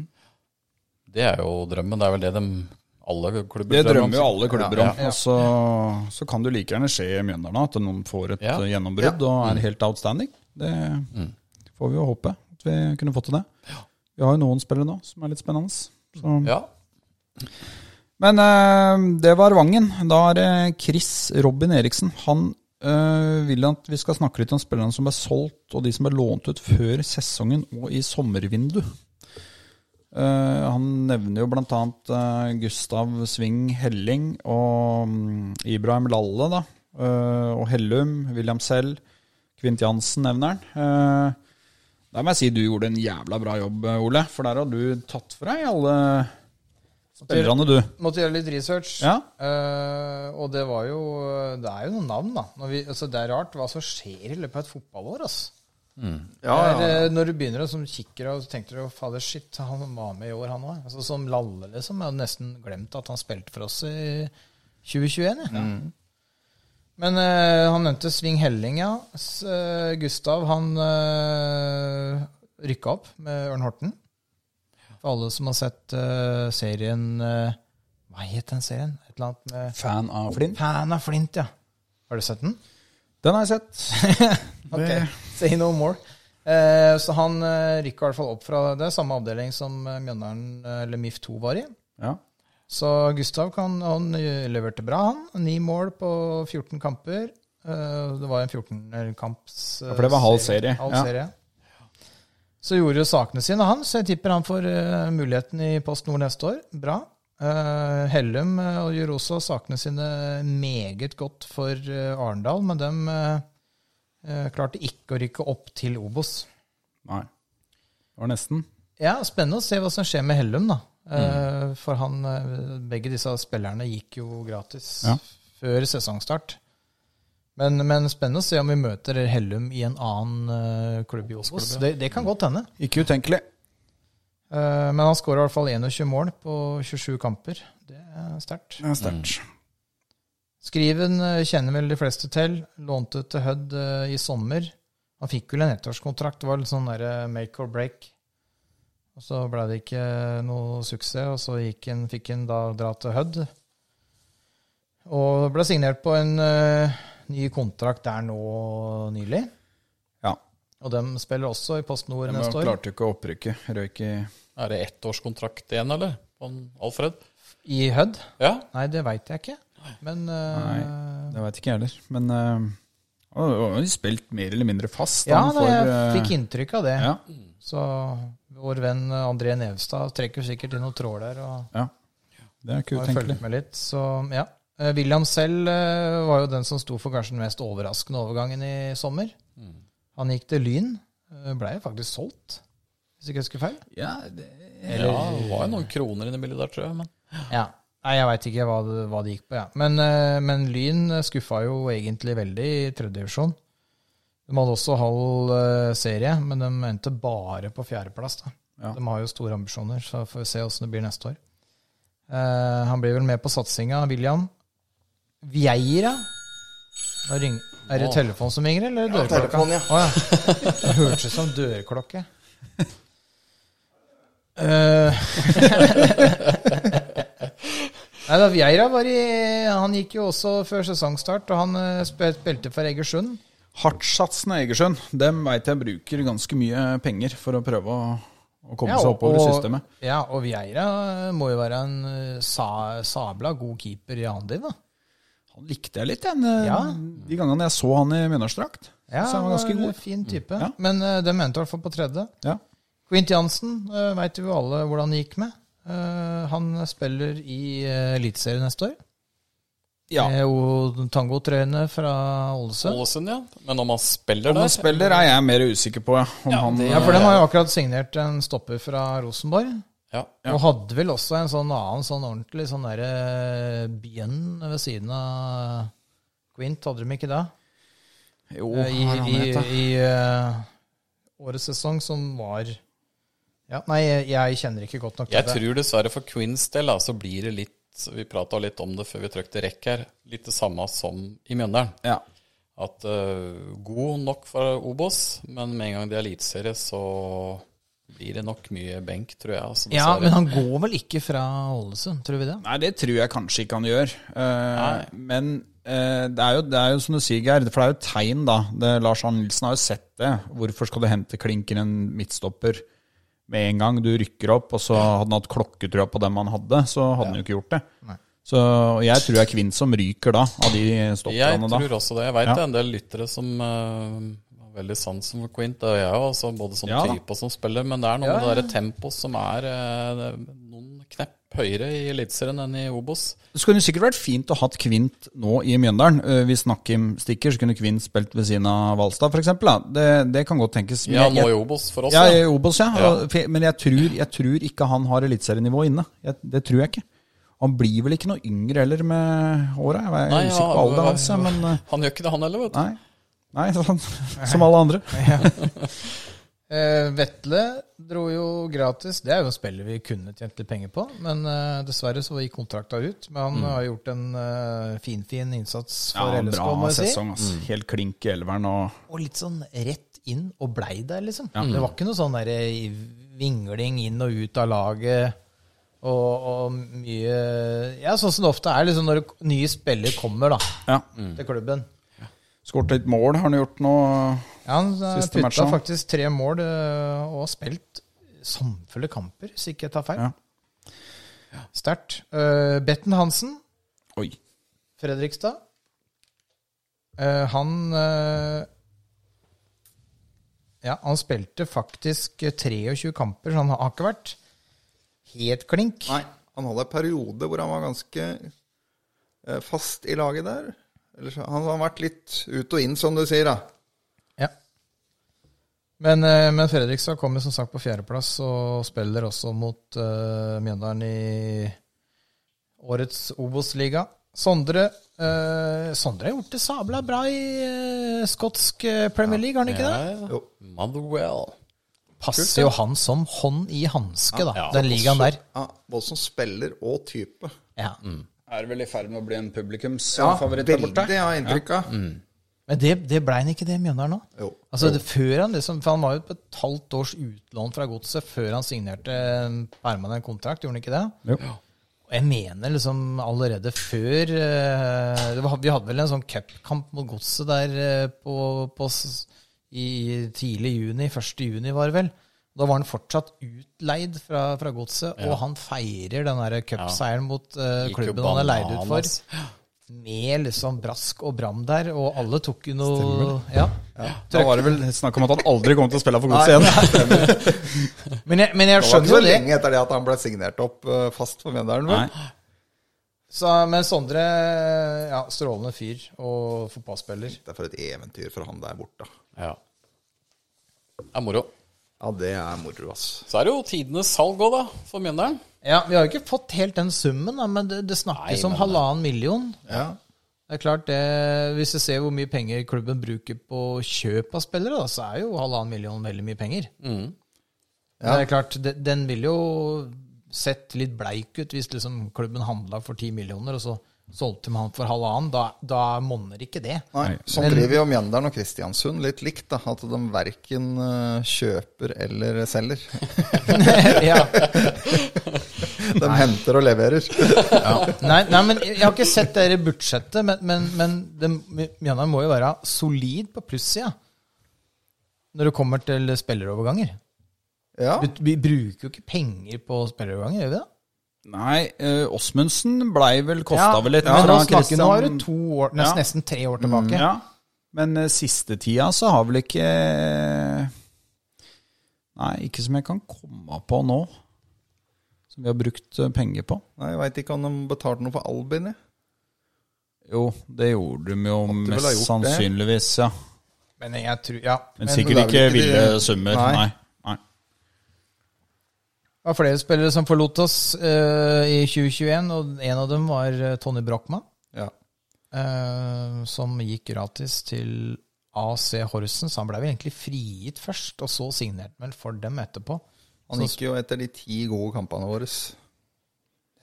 Det er jo drømmen. Det er vel det de alle klubber Det drømmer jo om. alle klubber om. Og så, så kan det jo like gjerne skje i Mjøndalen at noen får et Ja. Mm. eh, gjennombrudd og er helt outstanding. Det får vi jo håpe at vi kunne fått til det. Vi har jo noen spillere nå som er litt spennende. Så. Ja. Men eh, det var Vangen. Da er det Chris Robin Eriksen. Han eh, vil at vi skal snakke litt om spillerne som ble solgt, og de som ble lånt ut før sesongen og i sommervindu. Eh, han nevner jo blant annet eh, Gustav Sving Helling og mm, Ibrahim Lalle, da. eh, og Hellum, William Sell, Kvint Jansen nevner han. Eh, der må jeg si du gjorde en jævla bra jobb, eh, Ole. For der har du tatt fra deg alle spillerne, du. Måtte gjøre litt research. Ja. Eh, og det var jo Det er jo noen navn, da. Når vi, altså, det er rart hva som skjer i løpet av et fotballår. Altså. Ja, Det ja. er, eh, når du begynner å som kikker og så tenker du fader shit, han var med i år, han òg. Altså, som Lalle, liksom. Jeg hadde nesten glemt at han spilte for oss i 2021. Jeg. Mm. Men eh, han nevnte Sving Helling, ja. S, eh, Gustav, han uh, rykka opp med Ørn Horten. For alle som har sett eh, serien eh, Hva het den serien? Et eller annet med Fan av Flint? Fan av Flint, ja. Har du sett den? Den har jeg sett. Ok, Say no more. Eh, så han eh, rykker i hvert fall opp fra det, samme avdeling som eh, Mjøndalen, eh, eller MIF2 var i. Ja. Så Gustav kan, han eh, leverte bra, han. Ni mål på 14 kamper. Eh, det var en 14-kamps Ja, for det var halv serie, Halv ja. serie. Så gjorde jo sakene sine, han. Så jeg tipper han får eh, muligheten i Post Nord neste år. Bra. Eh, Hellum eh, og gjør også sakene sine meget godt for eh, Arendal, men dem eh, eh, klarte ikke å rykke opp til Obos. Nei. Det var nesten. Ja, spennende å se hva som skjer med Hellum, da. Eh, For han, eh, begge disse spillerne gikk jo gratis Ja. før sesongstart. Men, men spennende å se om vi møter Hellum i en annen eh, klubb i Obos. Det, det kan godt hende. Ikke utenkelig. Eh, Men han skårer i hvert fall 21 mål på 27 kamper. Det er sterkt. Det er sterkt. Skriven eh, kjenner vel de fleste til. Lånte til Hødd eh, i sommer. Han fikk vel en ettårskontrakt. Det var litt sånn der eh, make or break. Og så ble det ikke eh, noe suksess, og så gikk han, fikk han da dra til Hødd. Og ble signert på en eh, ny kontrakt der nå nylig. Ja. Og dem spiller også i Post Nord Men neste år. klarte jo ikke å opprykke. Røyk i Er det ettårskontrakt igjen, eller? På han Alfred? I Hødd? Ja. Nei, det veit jeg ikke. Men eh, Det veit ikke jeg heller. Men øh, han har jo spilt mer eller mindre fast. Ja, han, nei, jeg øh, fikk inntrykk av det. ja, Så vår venn eh, André Nevstad trekker sikkert inn noen tråder der og ja. Det er ikke har utenkelig. fulgt med litt. Så ja. Eh, William selv eh, var jo den som sto for kanskje den mest overraskende overgangen i sommer. Han gikk til Lyn. eh, Ble jo faktisk solgt, hvis ikke jeg husker feil. Ja, det, ja, det var jo noen kroner inni bildet der, tror jeg. Men Ja. Nei, jeg veit ikke hva det, hva det gikk på, ja. Men, eh, men Lyn skuffa jo egentlig veldig i tredje divisjon. De hadde også halv eh, serie, men de endte bare på fjerdeplass. da. Ja. De har jo store ambisjoner, så får vi se åssen det blir neste år. Eh, han blir vel med på satsinga, William. Vieira? Da ring, er det Åh. telefon som ringer, eller dørklokka? telefon, ja. Å, ja. Det hørtes ut som dørklokke. Eh, Nei, da Vieira var i Han gikk jo også før sesongstart, og han eh, spil- spilte for Egersund. Hardtsatsen av Egersund, dem veit jeg bruker ganske mye penger for å prøve å, å komme Ja, seg og- oppover i og- systemet. Ja, og Vieira eh, må jo være en eh, sa, sabla god keeper i annen div, da. Han likte jeg litt, den, øh, Ja. de gangene jeg så han i Mjøndalsdrakt. Ja, så han var ganske en god. Fin type. Ja. Men eh, dem endte i hvert fall på tredje. Ja. Quint Jansen uh, veit jo alle hvordan det gikk med. Eh, han spiller i eh, Eliteserien neste år. Ja. Med jo tangotrøyene fra Ålesund. Ålesund, ja. Men om han spiller Om der han spiller, er jeg mer usikker på. Ja, om han, Ja, for dem har jo akkurat signert en stopper fra Rosenborg. Ja. Og hadde vel også en sånn annen sånn ordentlig sånn derre Bien ved siden av Quint, hadde de ikke det? jo, Eh, I hva er han i, heter? i eh, årets sesong, som var ja, Nei, jeg kjenner ikke godt nok Jeg det. tror dessverre for Queens del da, så blir det litt Vi prata litt om det før vi trykte rekk her. Litt det samme som i Mjøndalen. Ja. At eh, god nok for Obos, men med en gang det er eliteserie, så blir det nok mye benk, tror jeg. Altså, Ja, dessverre. men han går vel ikke fra Ålesund, tror vi det? Nei, det tror jeg kanskje ikke han gjør. Eh, men eh, det, er jo, det er jo som du sier, Geir, for det er jo et tegn, da. Det, Lars Arne Nilsen har jo sett det. Hvorfor skal du hente klinker en midtstopper med en gang? Du rykker opp, og så hadde han hatt klokketrua på dem han hadde, så hadde han jo ikke gjort det. Så og jeg tror det er Kvinn som ryker da, av de Jeg stopperne da. tror også det. Jeg veit Ja. det er en del lyttere som eh, har veldig sansen for Quint. Det er jeg òg, altså, både som Ja da. type og som spiller. Men det er noe med det der tempoet som er eh, noen knepp høyere i Eliteserien enn i Obos. Det skulle sikkert vært fint å hatt Kvint nå i Mjøndalen. Eh, Hvis Nakim stikker, så kunne Kvint spilt ved siden av Valstad, f.eks. Det, det kan godt tenkes. Men Ja, jeg- nå jeg- i Obos for oss. Ja, ja. i Obos, ja. Og- for- Men jeg tror, jeg tror ikke han har eliteserienivå inne. Jeg, det tror jeg ikke. Han blir vel ikke noe yngre heller med åra. Jeg er Nei, usikker på ja, alderen hans, jeg, men eh, Han gjør ikke det, han heller, vet du. nei. Nei, sånn, Som alle andre. Eh, Vetle dro jo gratis. Det er jo spillet vi kunne tjent litt penger på. Men eh, dessverre så gikk kontrakta ut. Men han har gjort en eh, finfin fin innsats for Mm. Ja, LSK, må bra jeg si. sesong, ass. Mm. Helt klink i elveren og Og litt sånn rett inn og blei der, liksom. Det var ikke noe sånn der eh, vingling inn og ut av laget. Og, og mye Ja, sånn som det ofte er liksom når nye spillere kommer da, Ja. til klubben. Skåret litt mål, har han gjort nå. Ja, han eh, Siste putta matchen. faktisk tre mål eh, og har spilt samfulle kamper, hvis ikke jeg tar feil. Ja. Sterkt. Eh, Betten Hansen, Oi. Fredrikstad. Eh, han eh, Ja, han spilte faktisk 23 kamper, så han har ikke vært helt klink. Nei, han hadde en periode hvor han var ganske eh, fast i laget der. Ellers, han har vært litt ut og inn, som du sier. da. Ja. Men, eh, men Fredrikstad kommer som sagt på fjerdeplass og spiller også mot eh, Mjøndalen i årets Obos-liga. Sondre eh, Sondre har gjort det sabla bra i eh, skotsk eh, Premier League, har han ikke det? Ja. Motherwell. Passer jo han som hånd i hanske, da, Ja. den ligaen der. Ja, Både som spiller og type. Ja. Er vel i ferd med å bli en Ja, publikumsfavoritt veldig, har jeg inntrykk av. Mm. Men det, det blei han ikke, det Mjøndalen nå. Jo. Altså, det, før han liksom, for han var jo på et halvt års utlån fra godset før han signerte en permanent kontrakt, gjorde han ikke det? Jo. Og jeg mener liksom allerede før eh, det var, Vi hadde vel en sånn cupkamp mot godset der eh, på, på s- i tidlig juni, 1. juni var det vel. Da var han fortsatt utleid fra, fra godset, og han feirer den der cupseieren mot eh, Gikk jo klubben han er leid ut for. bananas. Med liksom brask og bram der, og alle tok jo noe ja. Da var det vel snakk om at han aldri kom til å spille for godt igjen. Men jeg, men jeg Det var ikke skjønner så jo det. lenge etter det at han ble signert opp eh, fast for Mjøndalen. vel? Nei. Så, men Sondre, ja, strålende fyr og fotballspiller. Det er for et eventyr for han der borte. Ja. Det er moro. Ja, det er moro, ass. Så er det jo tidenes salg òg, da, for Mjøndalen. Ja, Vi har jo ikke fått helt den summen, da, men det, det Nei, snakkes om men- halvannen million. Ja. Det er klart det, Hvis du ser hvor mye penger klubben bruker på kjøp av spillere, da, så er jo halvannen million veldig mye penger. Mm. Men Det er klart, de- Den ville jo sett litt bleik ut hvis liksom klubben handla for ti millioner, og så solgte man han for halvannen. Da, da monner ikke det. Nei, Sånn driver jo Mjøndalen og Kristiansund litt likt. da, At de verken eh, kjøper eller selger. ja. De henter og leverer. nei, nei, men jeg har ikke sett det i budsjettet, men, men, men det, Mjøndalen må jo være solid på plussida når det kommer til spilleroverganger. Ja. Vi, vi bruker jo ikke penger på spilleroverganger, gjør vi det? Nei, eh, Åsmundsen blei vel kosta vel litt. men fra nå snakker vi nå er det Christian- to år, nesten, Ja. nesten tre år tilbake. Ja. Men eh, siste tida så har vel ikke Nei, ikke som jeg kan komme på nå. Som vi har brukt eh, penger på. Nei, Jeg veit ikke om de betalte noe for Albin. jeg. Jo, det gjorde de jo vel ha mest gjort det. sannsynligvis, ja. Men jeg tror, ja. Men Men sikkert det er vel ikke ikke ville det- summer. Nei. Nei. Nei. det var flere spillere som forlot oss eh, i 2021, og en av dem var eh, Tony Brochmann, Ja. eh, som gikk gratis til AC Horsens. Han ble vel egentlig frigitt først, og så signerte han vel for dem etterpå. Han gikk jo etter de ti gode kampene våre. Så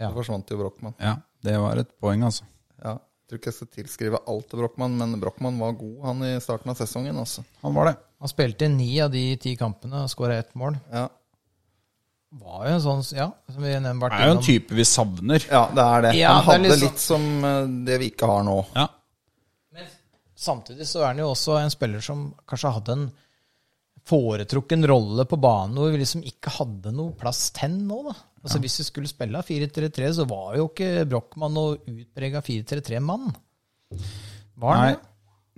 Ja. forsvant jo Brochmann. Ja, det var et poeng, altså. Ja. Jeg tror ikke jeg skal tilskrive alt til Brochmann, men Brochmann var god han i starten av sesongen. Altså. Han var det. Han spilte ni av de ti kampene og skåra ett mål. Ja. Var jo en sånn, ja, som vi nevnte vært Det er jo en innom. type vi savner. ja, det er det. Ja, han det er litt hadde sånn- litt som eh, det vi ikke har nå. Ja. Samtidig så er han jo også en spiller som kanskje hadde en foretrukken rolle på banen hvor vi liksom ikke hadde noe plass til han nå, da. Altså Hvis vi skulle spille 4-3-3, så var jo ikke Brochmann noe utprega 4-3-3-mann. Var han Nei. det?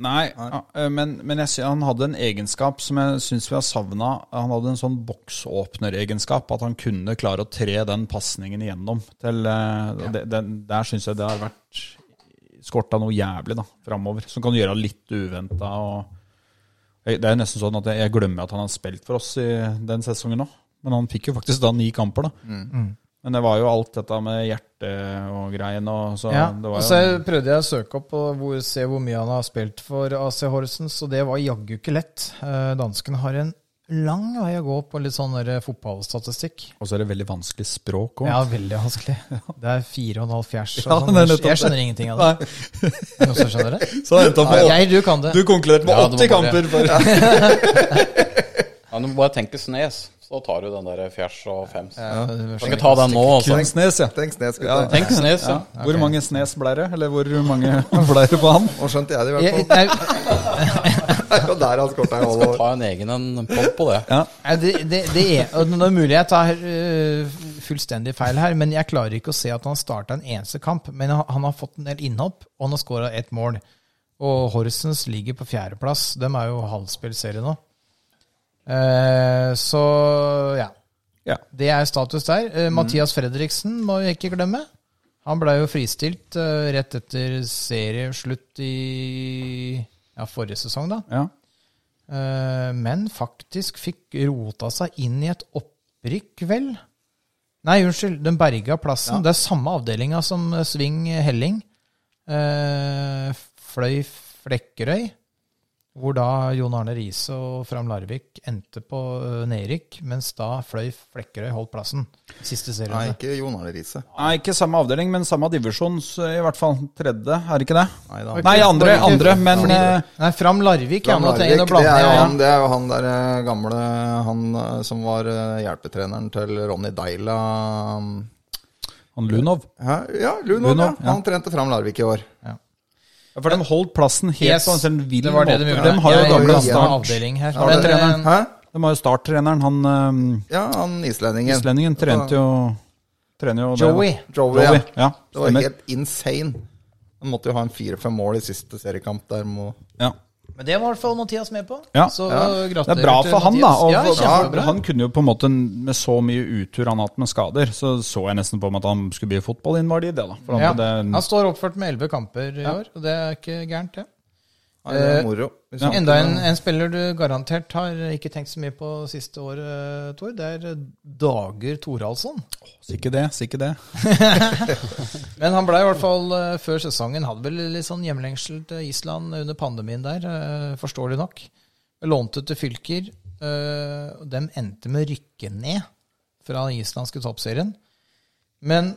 Nei, ja, eh, men, men jeg, sy- han hadde en egenskap som jeg syns vi har savna. Han hadde en sånn boksåpneregenskap, at han kunne klare å tre den pasningen igjennom. Til, eh, det, den, der syns jeg det har vært skorta noe jævlig da, framover, som kan gjøre han litt uventa. Det er nesten sånn at jeg, jeg glemmer at han har spilt for oss i den sesongen òg. Men han fikk jo faktisk da ni kamper, da. Mm. Men det var jo alt dette med hjerte og greien og så Ja, det og var så jo, prøvde jeg å søke opp og hvor, se hvor mye han har spilt for AC Horsens, og det var jaggu ikke lett. Eh, Danskene har en lang vei å gå på litt sånn der fotballstatistikk. og så er det veldig vanskelig språk òg. Ja, veldig vanskelig. Det er fire og en halv fjers. og Ja, sånn. det er nettopp jeg skjønner ingenting av det. Er det Noen som skjønner det? Så endte han på Jeg, du kan det. Du konkluderte med Ja, 80 det var bare- kamper. For, Ja, Du må bare tenke snes, så tar du den der fjers og fems. Ja, det var Kan ikke ta den nå, altså. kun snes, ja. Tenk snes, gutter. Tenk snes, ja. Hvor mange snes ble det? Eller hvor mange ble det på han? Nå skjønte jeg det i Jeg, hvert fall. nei, Det er jo der han skåret i Skal alle år. ta en egen en podd på det. Nei, Det, det, det er, og det er mulig jeg tar øh, fullstendig feil her, men jeg klarer ikke å se at han starta en eneste kamp. Men han, han har fått en del innhopp, og han har skåra ett mål. Og Horsens ligger på fjerdeplass. De er jo halvspillserie nå. Eh, så ja. Ja. Det er status der. Eh, Mathias Fredriksen må vi ikke glemme. Han blei jo fristilt eh, rett etter serieslutt i ja, forrige sesong, da. Ja. Eh, men faktisk fikk rota seg inn i et opprykk, vel? Nei, unnskyld, den berga plassen. Det er samme avdelinga som eh, Sving Helling. Eh, fløy Flekkerøy, hvor da Jon Arne Riise og Fram Larvik endte på eh, nedrykk, mens da Fløy Flekkerøy holdt plassen. Siste Nei, serien. ikke Jon Arne Riise. Nei, ikke samme avdeling, men samme divisjon, så i hvert fall. Tredje, er det ikke det? Nei da. Nei, andre, Ikke- andre, men Fordi- eh, Nei, Fram Larvik, ja. Jan Nå Larvik, trenger jeg å det, blande er jo ja. han, det er jo han der eh, gamle Han eh, som var eh, hjelpetreneren til Ronny Deila um, han Lunov. Hæ? Ja, Lunov, Lunov, ja. Han trente fram Larvik i år. Ja, For de holdt plassen helt Yes, på en sånn vill det var det de måte. gjorde. De har jo Jeg gamle blander start. avdeling her. Ja, Men, det- eh, Hæ? De har jo starttreneren, han øhm, Ja, han islendingen. islendingen, trente jo Trener jo det, da. Joey. Joey. Joey, ja. Ja, Det var stemmer. helt insane. Han måtte jo ha en fire-fem mål i siste seriekamp der. Må... Ja. Men det var i hvert fall Mathias med på. Ja. Så eh, Ja. Det gratulerer er bra til for han, da. Mathias. Og ja, for- kjempebra. han kunne jo på en måte, med så mye utur han har hatt med skader, så så jeg nesten på meg at han skulle bli fotballinvalid, det da. For han ja. hadde han står oppført med elleve kamper i år, og det er ikke gærent, det. Nei, det Eh, er moro. Hvis han- Enda en, en spiller du garantert har ikke tenkt så mye på siste året, eh, Tor, det er Dager Thoralsson. Sikkert det, sikkert det. Men han ble i hvert fall eh, før sesongen Hadde vel litt sånn hjemlengsel til Island under pandemien der, eh, forståelig nok. Lånte til fylker. eh, og dem endte med å rykke ned fra den islandske toppserien. Men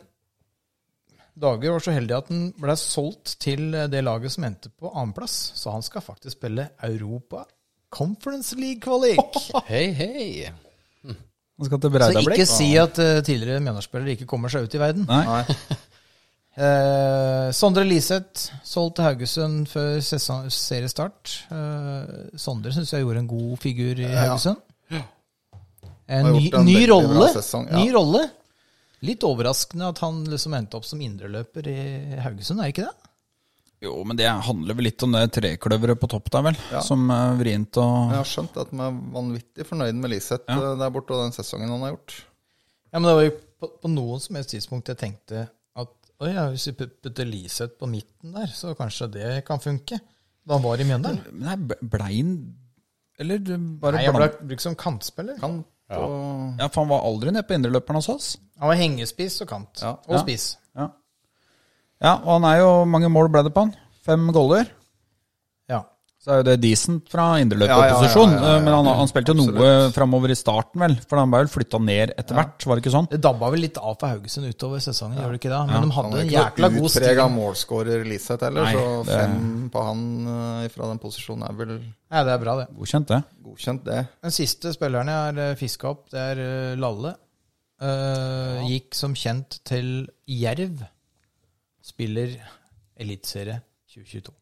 Dager var så heldig at han ble solgt til eh, det laget som endte på annenplass. Så han skal faktisk spille Europa Conference League-kvalik. Hei, hei. Han skal til Så Breidablikk. ikke si at eh, tidligere Mjøndalsspillere ikke kommer seg ut i verden. Nei. Eh, Sondre Liseth, solgt til Haugesund før sesong, seriestart. Eh, Sondre syns jeg gjorde en god figur i Haugesund. En Har ny, gjort en ny, veldig bra rolle, sesong, ja. ny rolle. Litt overraskende at han liksom endte opp som indreløper i Haugesund, er ikke det? Jo, men det handler vel litt om det trekløveret på topp der, vel? Som eh, vrient og Jeg har skjønt at de er vanvittig fornøyd med Liseth eh, der borte og den sesongen han har gjort. Ja, men det var jo på, på noen som helst tidspunkt jeg tenkte at Oi, ja, hvis vi put- putter Liseth på midten der, så kanskje det kan funke. Da han var i Mjøndalen. Men nei, ble- blei han Eller du bare Nei, jeg ble blandet- brukt som kantspiller. Kant og Ja, for han var aldri nede på indreløperen hos oss. Han var hengespiss og kant. Ja. Og spiss. Ja. ja, og han er jo Mange mål ble det på han? Fem goller? Ja. Så er jo det decent fra Ja, ja, ja, indreløperposisjon. ja, ja, ja. Men han, han spilte jo noe Absolutt. framover i starten, vel. For han ble vel flytta ned etter hvert, var det ikke sånn? Det dabba vel litt av for Haugesund utover sesongen, gjør det ikke det? Men de Han hadde er en ikke jækla noe god stil. utprega målskårer Liseth heller, Nei, så det- fem på han eh, fra den posisjonen er vel Nei, det er bra, det. Godkjent, det. godkjent, det. Den siste spilleren jeg har fiska opp, det er eh, Lalle. Eh, Gikk som kjent til Jerv. Spiller Eliteserie 2022.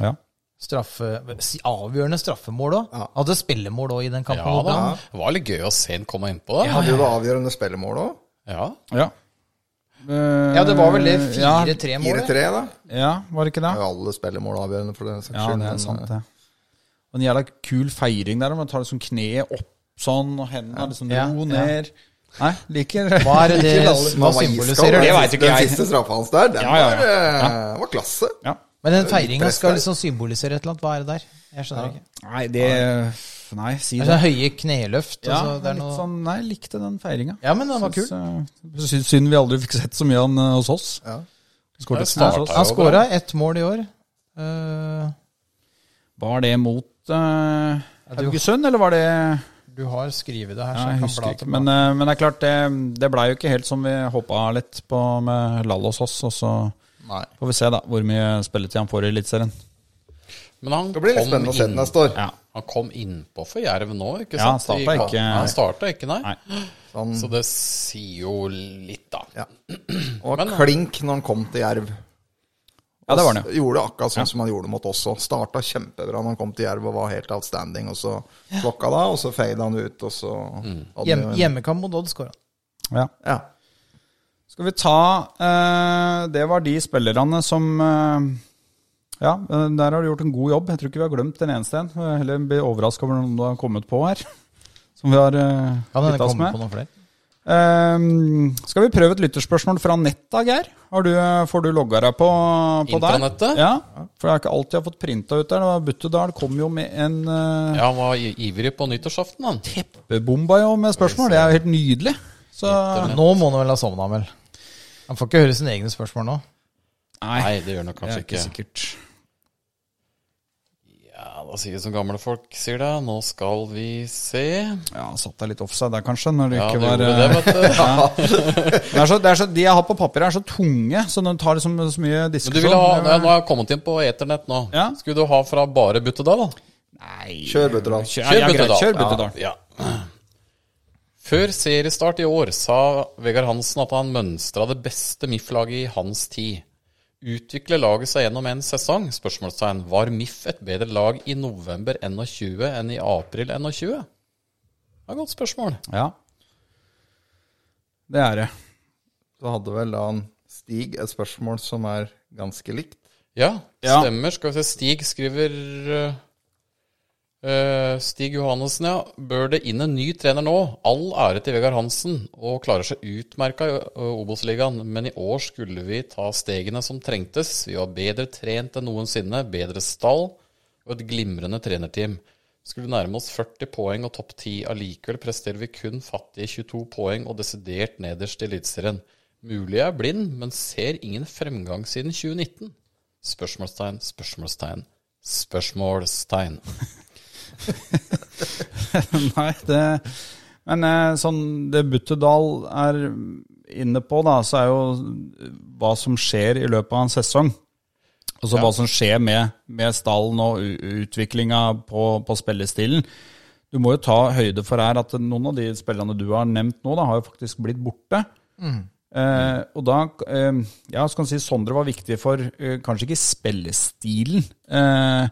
Ja. Straffe, si- avgjørende straffemål òg. Ja. Hadde spillemål òg i den kampen. Ja da. mot han. Det var litt gøy å se han komme innpå der. Hadde jo det avgjørende spillemål òg. Ja. Ja. ja, det var vel det Ja, 4-3-målet. 4-3, da. ja, var det ikke det? Er jo alle spillemål avgjørende for den saks Ja, skyld. det men, er sant, eh, det. Og en jævla kul feiring der, man tar liksom kneet opp sånn, og hendene liksom Ja, ro ja. ned. Nei, liker Hva er det liker det alle. hva var iskald, symboliserer Det det? Den vet siste- ikke jeg. Den siste straffa hans der, den Ja, ja, ja. Var, eh, var klasse. Ja. Men den feiringa press skal der. liksom symbolisere et eller annet. Hva er det der? Jeg skjønner ikke. Nei, det Nei, si Det det. er sånn høye kneløft. Ja, altså, det er litt noe... sånn, nei, jeg likte den feiringa. ja, men den var kul. Synd vi aldri fikk sett så mye av han eh, hos oss. Ja. Skåret Det et starta mål hos oss. jo. Han skåra ett mål i år. Eh, Var det mot eh, du- Haugesund, eller var det du har skrevet det her, Nei, så jeg jeg kan bla husker ikke. tilbake. Men, eh, men det er klart, det, det blei jo ikke helt som vi håpa litt på med Lall hos oss. Og så Nei. får vi se da hvor mye spilletid han får i Eliteserien. Men han Det blir litt kom, spennende å se den inn, neste år. Ja. han kom innpå for Jerv nå, ikke Ja, sant? han I starta kampen. ikke- Han starta ikke, nei. Nei. Han, Så det sier jo litt, da. ja. Og Men- klink når han kom til Jerv. eh, Ja, det var han, Og s- Gjorde akkurat sånn som han gjorde mot oss òg. Starta kjempebra når han kom til Jerv og var helt outstanding, og så klokka da, og så fada han ut, og så hadde Hjem, vi jo en- hjemmekamp mot Odd skåra han. Ja. Ja. Skal vi ta eh, Det var de spillerne som eh, Ja, eh, der har du gjort en god jobb. Jeg tror ikke vi har glemt den eneste en. Jeg Heller blir overraska over noen du har kommet på her. Som vi har uh, Kan hende bytta oss med. komme på noen flere. Eh, skal vi prøve et lytterspørsmål fra netta, Geir? Har du, eh, får du logga deg på, på der? Intranettet? Ja, for det er ikke alltid jeg har fått printa ut der. Det var Buttedal kom jo med en uh, Ja, han var i- ivrig på nyttårsaften, han. bomba jo med spørsmål. Det er jo helt nydelig. Så Internett. Nå må han vel ha sovna, vel. Han får ikke høre sine egne spørsmål nå. Nei, Nei, det gjør han nok det kanskje er ikke ikke. sikkert. Ja, da sier vi som gamle folk sier det. Nå skal vi se. Ja, satt deg litt offside der kanskje, når det Ja, ikke det var gjorde eh, det, vet du. det er så, det er så, De jeg har på papir, er så tunge, så de tar liksom så mye Men diskusjon. du ville ha, nei, nå har jeg kommet inn på eternett nå. sånn. Ja. Skulle du ha fra bare Buttedal, da? Kjør, Butterland. Kjør, ja, greit, Buttedal. kjør Buttedal. Ja. Før seriestart i år sa Vegard Hansen at han mønstra det beste MIF-laget i hans tid. Utvikler laget seg gjennom en sesong? Spørsmålstegn. Var MIF et bedre lag i november 21 enn i april 21? Det er et godt spørsmål. Ja. Det er det. Så hadde vel da han Stig et spørsmål som er ganske likt. Ja, Ja. stemmer. Skal vi se, Stig skriver eh, eh, Stig Johannessen, ja. Bør det inn en ny trener nå? All ære til Vegard Hansen, og klarer seg utmerka i eh, Obos-ligaen. Men i år skulle vi ta stegene som trengtes. Vi var bedre trent enn noensinne, bedre stall og et glimrende trenerteam. Skulle nærme oss 40 poeng og topp 10. Allikevel presterer vi kun fattige 22 poeng og desidert nederst i Eliteserien. Mulig jeg er blind, men ser ingen fremgang siden 2019. Spørsmålstegn, spørsmålstegn, spørsmålstegn. Nei, det Men eh, sånn det Buttedal er inne på, da, så er jo hva som skjer i løpet av en sesong. Og så hva som skjer med, med stallen og utviklinga på, på spillestilen. Du må jo ta høyde for her at noen av de spillerne du har nevnt nå, da, har jo faktisk blitt borte. Eh, og da eh, Ja, så kan du si Sondre var viktig for eh, kanskje ikke spillestilen. Eh,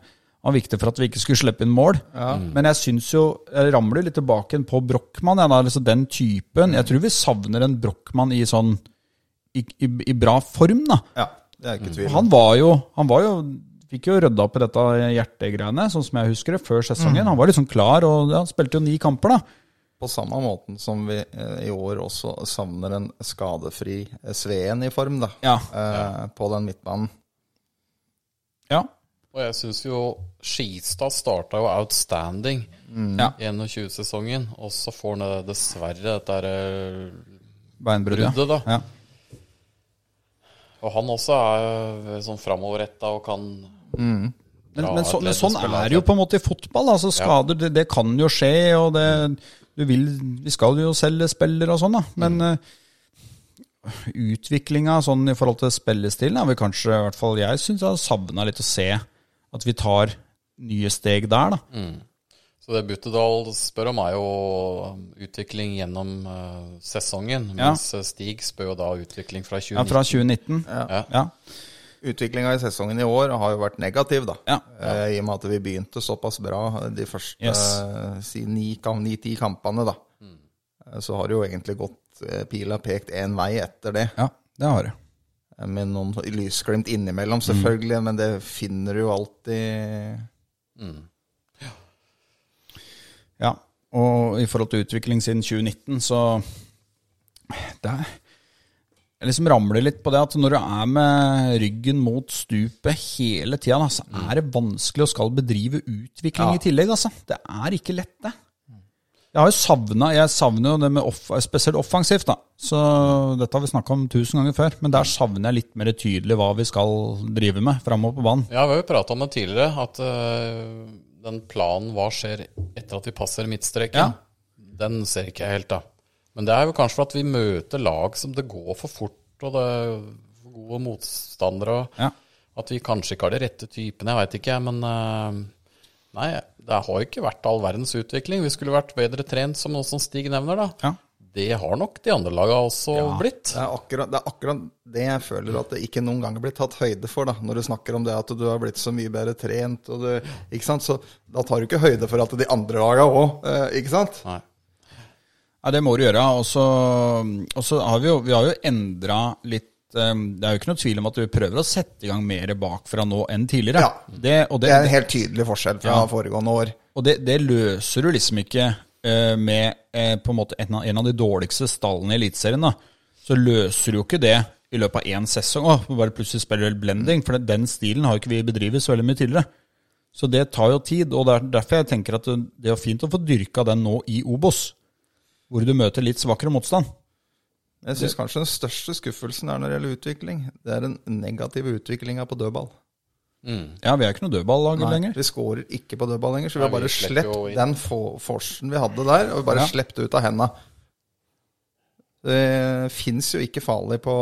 han var viktig for at vi ikke skulle slippe inn mål. Mm. Men jeg syns jo Jeg ramler litt tilbake igjen på Brochmann. Jeg, da, altså den typen. Jeg tror vi savner en Brochmann i sånn i, i, i bra form, da. Ja, det er ikke tvil. Han var jo, han var jo Fikk jo rydda opp i dette hjertegreiene, sånn som jeg husker det, før sesongen. Han var liksom klar, og ja, han spilte jo ni kamper, da. På samme måten som vi eh, i år også savner en skadefri eh, Sveen i form, da. Ja. Eh, på den midtbanen. Ja. Og jeg syns jo Skistad starta jo outstanding Ja. i 21-sesongen, og så får han det- dessverre dette her, eh, Beinbruddet. Bruddet, da. Ja. Og han også er sånn framoverretta og kan Men, Ja, men, så, men atletisk sånn spiller, er det jo på en måte i fotball. Altså skader, det, det kan jo skje, og det, du vil, vi skal jo selge spillere og sånn, da. Men Mm. uh, utviklinga sånn i forhold til spillestilen har vi kanskje, i hvert fall jeg syns jeg har savna litt å se at vi tar nye steg der, da. Så det Buttedal spør om, er jo um, utvikling gjennom eh, sesongen. Ja. Mens eh, Stig spør jo da utvikling fra 2019. Ja, fra 2019. Mm. Ja. Ja. Utviklinga i sesongen i år har jo vært negativ, da. Ja. Eh, I og med at vi begynte såpass bra eh, de første Yes. eh, si ni-ti kampene, da. Eh, Så har det jo egentlig gått eh, pila pekt én vei etter det. ja, det har jeg. Eh, Med noen lysglimt innimellom, selvfølgelig, men det finner du jo alltid Ja, og i forhold til utvikling siden 2019, så det er, Jeg liksom ramler litt på det at når du er med ryggen mot stupet hele tida, da, så er det vanskelig å skal bedrive utvikling i tillegg. Altså. Det er ikke lett, det. Jeg har jo savna Jeg savner jo det med off, spesielt offensivt, da. Så dette har vi snakka om tusen ganger før, men der savner jeg litt mer tydelig hva vi skal drive med framover på banen. Ja, vi har jo prata om det tidligere, at eh, den planen hva skjer etter at vi passer midtstreken, Ja. den ser ikke jeg helt, da. Men det er jo kanskje for at vi møter lag som det går for fort, og det er for gode motstandere. og Ja. At vi kanskje ikke har de rette typene, jeg veit ikke, men eh, Nei, det har jo ikke vært all verdens utvikling. Vi skulle vært bedre trent, som noe som Stig nevner, da. Ja. det har nok de andre laga også blitt. Det er, akkurat, det er akkurat det jeg føler at det ikke noen ganger blir tatt høyde for, da, når du snakker om det at du har blitt så mye bedre trent. Og du, ikke sant? Så da tar du ikke høyde for at de andre laga òg, ikke sant? Ja, det må du gjøre. Og så og så har vi jo, vi har jo endra litt eh, Det er jo ikke noe tvil om at du prøver å sette i gang mer bakfra nå enn tidligere. Ja. Det, og Det det, er en helt tydelig forskjell fra foregående år. og det, det løser du liksom ikke eh, med eh, på en måte en av, en av de dårligste stallene i Eliteserien. da. Så løser du jo ikke det i løpet av én sesong. Å, bare plutselig spiller du blending. For den stilen har jo ikke vi bedrevet så veldig mye tidligere. Så det tar jo tid, og det er derfor jeg tenker at det er fint å få dyrka den nå i Obos, hvor du møter litt svakere motstand. Jeg syns kanskje den største skuffelsen er når det gjelder utvikling. Det er den negative utviklinga på dødball. Ja, vi er ikke noe dødballag Nei, lenger. Vi skårer ikke på dødball lenger, så vi Nei, har bare vi slipper slept jo inn. den fo- forsen vi hadde der, og vi bare Ja. slept det ut av henda. Det fins jo ikke farlig på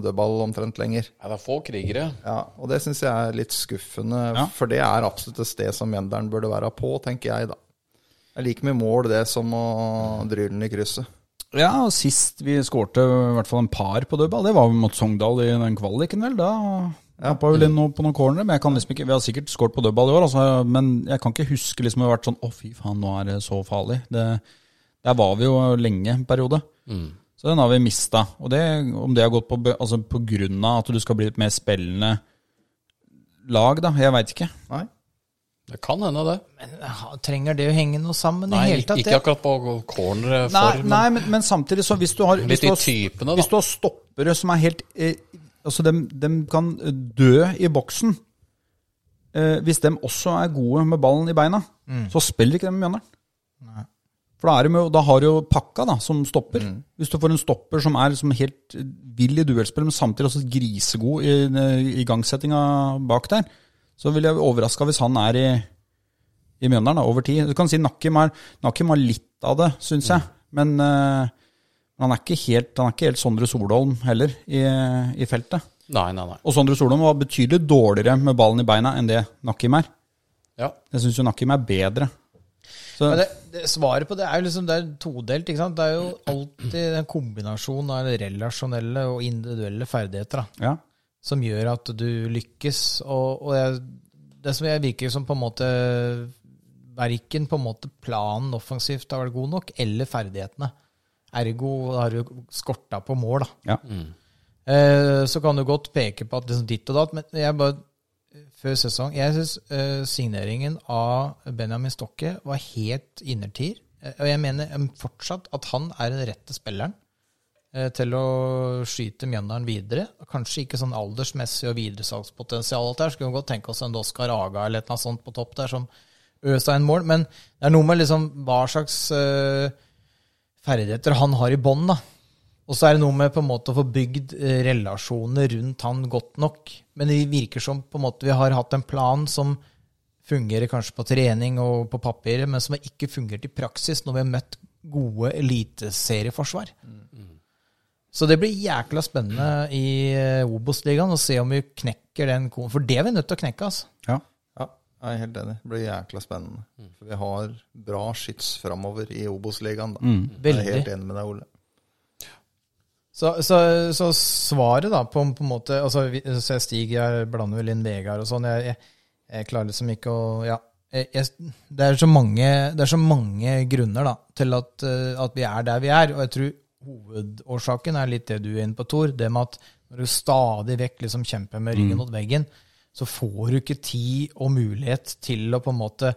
dødball omtrent lenger. Nei, det er få krigere. Ja, og det syns jeg er litt skuffende, Ja. for det er absolutt et sted som Mjøndalen burde være på, tenker jeg da. Jeg liker mye mål det som å Mm. dry den i krysset. Ja, og sist vi skårte i hvert fall en par på dødball, det var jo mot Sogndal i den kvaliken, vel. Da nappa vel inn noe på noen cornere, men jeg kan liksom ikke Vi har sikkert skåret på dødball i år, altså, men jeg kan ikke huske liksom det har vært sånn Å, fy faen, nå er det så farlig. Det, der var vi jo lenge en periode. Så den har vi mista. Og det, om det har gått på, bø- altså, på grunn av at du skal bli et mer spillende lag, da, jeg veit ikke. Nei. Det kan hende, det. Ja, Trenger det å henge noe sammen Nei, i hele ikke, tatt? ikke Det, akkurat på eh, cornerform. Nei, men- nei men, men samtidig så hvis du har hvis Litt du i har- typene, da. Hvis du har stoppere som er helt eh, Altså, dem, dem kan dø i boksen. Eh, hvis dem også er gode med ballen i beina, så spiller ikke dem med Mjøndalen. For da, er de jo, da har du jo pakka da, som stopper. Hvis du får en stopper som er som helt eh, vill i duellspill, men samtidig også grisegod i eh, igangsettinga bak der, så vil jeg bli overraska hvis han er i, i Mjøndalen da, over tid. Du kan si Nakim har, Nakim har litt av det, syns jeg. Men eh, han, er ikke helt, han er ikke helt Sondre Solholm heller i, i feltet. nei, nei, nei. Og Sondre Solholm var betydelig dårligere med ballen i beina enn det Nakim er. Ja. Jeg syns jo Nakim er bedre. Så, men det, det, svaret på det er jo liksom det er todelt. ikke sant? Det er jo alltid en kombinasjon av relasjonelle og individuelle ferdigheter da, ja. som gjør at du lykkes. Og, og jeg, det som jeg virker som på en måte Verken på en måte planen offensivt har vært god nok, eller ferdighetene. Ergo har du skorta på mål, da. ja. Eh, så kan du godt peke på at liksom ditt og datt, men jeg bare før sesong Jeg syns signeringen av Benjamin Stokke var helt innertier. Eh, og jeg mener eh, fortsatt at han er den rette spilleren eh, til å skyte Mjøndalen videre. Kanskje ikke sånn aldersmessig og videresalgspotensial. alt der. Skulle jo godt tenke oss en Oskar Aga eller noe sånt på topp der som øsa inn mål. Men det er noe med liksom hva slags eh, ferdigheter han har i bånn, da. Og så er det noe med på en måte å få bygd eh, relasjoner rundt han godt nok. Men det virker som på en måte vi har hatt en plan som fungerer kanskje på trening og på papiret, men som ikke fungerte i praksis når vi har møtt gode eliteserieforsvar. Så det blir jækla spennende i eh, Obos-ligaen å se om vi knekker den koden. For det er vi nødt til å knekke, altså. ja. Ja, jeg er helt enig. Det blir jækla spennende. Mm. For vi har bra skyts framover i Obos-ligaen, da. Mm. Jeg er Veldig. helt enig med deg, Ole. Så, så, så svaret da, på, på en måte altså, vi- så Jeg stiger, jeg blander vel inn Vegard og sånn. Jeg, jeg, jeg klarer liksom ikke å Ja. Jeg, jeg, det, er så mange, det er så mange grunner da, til at, eh, at vi er der vi er. Og jeg tror hovedårsaken er litt det du er inne på, Tor. Det med at når du stadig vekk liksom kjemper med ryggen mot veggen, så får du ikke tid og mulighet til å på en måte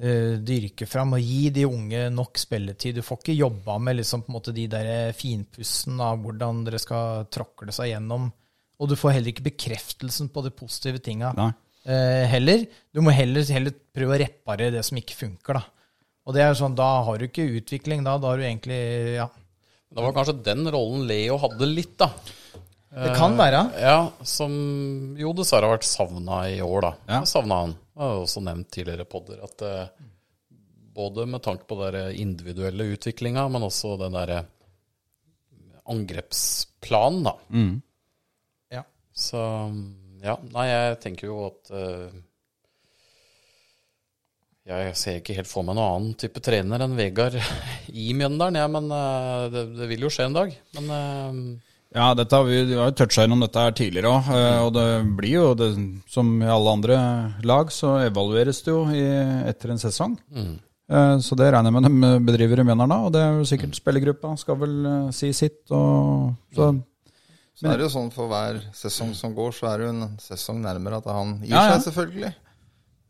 eh, dyrke fram og gi de unge nok spilletid. Du får ikke jobba med liksom på en måte de der finpussen av hvordan dere skal tråkle seg gjennom. Og du får heller ikke bekreftelsen på de positive tinga Nei. eh, heller. Du må heller, heller prøve å reparere det som ikke funker, da. Og det er sånn, da har du ikke utvikling, da. Da har du egentlig Ja. Det var kanskje den rollen Leo hadde litt, da. Det kan være. Ja, som jo dessverre har vært savna i år, da. Ja. Savna han. Jeg har jo også nevnt tidligere podder at eh, både med tanke på den individuelle utviklinga, men også den derre angrepsplanen, da. Ja. Så ja, nei, jeg tenker jo at eh, Jeg ser ikke helt for meg noen annen type trener enn Vegard i Mjøndalen, ja, men eh, det, det vil jo skje en dag. Men eh, Ja, dette har vi, vi har jo toucha innom dette her tidligere òg, og det blir jo, det, som i alle andre lag, så evalueres det jo i, etter en sesong. Eh, Så det regner jeg med de bedriver i Mjøndalen da, og det er jo sikkert spillergruppa skal vel eh, si sitt. Og, så, Så er det jo sånn for hver sesong som går, så er det jo en sesong nærmere at han gir Ja, ja. seg, selvfølgelig.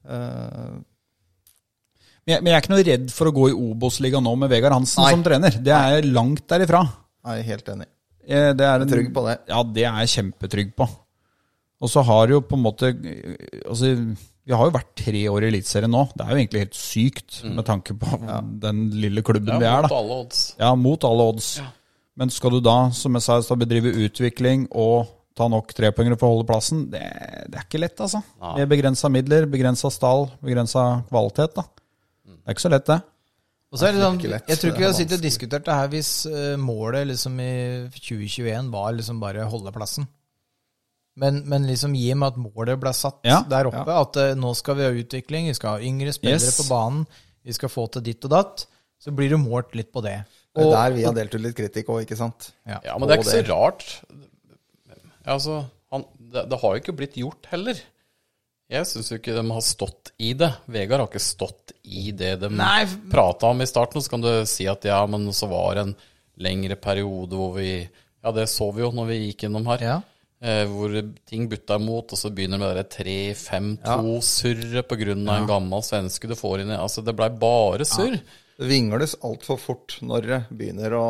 Eh, men, jeg, men jeg er ikke noe redd for å gå i Obos-ligaen nå med Vegard Hansen som trener. Det er jeg langt derifra. jeg er helt enig. Eh, Det er en, Trygg på det. Ja, det er jeg kjempetrygg på. Og så har jo på en måte Altså, vi har jo vært tre år i Eliteserien nå. Det er jo egentlig helt sykt Mm. med tanke på den lille klubben ja, vi er, mot da. alle odds. Ja, mot alle odds. Men skal du da, som jeg sa, i stad, bedrive utvikling og ta nok trepoengere for å holde plassen, det, det er ikke lett, altså. Med begrensa midler, begrensa stall, begrensa kvalitet, da. Mm. Det er ikke så lett, det. Og så er det sånn, ikke lett. jeg tror ikke Det vi er hadde sittet og diskutert det her hvis eh, målet liksom i 2021 var liksom bare holde plassen. Men, men liksom gi med at målet ble satt Ja, der oppe, at eh, nå skal vi ha utvikling, vi skal ha yngre spillere Yes. på banen, vi skal få til ditt og datt, så blir det målt litt på det. Det er der vi har delt ut litt kritikk òg, ikke sant? Ja. Ja, men det er ikke så rart. Altså, han, det, det har jo ikke blitt gjort heller. Jeg syns jo ikke de har stått i det. Vegard har ikke stått i det de Nei, f- prata om i starten. Så kan du si at ja, men så var det en lengre periode hvor vi Ja, det så vi jo når vi gikk gjennom her. Ja. Eh, hvor ting butta imot, og så begynner det med det 3-5-2-surret på grunn av en gammel svenske du får inn i Altså, det blei bare surr. Det vingles altfor fort når det begynner å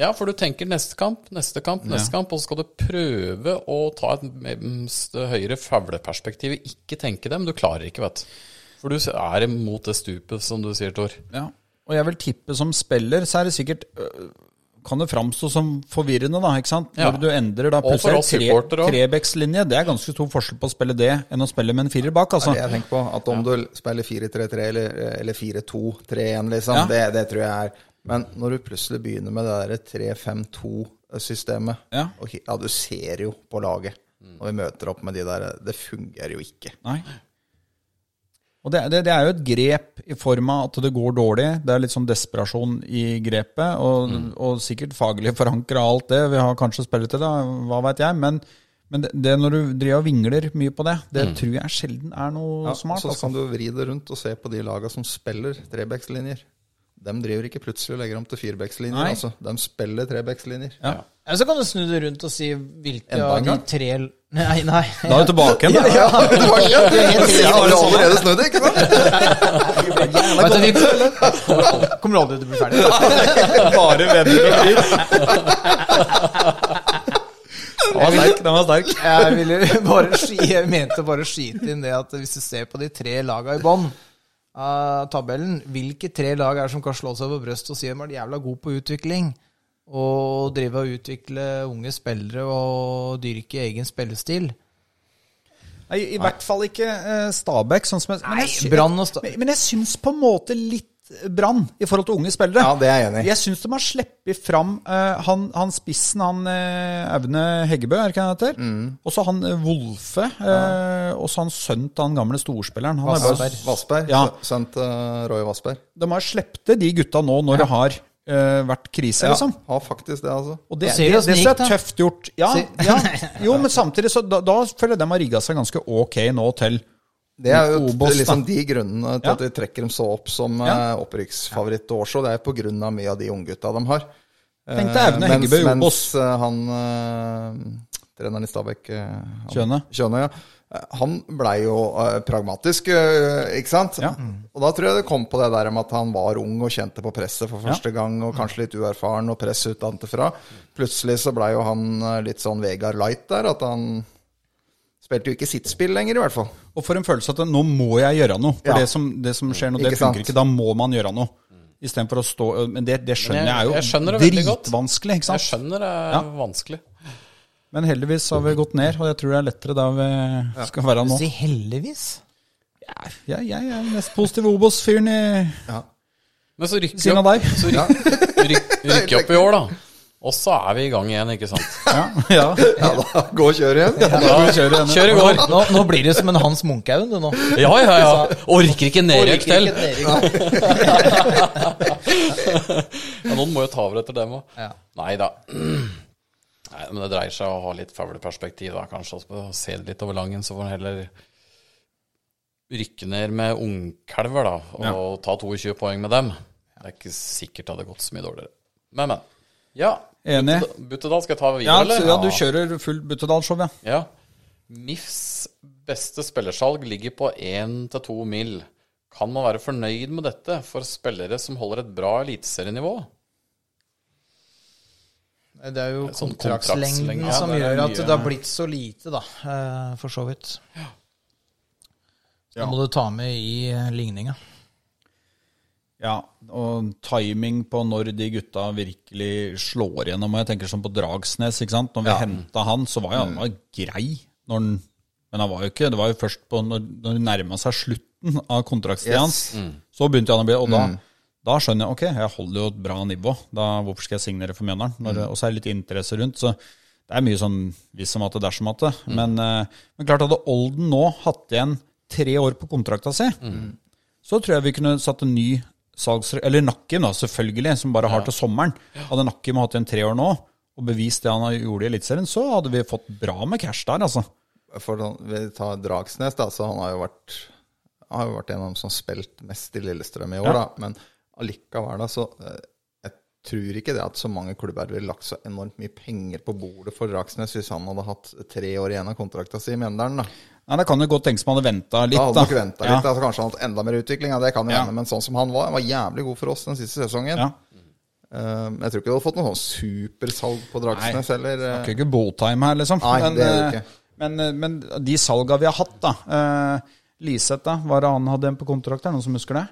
Ja, for du tenker neste kamp, neste kamp, neste kamp, og så skal du prøve å ta et m- st- høyere favleperspektiv. Ikke tenke det, men du klarer ikke, vet du. For du er imot det stupet, som du sier, Tor. Ja. Og jeg vil tippe som spiller, så er det sikkert øh, Kan det framstå som forvirrende, da, ikke sant? Ja. Når du endrer da Og for plutselig oss tre, supportere også. trebekslinje. Det er ganske stor forskjell på å spille det enn å spille med en firer bak, altså. Det jeg tenker på, at om du spiller 4-3-3 eller, eller 4-2-3-1, liksom, Ja. det, det tror jeg er Men når du plutselig begynner med det derre 3-5-2-systemet, Ja. Mm. og he- ja, du ser jo på laget når vi møter opp med de der Det fungerer jo ikke. Nei. Og det, det, det er jo et grep i form av at det går dårlig. Det er litt sånn desperasjon i grepet, og, Mm. og sikkert faglig forankra alt det. Vi har kanskje spillet til det, hva veit jeg. Men, men det, det når du driver og vingler mye på det, Mm. det tror jeg sjelden er noe Ja, smart. så altså. kan du vri det rundt og se på de laga som spiller trebekslinjer. De driver ikke plutselig og legger om til Nei. firebekslinjer. Altså. De spiller trebekslinjer. Ja. Eller så kan du snu det rundt og si hvilke Enda en av de gang? tre Nei, nei. Da er du tilbake igjen, da. Jeg har jo allerede snudd, ikke sant? Vet du, vi kommer aldri til å bli ferdig. Bare venner og blir. Den var sterk. Den var sterk. Jeg, ville bare, sky- jeg mente bare å skyte inn det at hvis du ser på de tre laga i bånn av tabellen, hvilke tre lag er det som kan slå seg på brystet og si at de er jævla gode på utvikling? Og drive og utvikle unge spillere og dyrke egen spillestil? Nei, I hvert fall ikke eh, Stabæk. Sånn som jeg, men, Nei, jeg sy- Brann og Sta- men, men jeg syns på en måte litt eh, Brann i forhold til unge spillere. Ja, det er jeg enig i. Jeg syns de har sluppet fram eh, han, han spissen, han eh, Aune Heggebø, er det ikke han heter? Og så han eh, Wolfe. eh, Og så han sønnen til han gamle storspilleren. Han er bare Vassberg. Ja. Sønnen til Roy Vassberg. De har sluppet de gutta nå når det har eh, vært krise, liksom. Har faktisk det, altså. Og det, Da det, ser vi det, hvordan det synes jeg gikk, er da. tøft gjort. Ja, Se- ja. Jo, men samtidig så da, da føler jeg de har rigga seg ganske ok nå til Det er jo Obos, da. liksom de grunnene til Ja. at vi trekker dem så opp som Ja. eh, opprykksfavoritt og så. Det er på grunn av mye av de unggutta de har. Eh, Tenk deg Aune mens- Heggebø i Mens Obos. eh, han eh, treneren i Stabæk eh, han- Kjøne. Kjøne, ja. Eh, Han blei jo eh, pragmatisk, eh, ikke sant? Ja. Og da tror jeg det kom på det der med at han var ung og kjente på presset for første gang, og kanskje litt uerfaren og press utenfra. Plutselig så blei jo han eh, litt sånn Vegard Light der, at han spilte jo ikke sitt spill lenger, i hvert fall. Og får en følelse at nå må jeg gjøre noe. For Ja. det, som, det som skjer nå, det Ikke sant? funker ikke. Da må man gjøre noe. Istedenfor å stå eh, Men det, det skjønner Men jeg- jeg, jeg skjønner det er veldig jo godt. dritvanskelig, ikke Jeg sant. skjønner det er vanskelig. Men heldigvis har vi gått ned, og jeg tror det er lettere der vi skal være nå. Si heldigvis. Ja, jeg er den mest positive Obos-fyren i Men så rykker Siden vi av opp, deg. så ryk, ryk, rykker vi opp i år, da. Og så er vi i gang igjen, ikke sant. Ja, Ja, da, gå og kjør igjen. Ja, kjør i går. Nå, nå blir det som en Hans Munkehaugen, du nå. Ja, ja, ja. Orker ikke nedrøyk til. Ja, noen må jo ta over etter dem òg. Ja. Nei da. Nei, men det dreier seg om å ha litt fugleperspektiv, da, kanskje. Også, og se det litt over langen, så får en heller rykke ned med ungkalver, da, og ta 22 poeng med dem. Det er ikke sikkert det hadde gått så mye dårligere. Men, men. Ja. Enig. Buttedal, skal jeg ta videre, Ja, så, eller? ja, du kjører full Buttedal-show, ja. Ja. MIFs beste spillersalg ligger på 1-2 mil. Kan man være fornøyd med dette for spillere som holder et bra eliteserienivå? Det er jo Sånn kontraktslengden, kontraktslengden ja, som det er gjør at mye. det har blitt så lite, da. eh, For så vidt. Da må du ta med i eh, ligninga. Ja, og timing på når de gutta virkelig slår gjennom. Og jeg tenker sånn på Dragsnes, ikke sant. Når vi hentet henta han, så var jo han var grei. Når han, men han var jo ikke Det var jo først på når, når det nærma seg slutten av kontraktstida hans. Så begynte han å bli Og da, da skjønner jeg ok, jeg holder jo et bra nivå. Da, hvorfor skal jeg signere for Mjøndalen? Når, det- Og så er det litt interesse rundt. Så det er mye sånn hvis som at det dersom at det. Men, eh, men klart hadde Olden nå hatt igjen tre år på kontrakta si, så tror jeg vi kunne satt en ny salgsre... Eller Nakkim, da, selvfølgelig, som bare har til sommeren. Hadde Nakkim hatt igjen tre år nå, og bevist det han har- gjorde i Eliteserien, så hadde vi fått bra med cash der, altså. For sånn, vi tar Dragsnes, da, så han har jo vært Han har jo vært en av dem som har spilt mest i Lillestrøm i år, Ja. da. Men allikevel, da, så eh, Jeg tror ikke det at så mange klubber ville lagt så enormt mye penger på bordet for Dragsnes hvis han hadde hatt tre år igjen av kontrakta si i Mjøndalen, da. Nei, Det kan jo godt tenkes man hadde venta litt, Da hadde da. nok ventet litt. Altså, kanskje han hadde hatt enda mer utvikling. Ja, det kan jo Ja. hende. Men sånn som han var, han var jævlig god for oss den siste sesongen. Ja. Eh, jeg tror ikke du hadde fått noe sånn supersalg på Dragsnes heller. eh. Snakker ikke Boltheim her, liksom. Nei, det gjør vi eh, ikke. men, eh, men de salga vi har hatt, da. Eh, Liseth, da. Hva er det han hadde igjen på kontrakt? Er det noen som husker det?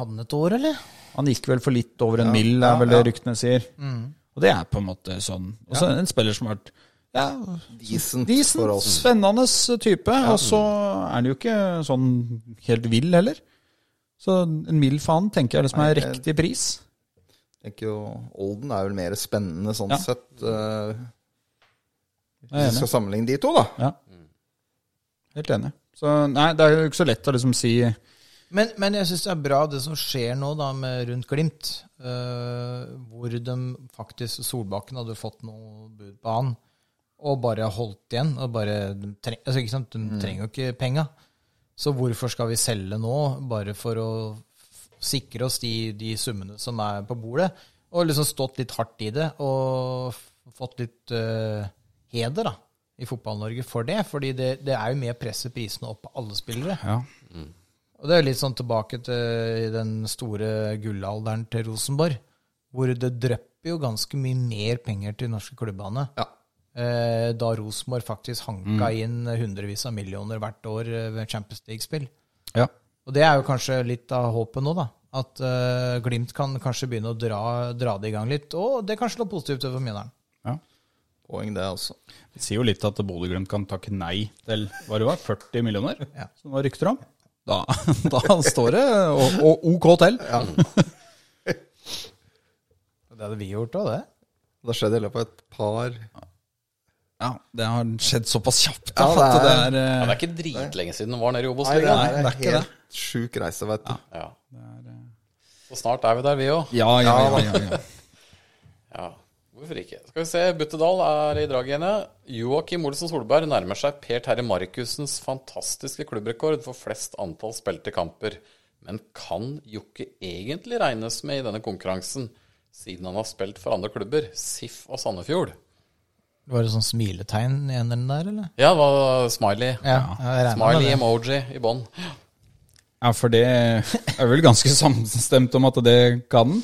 Hadde han et år, eller? Han gikk vel for litt over en mill, er vel det ryktene sier. Og det er på en måte sånn. Og så en spiller som har vært ja, Decent decent, for oss. spennende type. Og så er han jo ikke sånn helt vill heller. Så en mill for han tenker jeg liksom er riktig pris. Jeg tenker jo Olden er vel mer spennende sånn Ja. sett. eh, Jeg er hvis vi enig. skal sammenligne de to, da. Ja. Helt enig. Så nei, det er jo ikke så lett å liksom si Men, men jeg syns det er bra det som skjer nå da med rundt Glimt. eh, hvor de faktisk Solbakken hadde fått noe bud på han, og bare holdt igjen. og bare, De, treng, altså, ikke sant? de trenger jo ikke penga. Så hvorfor skal vi selge nå, bare for å f- sikre oss de, de summene som er på bordet? Og liksom stått litt hardt i det, og f- fått litt eh, heder da, i Fotball-Norge for det. fordi det, det er jo med å presse prisene opp på alle spillere. ja. Og det er jo litt sånn tilbake til i den store gullalderen til Rosenborg, hvor det drøpper jo ganske mye mer penger til de norske klubbene. Eh, da Rosenborg faktisk hanka inn hundrevis av millioner hvert år eh, ved Champions League-spill. ja. Og det er jo kanskje litt av håpet nå, da. At eh, Glimt kan kanskje begynne å dra, dra det i gang litt. Og det er kanskje noe positivt for Mjøndalen. ja. Poeng det, altså. Det sier jo litt at Bodø-Glimt kan takke nei til hva det var, 40 millioner, Ja. som det var rykter om. Da, da står det og, og OK til. Det hadde vi gjort òg, det. Det har skjedd i løpet av et par ja, Ja, det har skjedd såpass kjapt Ja, det at det er- er Ja, eh, det er ikke dritlenge siden den var nede i det Obos-ligaen. er det er ikke helt sjuk reise, vet du. Ja. eh, Og snart er vi der, vi òg. Ja, ja, ja. ja, ja. Ja. Hvorfor ikke? Skal vi se, Buttedal er i draget igjen. Joakim Olsen Solberg nærmer seg Per Terje Markussens fantastiske klubbrekord for flest antall spilte kamper. Men kan Jokke egentlig regnes med i denne konkurransen, siden han har spilt for andre klubber, SIF og Sandefjord? Var det sånn smiletegn i eneren der, eller? Ja, det var smiley. Ja, jeg regner med Smiley det. emoji i bånn. ja, for det er vel ganske samstemt om at det kan den.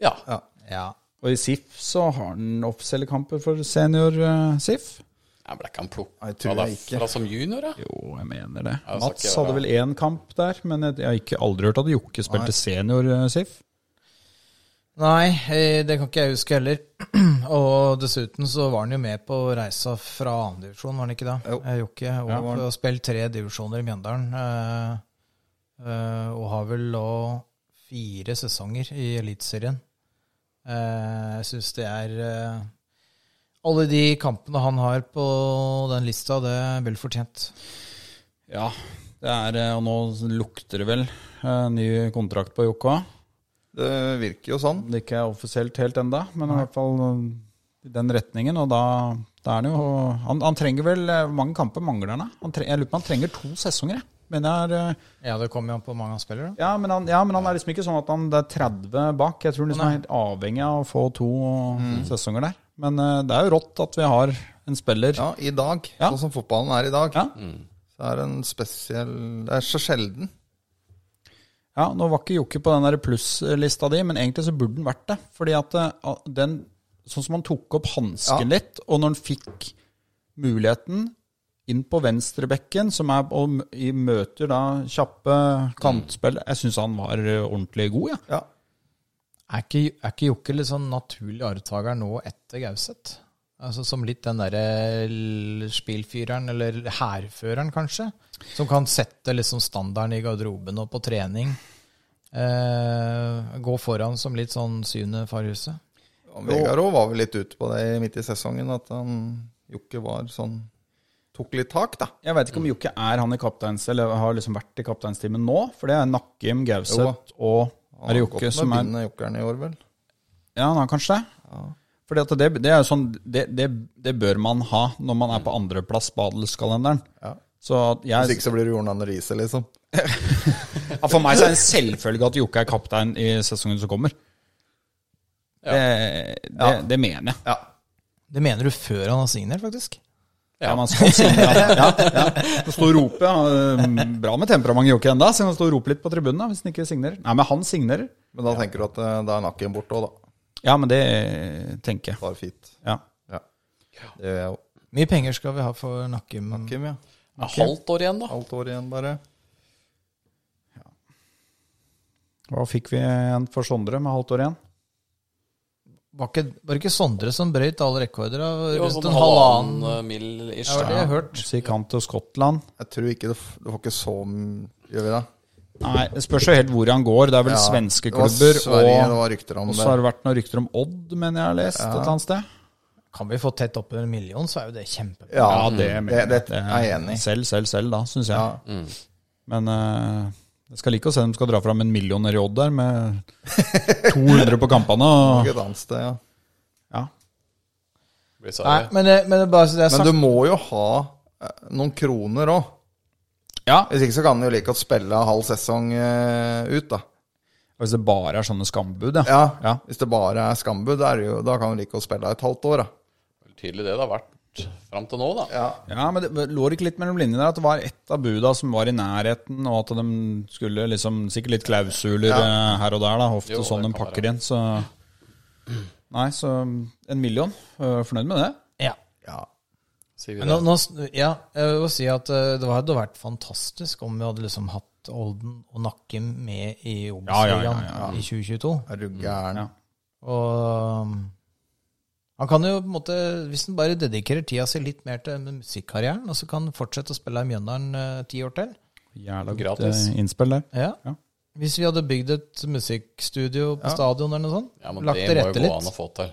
Ja. Ja. Og i SIF så har den offisielle kamper for eh, senior-SIF. Jeg ble ikke han Nei, plukka tror jeg ikke. derfra som junior, ja? Jo, jeg mener det. Ja, det skal Mats ikke være- hadde vel én kamp der, men jeg jeg har ikke aldri hørt at Jokke spilte eh, senior-SIF. Nei, eh, det kan ikke jeg huske heller. Og dessuten så var han jo med på reisa fra annen divisjon, var han ikke da? Jo. Eh, Jokke. Og var han. og spilt tre divisjoner i Mjøndalen. eh, eh, og har vel nå fire sesonger i Eliteserien. Eh, Jeg syns det er eh, Alle de kampene han har på den lista, det er vel fortjent. Ja, det er, eh, og nå lukter det vel eh, ny kontrakt på Jokka. Det virker jo sånn. Det er ikke offisielt helt enda, men i hvert fall eh, i den retningen. Og da, da er han jo han, han trenger vel eh, Hvor mange kamper mangler han? da? Han tre, jeg lurer på om han trenger to sesonger, jeg. Men jeg er, eh, Ja, det kommer jo an på hvor mange han spiller, da. ja, men han, ja, men han er liksom ikke sånn at han det er 30 bak. Jeg tror han liksom er helt avhengig av å få to sesonger der. Men eh, det er jo rått at vi har en spiller. Ja, i dag, Ja. sånn som fotballen er i dag, Ja. Mm. så er det en spesiell Det er så sjelden. Ja, nå var ikke Jokke på den der plusslista di, men egentlig så burde den vært det. Fordi at eh, den, sånn som han tok opp hansken litt, og når han fikk muligheten inn på venstrebekken, som er og m- i møter da kjappe kantspill Jeg syns han var eh, ordentlig god, ja. Ja. Er ikke, er ikke Jokke litt sånn naturlig arvtaker nå etter Gauseth? Altså Som litt den derre l- spillfyreren, eller hærføreren kanskje? Som kan sette liksom standarden i garderoben og på trening. Eh, gå foran som litt sånn syvende farhuset. Og Vegard òg var vel litt ute på det midt i sesongen, at han Jokke var sånn Tok litt tak, da. Jeg veit ikke om Jokke er han i kapteins, eller har liksom vært i kapteinstimen nå. For det er Nakkim, Gauseth og er Han har det gått Jokke med som er bindende jokkeren i år, vel. Ja, han har kanskje det. Fordi at det, det er jo sånn det, det, det bør man ha når man er på andreplass på adelskalenderen. Så at Hvis jeg, ikke så blir det Jordan Riise, liksom. ja, for meg så er det en selvfølge at Jokke er kaptein i sesongen som kommer. Det, det, det mener jeg. Ja. Det mener du før han har signert, faktisk? Ja, man skal synge ja, ja, ja. Det står og roper. Ja. eh, Bra med temperament i Jokke enda, så han står og roper litt på tribunen da, hvis han ikke signerer. Nei, men han signerer. Men da tenker du at eh, da er Nakken borte òg, da. Ja, men det eh, tenker jeg. Bare fint. Ja. Ja. Det gjør jeg òg. Mye penger skal vi ha for Nakkim. Kim, ja. Det er Halvt år igjen, da. Halvt år igjen, bare. Hva fikk vi igjen for Sondre med halvt år igjen? Var ikke, var ikke Sondre som brøyt alle rekorder? Av, Det var rundt sånn en halvannen halvannen eh, mil ish. Det var det jeg har hørt. Sikk han til Skottland. Jeg tror ikke det, f- det var ikke så m- Gjør vi det? Nei, det spørs jo helt hvor han går. Det er vel Ja. svenske Det var klubber. Sverige, det og, var rykter om og så det. har det vært noen rykter om Odd, mener jeg har lest et eller annet sted. Kan vi få tett oppunder en million, så er jo det kjempebra. Ja, mm. det, det, det er jeg enig i. Selv, selv, selv, da, syns jeg. Ja. Men eh, jeg skal like å se dem skal dra fram en million ned i Odd der, med 200 på kampene. Og, Ikke Et annet sted, ja. ja. Blir Nei, sorry. men, det- men det er bare så det er Men sagt. du må jo ha eh, noen kroner òg. ja. Hvis ikke så kan du jo like godt spille halv sesong eh, ut, da. Og Hvis det bare er sånne skambud, ja. Ja, Ja. Hvis det bare er skambud, da er det jo, da kan du like godt spille et halvt år, da. eh, Tydelig det det har vært fram til nå, da. Ja, men det lå det ikke litt mellom linjene der at det var ett av buda som var i nærheten, og at de skulle liksom Sikkert litt klausuler eh, her og der, da. Ofte Jo, det sånn de kan pakker være. inn, så Nei, så en million. Eh, Fornøyd med det? Ja. Ja. Sier vi Men det. nå, nå, ja, jeg vil si at eh, det hadde vært fantastisk om vi hadde liksom hatt Olden og Nakkim med i Ja, ja, Obos-ligaen ja, ja, i 2022. Er du gæren? Ja. Og um, han kan jo på en måte, hvis han bare dedikerer tida si litt mer til musikkarrieren, og så kan han fortsette å spille i Mjøndalen eh, ti år til Jævla godt Gratis. eh, innspill der. ja. Ja. Hvis vi hadde bygd et musikkstudio på stadion eller noe sånt, Ja, men lagt det til må jo rette gå an å litt få til.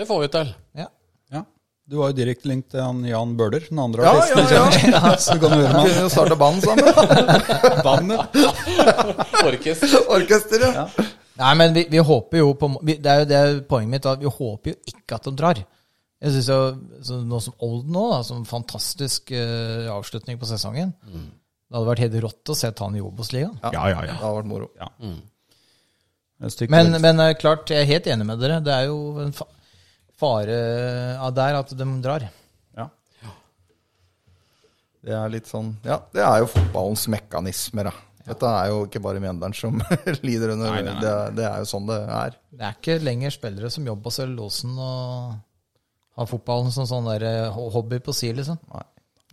Det får vi til. ja. Ja. Du var jo direkte link til han Jan Bøhler, den andre Ja, ja, artisten. ja. Så kan du høre med Kunne jo starte band sammen. han. Bandet. Orkes. Orkester, ja. Nei, men vi, vi håper jo på vi, Det er jo det er poenget mitt, at vi håper jo ikke at de drar. Jeg synes jo, så Noe som Olden nå, da, som fantastisk eh, avslutning på sesongen. Mm. Det hadde vært helt rått å se han i Obos-ligaen. Ja, ja, Det ja. har vært moro. Et stykke Men, rundt. men eh, klart, jeg er helt enig med dere. Det er jo en fa fare av der at de drar. ja. Det er litt sånn Ja, det er jo fotballens mekanismer, da. Dette er jo ikke bare Mjøndalen som lider under Nei, nei, nei. Det, er- det er jo sånn det er. Det er ikke lenger spillere som jobber seg i losen og har fotballen som sånn der eh, ho- hobby på si, liksom.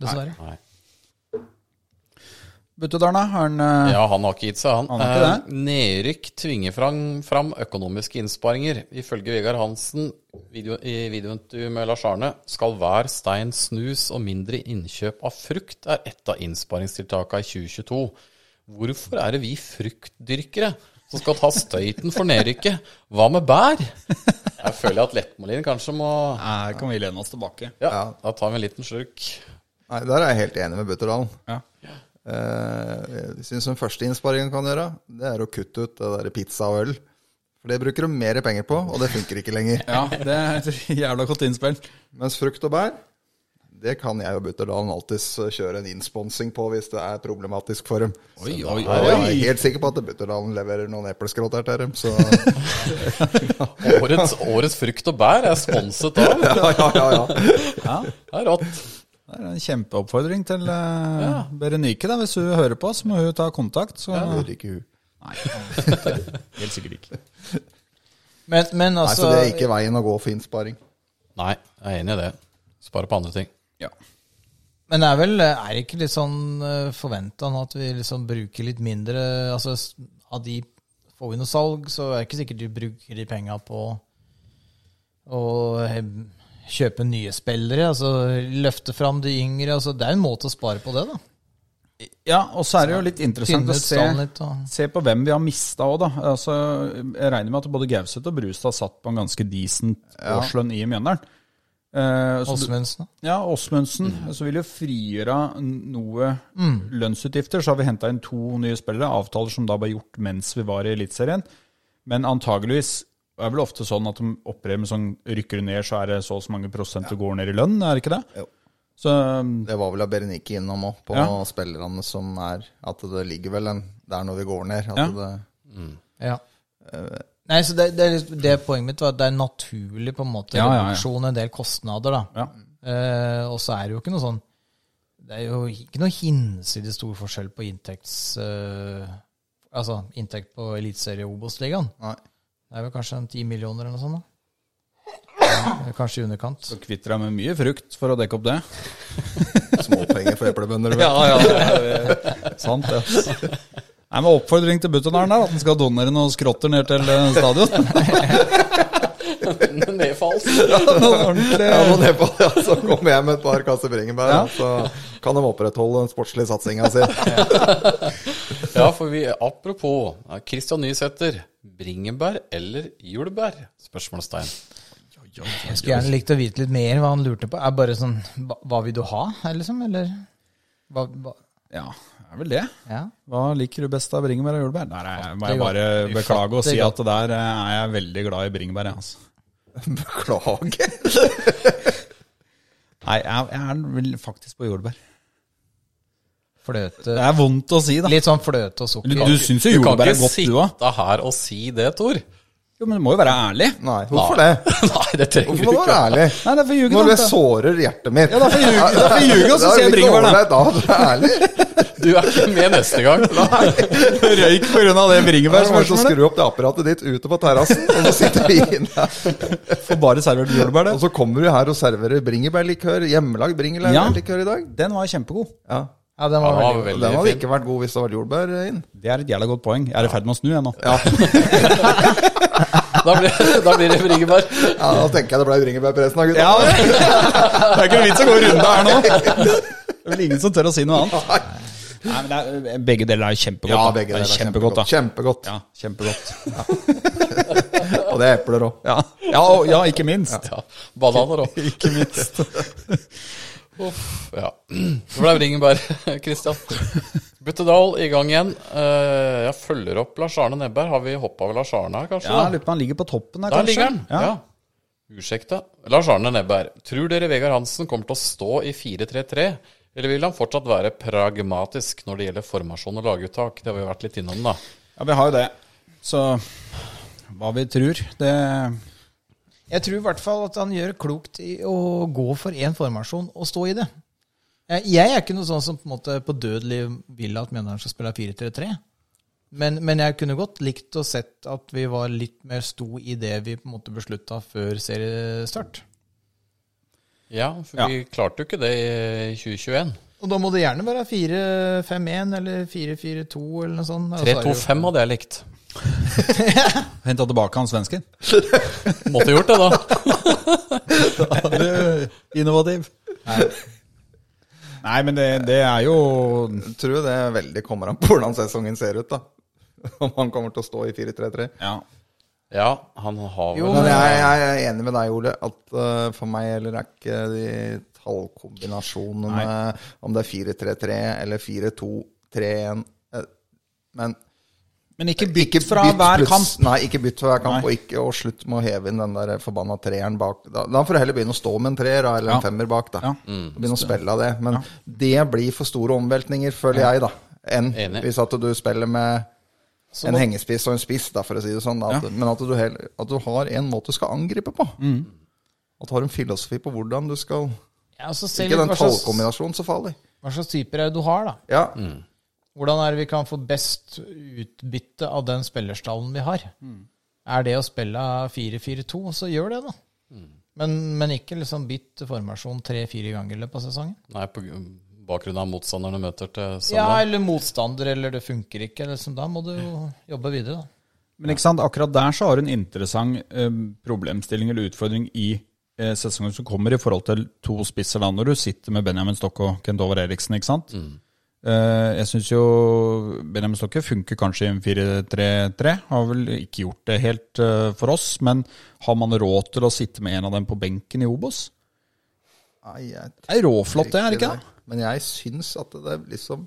Dessverre. Nei. Buttedalen, da? Har han eh, Ja, han har ikke gitt seg, han. Han har ikke Eh, Nedrykk tvinger fram, fram økonomiske innsparinger. Ifølge Vegard Hansen video, i videointervju med Lars Arne skal hver stein snus og mindre innkjøp av frukt er et av innsparingstiltakene i 2022. Hvorfor er det vi fruktdyrkere som skal ta støyten for nedrykket. Hva med bær? Jeg føler at Lettmolin kanskje må Nei, kan vi lene oss tilbake. Ja, da tar vi en liten slurk. Nei, der er jeg helt enig med Butterdalen. Ja. Eh, jeg syns den første innsparingen kan gjøre, det er å kutte ut det der pizza og øl. For det bruker de mer penger på, og det funker ikke lenger. Ja, det er et jævla godt innspill. Mens frukt og bær, det kan jeg og Butterdalen alltids eh, kjøre en innsponsing på hvis det er problematisk for dem. Oi, oi, Og oi. Jeg er helt sikker på at Butterdalen leverer noen epleskrot her til dem, så Årets, årets frukt og bær er sponset av. ja, ja, ja, ja. Det er rått. Det er en kjempeoppfordring til eh, Berenike. Da. Hvis hun hører på, så må hun ta kontakt. Så. Hører ikke hun. Helt sikkert ikke. Men, men Nei, altså så det er ikke veien å gå for innsparing. Nei, jeg er enig i det. Spare på andre ting. Ja. Men det er vel er det ikke litt sånn forventa nå at vi liksom bruker litt mindre Altså s- av de Får vi noe salg, så er det ikke sikkert du bruker de penga på å he- kjøpe nye spillere. Altså løfte fram de yngre. Altså det er en måte å spare på det, da. ja, og så er det jo litt interessant Finne å ut se, stallen litt og se på hvem vi har mista òg, da. Altså, jeg regner med at både Gauseth og Brustad satt på en ganske decent årslønn i Mjøndalen. Eh, så du- Åsmundsen. Ja, Åsmundsen. Så vil jo frigjøre noe lønnsutgifter. Så har vi henta inn to nye spillere, avtaler som da ble gjort mens vi var i Eliteserien. Men antageligvis er vel ofte sånn at de opererer med sånn rykker du ned, så er det så og så mange prosent du går ned i lønn, er det ikke det? Jo. Så mm, Det var vel av Berenike innom òg, på Ja. spillerne som er At det ligger vel en der når vi går ned. At Ja. det, Ja. Eh, Nei, så det, det, er liksom- det poenget mitt var at det er naturlig på en måte Ja, ja, ja. reduksjon, en del kostnader, da. ja. Eh, og så er det jo ikke noe sånn Det er jo ikke noe hinsides stor forskjell på inntekts... eh, altså inntekt på Eliteserie Obos-ligaen. nei. Det er vel kanskje en ti millioner eller noe sånt, da. Eller Kanskje i underkant. Så kvitter jeg med mye frukt for å dekke opp det. Småpenger for eplebønder. vet du. ja, Sant, det. ass. Nei, men Oppfordring til Butternaren er at han skal donere noen skrotter ned til eh, stadion. Nedfalls. Noen ordentlig Ja, må ned på det, ja, så kommer jeg med et par kasser bringebær, og så kan de opprettholde den sportslige satsinga si. Ja, for vi, apropos ja, Christian Nysæter. Bringebær eller jordbær? Spørsmålstegn. Jeg skulle gjerne likt å vite litt mer hva han lurte på. Er bare sånn Hva, hva vil du ha, her, liksom? Eller hva, hva Ja, det er vel det. Ja. Hva liker du best av bringebær og jordbær? Der er, jeg- må jeg Fattig bare godt. beklage og si Fattig at der eh, er jeg veldig glad i bringebær. jeg, Altså. Beklager. Nei, jeg, jeg er vel faktisk på jordbær. Det Fløte er vondt å si, da. Litt sånn fløte og Du, sukker. du syns jo Du kan jordbær er ikke godt, du òg. sitte her og si det, Tor. Jo, men du må jo være ærlig. Nei, hvorfor det? Nei, det trenger Hvorfor du må du ikke. være ærlig? Nei, derfor ljuger Når du. det sårer hjertet mitt. Ja, derfor ljuger- derfor ljuger jeg, så sier jeg bringebær, da. Da er det ærlig. Du er ikke med neste gang. Røyk pga. det Vær så snill, bringebærspørsmålet. skru opp det apparatet ditt ute på terrassen, og så sitter vi inne. Får bare servert jordbær, Og det. så kommer du her og serverer bringebærlikør, hjemmelagd bringebærlikør i dag. Den var kjempegod. Ja. Ja, den Ja, var det var veldig god. Den veldig hadde fin. ikke vært god hvis det var jordbær inn. Det er et jævla godt poeng. Jeg er i ferd med å snu, jeg nå. Da blir, da blir det bringebær. Ja, Da tenker jeg det ble bringebærpressen da, gutta. Ja, det er ikke noe vits å gå runde her nå. Det er vel ingen som tør å si noe annet. Nei, men det er, eh, begge deler er kjempegodt. da. begge Det er deler. Kjempegodt, da. Kjempegodt. Ja, kjempegodt. Og det er epler òg. Ja, ja, og, ja ikke minst. Ja, bananer òg. Ikke minst. Uff, ja. Det ble bringebær, Kristian. Buttedal i gang igjen. Eh, Jeg følger opp Lars Arne Nebberg. Har vi hoppa over Lars Arne her, kanskje? Ja, jeg da? lurer på om han ligger på toppen der, Der kanskje. ligger han. Ja. Ja. Ursekta. Lars Arne Nebberg, tror dere Vegard Hansen kommer til å stå i 4-3-3? Eller vil han fortsatt være pragmatisk når det gjelder formasjon og laguttak? Det har vi vært litt innom, da. ja, vi har jo det. Så hva vi tror, det Jeg tror i hvert fall at han gjør klokt i å gå for én formasjon og stå i det. Jeg jeg er ikke noe sånn som på, en måte på dødelig vil at Mjøndalen skal spille 4-3-3. Men, men jeg kunne godt likt å sett at vi var litt mer sto i det vi på en måte beslutta før seriestart. Ja, for Ja. vi klarte jo ikke det i 2021. Og da må det gjerne være 4-5-1 eller 4-4-2 eller noe sånt. Og så er det jo- 3-2-5 hadde jeg likt. Henta tilbake han svensken. Måtte gjort det, da. Innovativ. Nei, men det, det er jo Tror det veldig kommer an på hvordan sesongen ser ut, da. om han kommer til å stå i 4-3-3. Ja. Ja, han har vel Men jeg, jeg er enig med deg, Ole, at eh, for meg gjelder det ikke de tallkombinasjonene om det er 4-3-3 eller 4-2-3-1. eh, Men Men ikke bytt ikke fra bytt hver pluss- kamp. Nei, ikke bytt fra hver kamp, Nei. og ikke og slutt med å heve inn den der forbanna treeren bak. Da, da får du heller begynne å stå med en treer da, eller en Ja. femmer bak. da. Ja. Og Begynne å spille av det. Men det blir for store omveltninger, føler jeg, da, enn Enig. hvis at du spiller med Så en må- hengespiss og en spiss, da, for å si det sånn. Da, at, Men at du, heller, at du har en måte du skal angripe på. Mm. At du har en filosofi på hvordan du skal Ja, så se Ikke litt den hva slags, tallkombinasjonen så farlig. hva slags typer er det du har, da. Ja. Hvordan er det vi kan få best utbytte av den spillerstallen vi har? Er det å spille 4-4-2, så gjør det, da. Men, men ikke liksom bytt formasjon tre-fire ganger i løpet av sesongen. Nei, på bakgrunn av motstanderne møter til Ja, søndag. eller motstander, eller det funker ikke. Liksom, da må du jo jobbe videre, da. Men ikke sant, akkurat der så har du en interessant eh, problemstilling eller utfordring i eh, sesongen som kommer i forhold til to spisser da, når du sitter med Benjamin Stokk og Kent Over Eriksen, ikke sant? Mm. Eh, jeg syns jo Benjamin Stokke funker kanskje i en 4-3-3. Har vel ikke gjort det helt eh, for oss, men har man råd til å sitte med en av dem på benken i Obos? Nei, jeg Det er råflott, det, er det ikke det? Men jeg syns at det liksom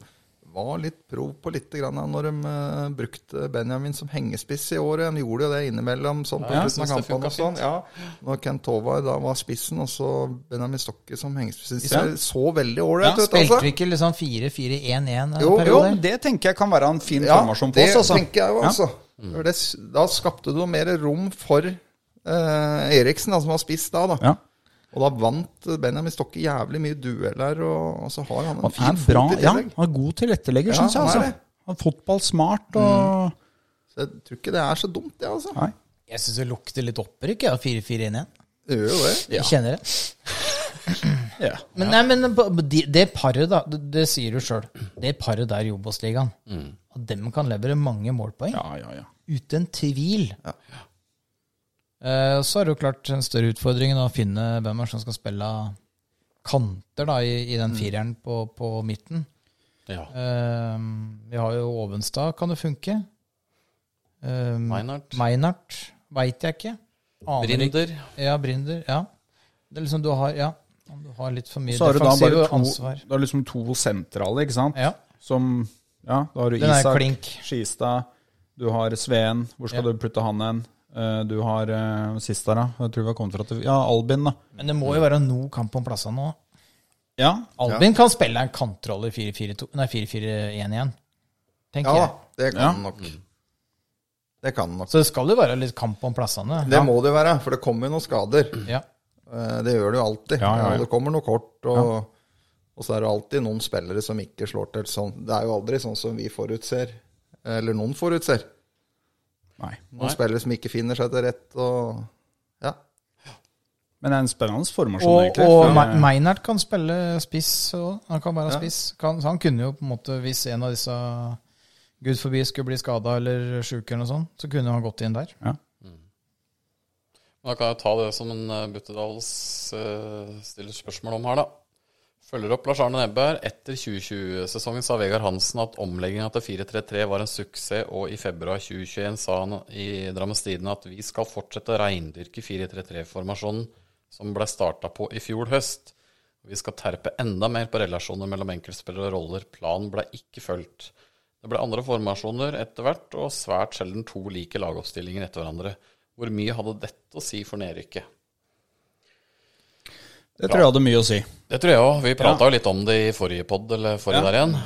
var litt prov på litt grann av når de eh, brukte Benjamin som hengespiss i året. De gjorde jo det innimellom sånn på Ja, jeg slutten av syns det kampene funka og sånn. Ja, når Kent Håvard da var spissen, og så Benjamin Stokke som hengespiss. Det ser så veldig Ja, ålreit ut, Spilte altså. vi ikke liksom 4-4-1-1 en Jo, Jo, periode? men det tenker jeg kan være en fin Ja, formasjon for det oss, altså. tenker jeg jo, Ja. altså. For Det, s- da skapte du mer rom for eh, Eriksen, da, som var spiss da. da. Ja. Og da vant Benjamin Stokke jævlig mye dueller, og, og så har han en Han fin er bra, fot i ja, tillegg. han er god tilrettelegger, Ja, syns jeg. han er Altså. det. Mm. Han er fotballsmart og Så jeg tror ikke det er så dumt, det, altså. Nei. Jeg syns det lukter litt opprykk av 4-4-1-1. Det gjør jo det. Jeg kjenner det. Ja. Men, nei, men på- på de- det paret, da. Det, det sier du sjøl. Det paret der i Obos-ligaen. At dem kan levere mange Mm. målpoeng. ja, ja, ja. Uten tvil. Eh, Så er det jo klart en større utfordring da, å finne hvem er det som skal spille kanter da, i, i den Mm. fireren på, på midten. Ja. Eh, vi har jo Ovenstad, kan det funke? Eh, Meinhardt. Meinhardt veit jeg ikke. Aner ikke. Brinder. Ja, Brinder. Ja. Det er liksom du har, ja. du har litt for mye Så har du da bare defensive to, ansvar. det er liksom to sentrale, ikke sant? Ja. Som Ja, da har du Den er Isak, klink. Skistad, du har Sveen. Hvor skal Ja. du putte han hen? Eh, Du har eh, sist der, da. Jeg tror vi har kommet fra til Ja, Albin, da. Men det må jo være noe kamp om plassene nå. Ja. Albin kan spille en kantrolle i 4-4-2 Nei, 4-4-1 igjen, Ja tenker da, jeg. det kan Ja. han nok. Det kan han nok. Så det skal jo være litt kamp om plassene. Det må det jo være, for det kommer jo noen skader. Ja. Eh, Det gjør det jo alltid. Ja, ja, ja. Og Det kommer noe kort, og, og så er det alltid noen spillere som ikke slår til sånn. Det er jo aldri sånn som vi forutser, eller noen forutser. Nei. Noen spillere som ikke finner seg til rett, og ja. Men det er en spennende formasjon, Og, egentlig. og for- eh, Me- Meinert kan spille spiss òg. Han kan være spiss. Kan, så han kunne jo på en måte, hvis en av disse gud forbi skulle bli skada eller sjuk eller noe sånt, så kunne han gått inn der. Da kan jeg ta det som en eh, Buttedals eh, stiller spørsmål om her, da. Følger opp Lars Arne Nebberg. Etter 2020-sesongen sa Vegard Hansen at omlegginga til 4-3-3 var en suksess, og i februar 2021 sa han i Drammens Tidende at vi skal fortsette å reindyrke 4-3-3-formasjonen som ble starta på i fjor høst. Vi skal terpe enda mer på relasjoner mellom enkeltspillere og roller. Planen ble ikke fulgt. Det ble andre formasjoner etter hvert, og svært sjelden to like lagoppstillinger etter hverandre. Hvor mye hadde dette å si for nedrykket? Det tror jeg hadde mye å si. Det tror jeg òg. Vi prata jo litt om det i forrige pod, eller forrige der igjen.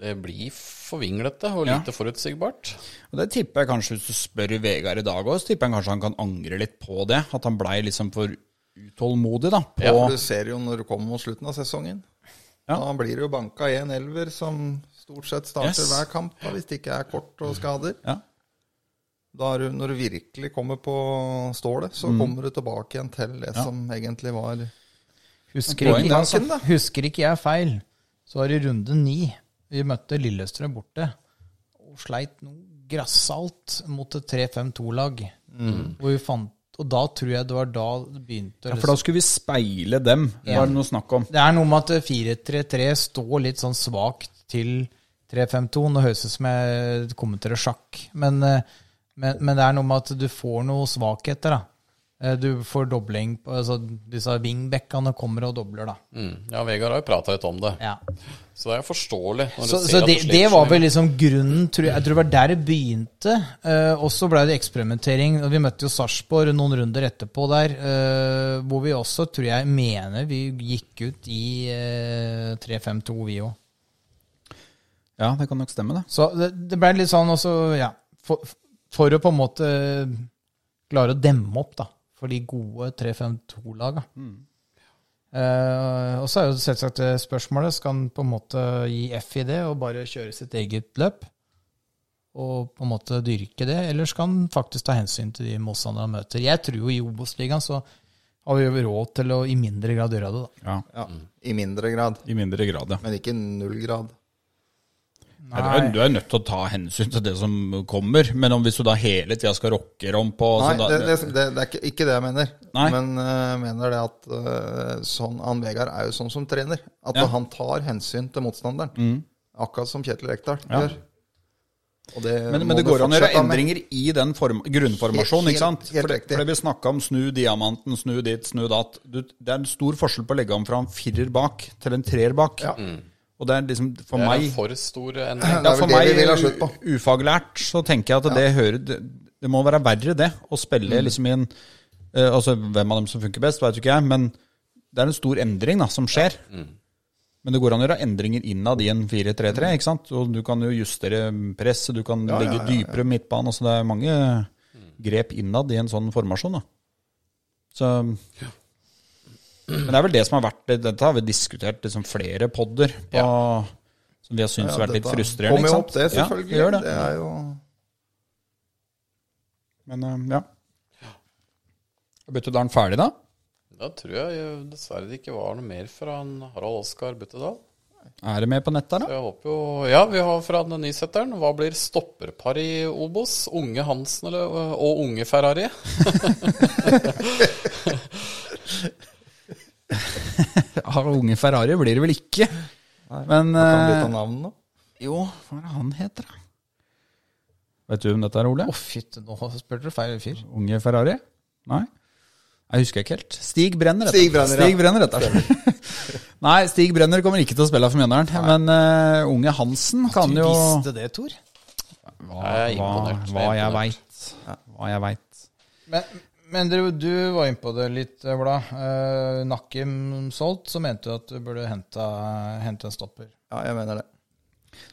Det blir forvinglete og Ja. lite forutsigbart. Og Det tipper jeg kanskje hvis du spør Vegard i dag òg, så tipper jeg kanskje han kan angre litt på det. At han blei liksom for utålmodig, da. På, Du ser jo når du kommer mot slutten av sesongen. Ja. Da blir det jo banka en elver som stort sett starter Yes. hver kamp, da, hvis det ikke er kort og skader. Ja. Da er du, når du virkelig kommer på stålet, Mm. så kommer du tilbake igjen til det som egentlig var Husker Poeng, det, ikke, altså. jeg, husker ikke jeg feil, så var det runde ni. Vi møtte Lillestrøm borte og sleit noe grassalt mot et 3-5-2-lag. Hvor vi fant Og da tror jeg det var da det begynte Mm. å Ja, for da skulle vi speile dem, var det noe snakk om. Det er noe med at 4-3-3 står litt sånn svakt til 3-5-2. Nå høres det ut som jeg kommenterer sjakk, men, eh, men, men det er noe med at du får noen svakheter. da. Eh, Du får dobling på altså, Disse wingbackene kommer og dobler, da. Mm. Ja, Vegard har jo prata litt om det, så det er forståelig. Når Så, du ser så at det, du sliter det var så mye. vel liksom grunnen, tror jeg. Jeg tror det var der det begynte. Eh, og så ble det eksperimentering. og Vi møtte jo Sarpsborg noen runder etterpå der, eh, hvor vi også, tror jeg, mener vi gikk ut i eh, 3-5-2, vi òg. Ja, det kan nok stemme, det. Så det, det ble litt sånn også, ja for, for å på en måte klare å demme opp, da. For de gode 3-5-2-laga. Eh, og så er jo selvsagt det spørsmålet skal han på en måte gi F i det og bare kjøre sitt eget løp? Og på en måte dyrke det, eller skal han faktisk ta hensyn til de motstanderne han møter? Jeg tror jo i Obos-ligaen så har vi jo råd til å i mindre grad gjøre det, da. Ja, Ja, I mindre grad, I mindre grad, ja. men ikke null grad. Nei, Du, er, du er nødt til å ta hensyn til det som kommer, men om hvis du da hele tida skal rocke om på Nei, så da, det, det, det, det er ikke, ikke det jeg mener. Nei. Men jeg mener det at eh, sånn, han Vegard er jo sånn som trener. At Ja. Mm. han tar hensyn til motstanderen. Akkurat som Kjetil Rekdal gjør. Og det Men, Eh, må men det du går an å gjøre fortsette med. endringer i den form, grunnformasjonen, Helt- ikke sant? helt For det, riktig. for det vi snakka om snu diamanten, snu dit, snu datt. Du, det er en stor forskjell på å legge om fra en firer bak til en treer bak. Ja. Og det er liksom for Mm. Det er meg en for stor endring. Det ja, er vel For det vi meg vil ha slutt på. u- ufaglært så tenker jeg at det hører det, det må være verre, det, å spille Mm. liksom i en eh, Altså hvem av dem som funker best, veit jo ikke jeg, men det er en stor endring da, som skjer. Men det går an å gjøre endringer innad i en 4-3-3. ikke sant? Og du kan jo justere presset, du kan legge dypere midtbane. altså Det er mange grep innad i en sånn formasjon. da. Så... Men det er vel det som har vært Dette har vi diskutert liksom flere podder på, som vi har syntes vært litt Dette frustrerende. ikke Kommer jo sant? opp, det, selvfølgelig. Ja, gjør det. det. er jo Men eh, ja. Bytte da er den ferdig, da? Da tror jeg eh, dessverre det ikke var noe mer fra en Harald Oskar Buttedal. Er det med på nett der, da? Jeg håper jo Ja, vi har fra den nysetteren. Hva blir stopperpar i Obos? Unge Hansen eller, og unge Ferrari? Ja, unge Ferrari blir det vel ikke. Men Kan han bytte eh, navn nå? Jo, hva er det han heter, da? Vet du hvem dette er, Ole? Å, fytte, nå spurte du feil fyr. Unge Ferrari? Nei? Jeg husker ikke helt. Stig Brenner, heter Stig han. Brenner, ja. Stig Brenner heter han. Nei, Stig Brenner kommer ikke til å spille for Mjøndalen. Men eh, unge Hansen kan Du jo visste det, Tor. hva, Jeg er imponert. hva, hva jeg Jeg veit. Hva jeg veit. Men, men du, du var inne på det litt, Ola. Eh, Nakkim solgt, så mente du at du burde hente, hente en stopper. Ja, jeg mener det.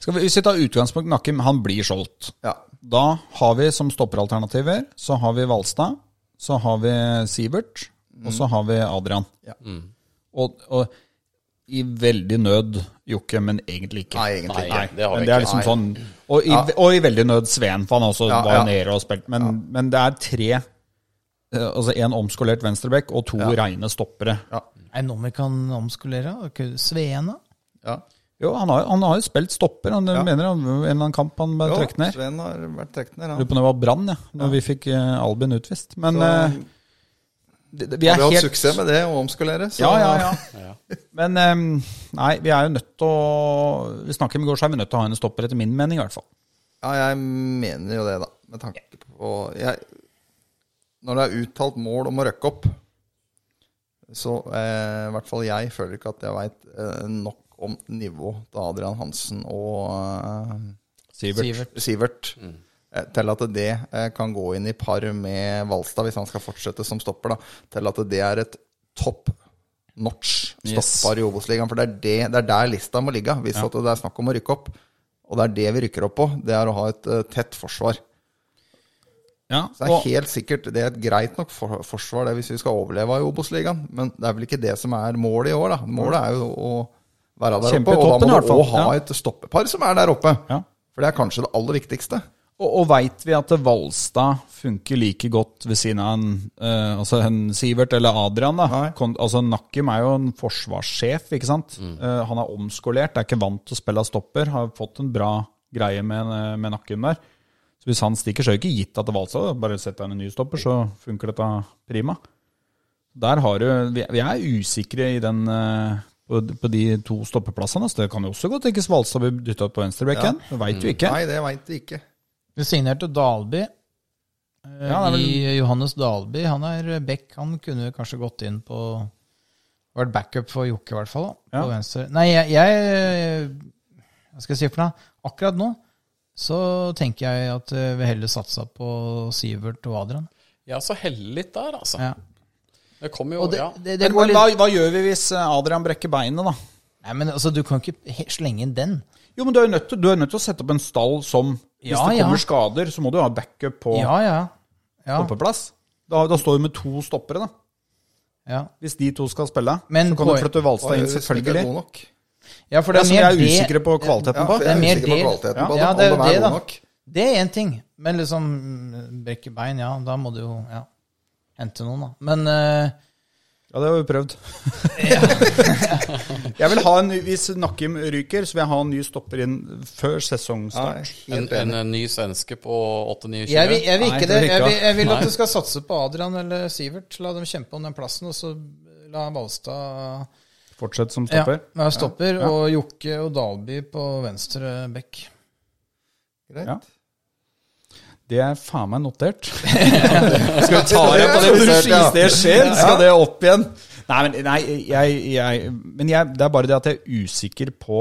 Skal vi, Hvis vi tar utgangspunkt i Nakkim, han blir solgt. Ja. Da har vi som stopperalternativer, så har vi Valstad, så har vi Sivert, og så har vi Adrian. Mm. Ja. Mm. Og, og i veldig nød Jokke, men egentlig ikke. Nei, egentlig ikke. Nei, det har vi men det er ikke. liksom sånn, og, i, og i veldig nød Sveen, for han også Ja, var ja. nede og spilte. Men, men det er tre eh, Altså én omskolert venstreback og to reine stoppere. Er det noe vi kan omskolere? Ok, Sveen, da? Ja. Jo, han har, han har jo spilt stopper. Han mener han, en eller annen kamp han ble Jo, trukket ned. Sven har vært trukket Jeg ned, Lurer han. på om det var Brann, ja, når vi fikk eh, Albin utvist. Men eh, det- det- vi Vi er har hatt helt suksess med det å omskalere. Så Ja, ja, ja. Men eh, nei, vi er jo nødt til å Vi snakker om i går, så er vi nødt til å ha en stopper, etter min mening i hvert fall. Ja, jeg mener jo det, da. Med tanke på jeg, Når det er uttalt mål om å røkke opp, så eh, i hvert fall jeg føler ikke at jeg veit eh, nok om nivå til Adrian Hansen og eh, Sivert. Sivert eh, til at det eh, kan gå inn i par med Valstad, hvis han skal fortsette som stopper, da, til at det er et topp notch Yes. stoppar i Obos-ligaen. For det er, det, det er der lista må ligge, hvis at det er snakk om å rykke opp. Og det er det vi rykker opp på, det er å ha et eh, tett forsvar. Ja, Så det er og, helt sikkert det er et greit nok for, forsvar det hvis vi skal overleve i Obos-ligaen, men det er vel ikke det som er målet i år, da. Målet er jo å være der Kjempe oppe, og toppen i da må hvert du fall, også ha ja. et stoppepar som er der oppe. Ja. For det er kanskje det aller viktigste. og, og veit vi at Valstad funker like godt ved siden av en, eh, altså en Sivert eller Adrian? da Nei. Kon, altså Nakkim er jo en forsvarssjef, ikke sant? Mm. Eh, han er omskolert, er ikke vant til å spille av stopper. Har fått en bra greie med, eh, med Nakkim der. Så hvis han stikker, så er det ikke gitt at Valstad bare setter han en ny stopper, så funker dette prima. Der har du Vi vi er usikre i den eh, på, på de to stoppeplassene. Så det kan jo også godt ikke Svalstad blir dytta opp på venstrebekken. Det veit du ikke. Nei, det veit vi ikke. Vi signerte Dalby. eh, Ja, det er vel- I Johannes Dalby. Han er back. Han kunne kanskje gått inn på Vært backup for Jokke, i hvert fall. Da, Ja. på venstre. Nei, jeg, jeg Hva skal jeg si for noe? Akkurat nå så tenker jeg at eh, vi heller satsa på Sivert og Adrian. Ja, så helle litt der, altså. Ja. Det kommer jo Og det, ja. det, det Men, går men hva, litt hva gjør vi hvis eh, Adrian brekker beinet, da? Nei, men altså, du kan ikke he- slenge inn den. Jo, men du er jo nødt til, du er nødt til å sette opp en stall som Hvis Ja, det ja. kommer skader, så må du ha backup på Ja, ja. Ja, stoppeplass. Da, da står du med to stoppere, da. ja. Hvis de to skal spille, Men så kan du poen- flytte Valstad inn, Høyres ikke selvfølgelig. god nok. ja for Det det er som er vi mer er det usikre på kvaliteten Ja, på. for jeg er mer usikker på det. kvaliteten Ja. på Ja, dem, det er det, om de er da. gode nok. Det er én ting, men liksom mm, brekke bein, ja, da må du jo ja, hente noen, da. Men eh, Ja, det har vi prøvd. jeg vil ha en, ny- Hvis Nakkim ryker, så vil jeg ha en ny stopper inn før Ja, sesongstart. En, helt enig. en, ny svenske på 8-9-20. jeg, vil- jeg vil Nei, ikke det det. vil ikke, Jeg vil, da. jeg vil at Nei. du skal satse på Adrian eller Sivert. La dem kjempe om den plassen, og så la Valstad Fortsett som ja, stopper. ja, stopper. Og Jokke og Dalby på venstre bekk. Greit. Ja. Det er faen meg notert. skal vi ta igjen på det hvis Ja. hvis det skjer? Skal det opp igjen? Nei, men, nei, jeg, jeg, men jeg, det er bare det at jeg er usikker på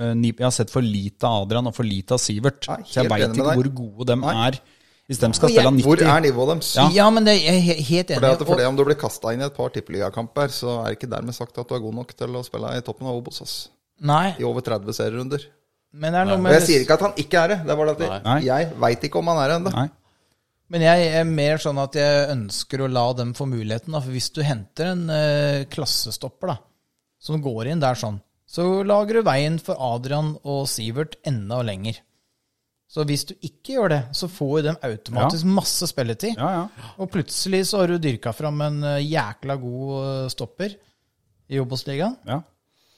eh, ni- Jeg har sett for lite av Adrian og for lite av Sivert. Nei, Så jeg Ah, helt veit enig med ikke hvor deg. gode de er hvis de skal spille av 90. Hvor er nivået deres? Ja, men det, jeg er he- helt For det, enig. at for det om du blir kasta inn i et par tippeligakamper, så er det ikke dermed sagt at du er god nok til å spille i toppen av Obos. ass. og, nei, I over 30 serierunder. men det er noe Og med jeg sier ikke at han ikke er det. Det er bare at jeg, Nei. jeg veit ikke om han er det ennå. Nei. Men jeg er mer sånn at jeg ønsker å la dem få muligheten. Da. For hvis du henter en eh, klassestopper da, som går inn der sånn, så lager du veien for Adrian og Sivert enda lenger. Så hvis du ikke gjør det, så får jo dem automatisk masse spilletid. Ja, ja. Og plutselig så har du dyrka fram en eh, jækla god eh, stopper i Obos-ligaen, ja.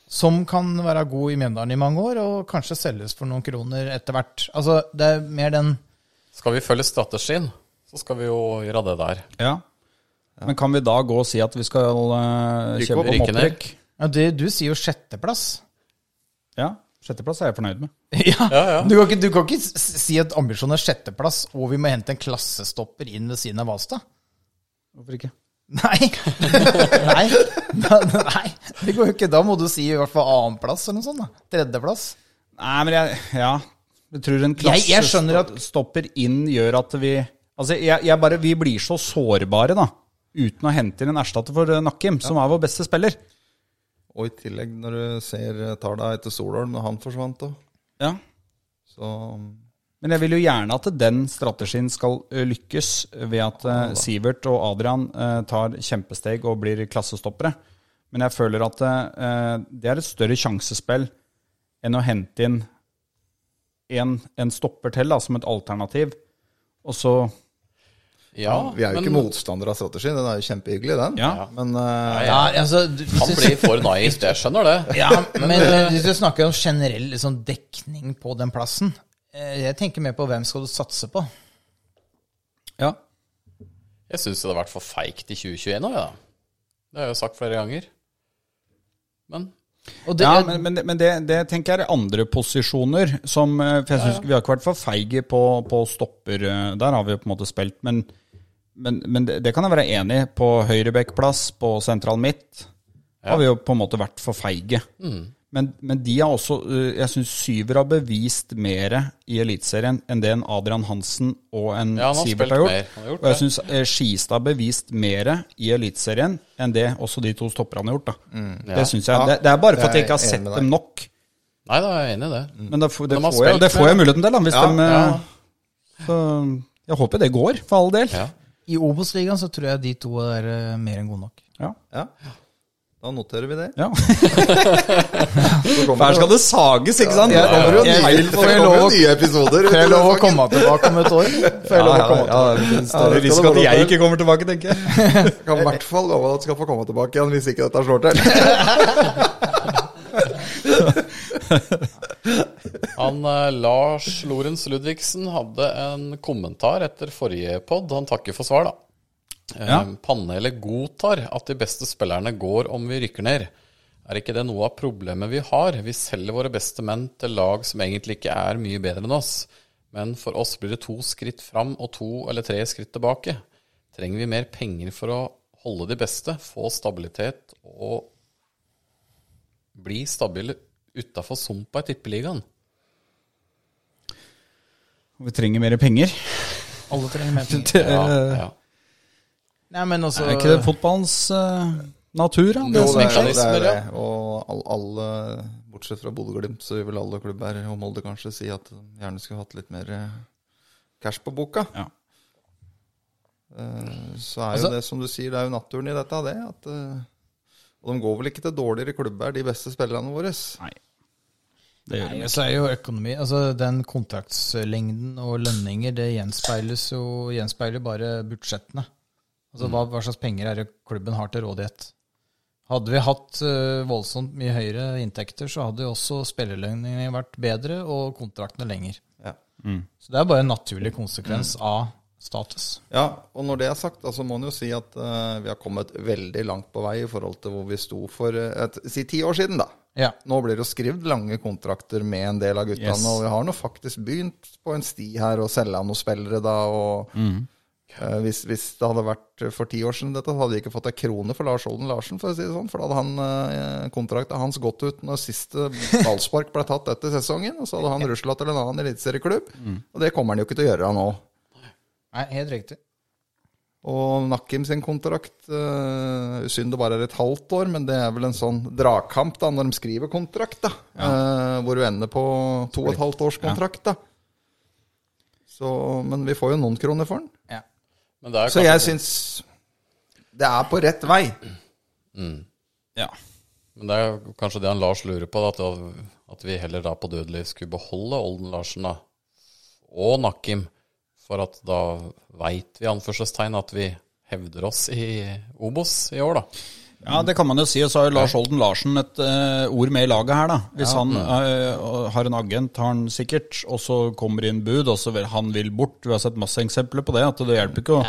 som kan være god i Mjøndalen i mange år, og kanskje selges for noen kroner etter hvert. Altså, det er mer den Skal vi følge strategien, så skal vi jo gjøre det der. ja. Men kan vi da gå og si at vi skal eh, Rykke opp, kjempe om rykke ned. opprykk? ja, det, Du sier jo sjetteplass. Ja. Sjetteplass er jeg fornøyd med. Ja, Ja, ja. Du, kan ikke, du kan ikke s- si at ambisjonen er sjetteplass, og vi må hente en klassestopper inn ved siden av Valstad. Hvorfor ikke? Nei. Nei. Da- Nei. Det går jo ikke. Da må du si i hvert fall annenplass eller noe sånt. da. Tredjeplass. Nei, men jeg Ja. Jeg tror en Jeg- jeg skjønner at- klassestopper inn gjør at vi Altså, jeg, jeg bare Vi blir så sårbare, da. Uten å hente inn en erstatter for eh, Nakkim, som er vår beste spiller. Og i tillegg, når du ser tallene etter Solholm, når han forsvant òg, Ja. så Men jeg vil jo gjerne at den strategien skal ø, lykkes ved at eh, Sivert og Adrian eh, tar kjempesteg og blir klassestoppere. Men jeg føler at eh, det er et større sjansespill enn å hente inn en, en stopper til da, som et alternativ. Og så Ja, Vi er jo ikke men motstandere av strategien, den er jo kjempehyggelig, den. Ja. Men eh, Ja, altså, du, Han blir for naiv, jeg skjønner det. ja, men eh, hvis du snakker om generell liksom, dekning på den plassen eh, Jeg tenker mer på hvem skal du satse på. Ja. Jeg syns det har vært for feigt i 2021 òg, ja. Det har jeg jo sagt flere ganger. Men Og det, ja, men, men, det- men det, det tenker jeg er andre posisjoner. Som, eh, for jeg synes Vi har ikke vært for feige på, på stopper. eh, Der har vi jo på en måte spilt. Men, men, men det, det kan jeg være enig i. På høyrebekkplass, på sentral midt, har vi jo på en måte vært for feige. Mm. Men, men de har også eh, Jeg syns Syver har bevist mer i Eliteserien enn det en Adrian Hansen og en Ja, han har Sivert spilt har mer. gjort. Han har gjort og jeg det. syns Skistad har bevist mer i Eliteserien enn det også de to stopperne har gjort. Da. Det synes jeg. Det, det er bare for at jeg ikke har jeg enig sett med dem nok. nei, da er jeg enig i det. Men det, får- det, Men de har får, jeg, spilt det får med- jeg muligheten til, da, hvis Ja, de eh, ja. Så jeg håper det går, for all del. Ja. I Obos-ligaen så tror jeg de to er eh, mer enn gode nok. Ja. ja. Da noterer vi det. Ja. Så kommer For her det- skal det sages, ikke sant? Ja, det kommer jo Jeg- nye, jeg- det kommer jo nye episoder. Får jeg lov å komme tilbake om et år? Får jeg lov å komme tilbake? Det er risiko at jeg ikke kommer tilbake, tenker jeg. Kan i hvert fall love at du skal få komme tilbake igjen hvis ikke dette slår til. Han eh, Lars Lorentz Ludvigsen hadde en kommentar etter forrige pod. Han takker for svar, da. Eh, Ja. Panelet godtar at de beste spillerne går om vi rykker ned. Er ikke det noe av problemet vi har? Vi selger våre beste menn til lag som egentlig ikke er mye bedre enn oss. Men for oss blir det to skritt fram og to eller tre skritt tilbake. Trenger vi mer penger for å holde de beste, få stabilitet og bli stabile utafor sumpa i Tippeligaen? Vi trenger mer penger. Alle trenger mer penger. Det er, Ja, ja. Nei, men også, Er ikke det fotballens eh, natur, da? Jo, Det som det er- skjer? mekanismer, ja. Og all- alle, bortsett fra Bodø-Glimt, så vil vel alle klubber og Molde kanskje si at de gjerne skulle hatt litt mer eh, cash på boka. Ja. Eh, Så er Altså- jo det som du sier, det er jo naturen i dette, det. At, eh, og de går vel ikke til dårligere klubber, de beste spillerne våre. Nei. Det gjør Nei, det. og så er jo økonomi altså Den kontraktslengden og lønninger det gjenspeiles jo, gjenspeiler bare budsjettene. Altså Mm. hva, hva slags penger er det klubben har til rådighet? Hadde vi hatt eh, voldsomt mye høyere inntekter, så hadde jo også spillerlønningene vært bedre og kontraktene lenger. Ja. Så det er bare en naturlig konsekvens Mm. av status. Ja, og når det er sagt, da, så må en jo si at eh, vi har kommet veldig langt på vei i forhold til hvor vi sto for eh, et, si ti år siden, da. Ja. Nå blir det jo skrevet lange kontrakter med en del av guttene, Yes. og vi har nå faktisk begynt på en sti her og selge av noen spillere, da. og eh, hvis, hvis det hadde vært for ti år siden dette, hadde vi ikke fått ei krone for Lars Olden Larsen, for å si det sånn. For da hadde han eh, kontrakta hans gått ut når siste ballspark ble tatt etter sesongen, og så hadde han rusla til en annen eliteserieklubb. Og det kommer han jo ikke til å gjøre nå. Nei, helt riktig. Og Nakim sin kontrakt eh, Synd det bare er et halvt år, men det er vel en sånn dragkamp da når de skriver kontrakt, da. Eh, hvor du ender på to og et halvt års kontrakt, da. Så, men vi får jo noen kroner for den. Ja. Men det er Så kanskje- jeg syns det er på rett vei. Ja. Men det er jo kanskje det han Lars lurer på, da, at, at vi heller da på dødelig skulle beholde Olden Larsen da, og Nakim, for at da veit vi i anførselstegn at vi hevder oss i Obos i år, da. Ja, det kan man jo si. Og så har jo Lars Olden Larsen et eh, ord med i laget her, da. Hvis han Mm. eh, har en agent, har han sikkert, og så kommer inn bud, og så vil han vil bort. Vi har sett masse eksempler på det, at det hjelper ikke å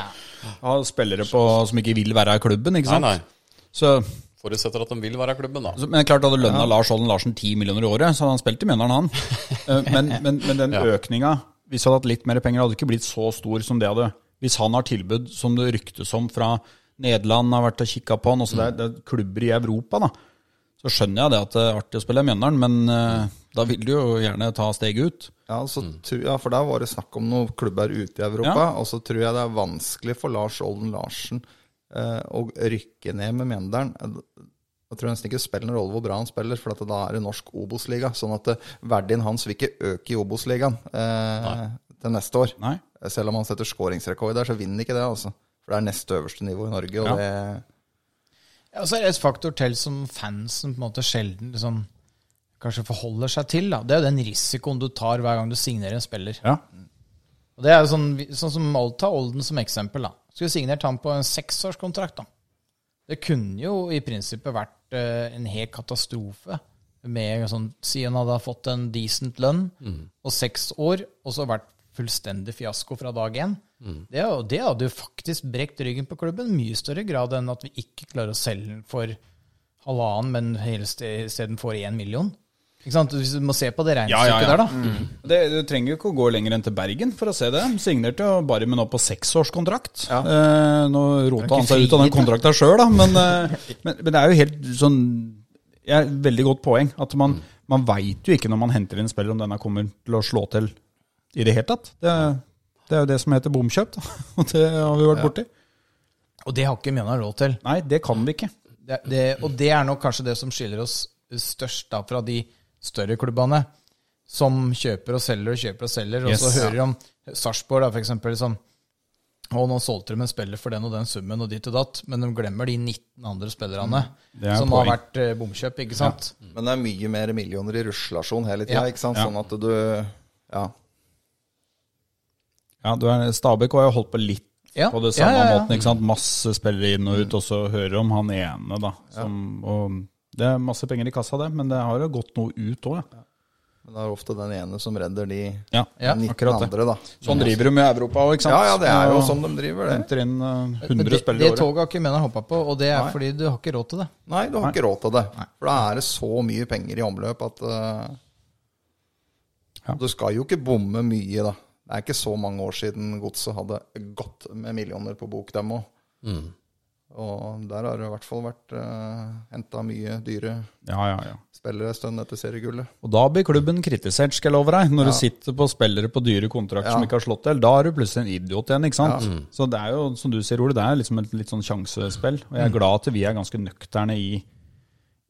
ha spillere på, som ikke vil være i klubben, ikke Nei, sant. nei. Så, Forutsetter at de vil være i klubben, da. så, men klart hadde lønna Lars Olden Larsen 10 millioner i året, så hadde han spilt i Mjøndalen, han. Eh, men, men, men den økninga, hvis han hadde hatt litt mer penger, hadde ikke blitt så stor som det hadde. Hvis han har tilbud som det ryktes om fra Nederland, har vært og kikka på han, og så det, er- det er klubber i Europa, da. Så skjønner jeg det at det er artig å spille i Mjøndalen, men eh, da vil du jo gjerne ta steget ut. Ja, så tror, ja, for der var det snakk om noen klubber ute i Europa, Mm. Ja. og så tror jeg det er vanskelig for Lars Olden Larsen eh, å rykke ned med Mjøndalen. Jeg tror nesten ikke det spiller noen rolle hvor bra han spiller, for at da er det norsk Obos-liga. Sånn at eh, verdien hans vil ikke øke i Obos-ligaen eh, til neste år. Nei. Selv om han setter skåringsrekord der, så vinner ikke det, altså. For det er neste øverste nivå i Norge, og det Ja, og så er det et faktor til som fansen på en måte sjelden liksom, kanskje forholder seg til. Da. Det er jo den risikoen du tar hver gang du signerer en spiller. Ja. Og det er jo sånn, sånn som Malta Olden som eksempel. da. Skulle signert han på en seksårskontrakt. da. Det kunne jo i prinsippet vært eh, en hel katastrofe. med en sånn, Si han hadde fått en decent lønn Mm. og seks år, og så vært fullstendig fiasko fra dag én. Mm. Det, er jo- det hadde jo faktisk brekt ryggen på klubben mye større grad enn at vi ikke klarer å selge den for halvannen, men helst istedenfor én million. Ikke sant? Hvis du må se på det regnestykket ja. Mm. der, da. Det, du trenger jo ikke å gå lenger enn til Bergen for å se det. De Signerte jo bare med nå på seksårskontrakt. Eh, nå rota han seg ut av den kontrakta sjøl, da, men, eh, men, men det er jo helt sånn ja, Veldig godt poeng. At man, man veit jo ikke når man henter inn en spiller om denne kommer til å slå til i det hele tatt. Det, det er jo det som heter bomkjøp, da. og det har vi vært borti. Og det har ikke Mjøndalen råd til. Nei, det kan vi ikke. Det, det, og det er nok kanskje det som skiller oss størst da fra de større klubbene, som kjøper og selger og kjøper og selger. Og så Yes. hører de om Sarpsborg, da, for eksempel, som og nå solgte de en spiller for den og den summen og ditt og datt, men de glemmer de 19 andre spillerne Mm. Det er som poeng. har vært eh, bomkjøp, ikke sant? Men det er mye mer millioner i ruslasjon hele tida, Ja. ikke sant? Mm. Ja. Sånn at du Ja. Ja, du er, Stabæk har jo holdt på litt Ja, på det samme ja, ja, ja. måten. ikke sant? Masse spillere inn og ut, og så hører om han ene, da. Som, og det er masse penger i kassa, det, men det har jo gått noe ut òg. Ja. Men det er jo ofte den ene som redder de Ja, 19 akkurat det. andre, da. Sånn driver de med Europa òg, ikke sant? Ja, ja, det er jo Og sånn de driver, det. Henter inn eh, Men 100 det, spillere i det året. toget har ikke Mener hoppa på, og det er Nei. fordi du har ikke råd til det. Nei, du har ikke råd til det. For da er det så mye penger i omløp at eh, Ja. Du skal jo ikke bomme mye, da. Det er ikke så mange år siden godset hadde gått med millioner på bok, dem òg. Og der har det i hvert fall vært uh, henta mye dyre Ja, ja, ja. spillere en stund etter seriegullet. Og da blir klubben kritisert, skal jeg love deg. Når du sitter på spillere på dyre kontrakter som ikke har slått til, da er du plutselig en idiot igjen, ikke sant. Så det er jo, som du sier, Ole, det er liksom et litt sånn sjansespill. Og jeg er glad at vi er ganske nøkterne i,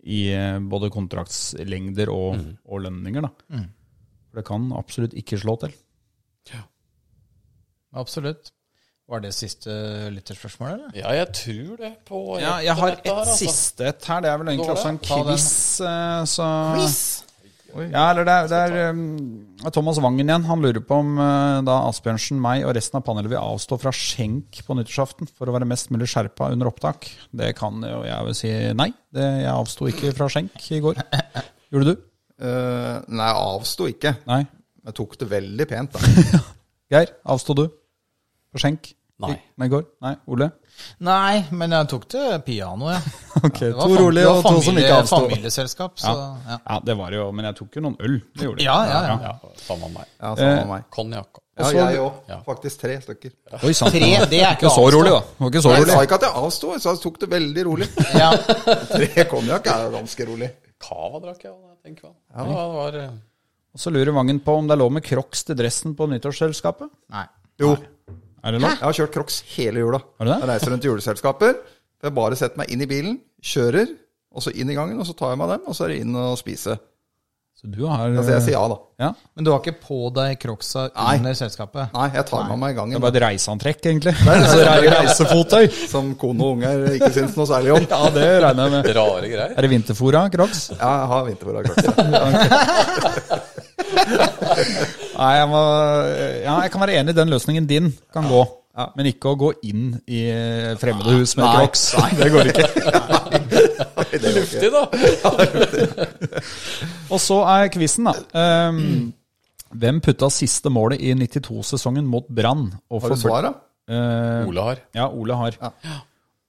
i eh, både kontraktslengder og, og lønninger, da. For det kan absolutt ikke slå til. Absolutt. Var det siste lytterspørsmål, eller? Ja, jeg tror det på dette her, altså. et her. Det er vel egentlig også en Ta den. eh, quiz, quiz? Ja, eller det er, det er um, Thomas Wangen igjen. Han lurer på om uh, da Asbjørnsen, meg og resten av panelet vil avstå fra skjenk på nyttårsaften for å være mest mulig skjerpa under opptak. Det kan jo jeg vel si nei. Det, jeg avsto ikke fra skjenk i går. Gjorde du? Eh, nei, jeg avsto ikke. Nei. Jeg tok det veldig pent, da. Geir, avsto du fra skjenk? Nei. I- I går? Nei. Ole? Nei, men jeg tok det piano, jeg. Ok, Det var to fam- rolig det var og to som familie- ikke avsto. Familieselskap, så ja. Ja, det var det jo, men jeg tok jo noen øl. Det gjorde jeg. Ja, ja, ja. Ja, samme meg. Ja, samme med meg. Konjakk. Ja, Eh, så- jeg òg. Ja. Faktisk tre stykker. Oi sant. Tre, det er ikke Ikke så avstå. rolig, da. Det var ikke så Nei, jeg rolig. sa ikke at jeg avsto, jeg sa jeg tok det veldig rolig. Ja. Tre konjakk er jo ganske rolig. Cava drakk jeg, da, tenker jeg. Ja, det var eh, Og så lurer Vangen på om det er lov med crocs til dressen på nyttårsselskapet. Nei. Jo, Er det lov? jeg har kjørt crocs hele jula. Har du det? Jeg reiser rundt til juleselskaper. Jeg bare setter meg inn i bilen, kjører, og så inn i gangen, og så tar jeg meg dem, og så er det inn og spise. Så du har eh, Altså, jeg sier ja, da. Ja. Men du har ikke på deg crocsa Nei. under selskapet? Nei, jeg tar med meg i Det er gangen, bare et reiseantrekk, egentlig. Altså, re- Reisefotøy. som kone og unger ikke syns noe særlig om. Ja, det regner jeg med. rare greier. Er det vinterfora, crocs? Ja, jeg har vinterfora crocs. Nei, jeg, må, ja, jeg kan være enig i den løsningen din kan gå. Men ikke å gå inn i fremmede hus med crocs. Det går ikke. Det er jo ikke- Luftig, da. Og så er quizen, da. Mm. Um, hvem putta siste målet i 92-sesongen mot Brann? og Har du forble- svar, da? Eh, Ole har. Ja, Ole har.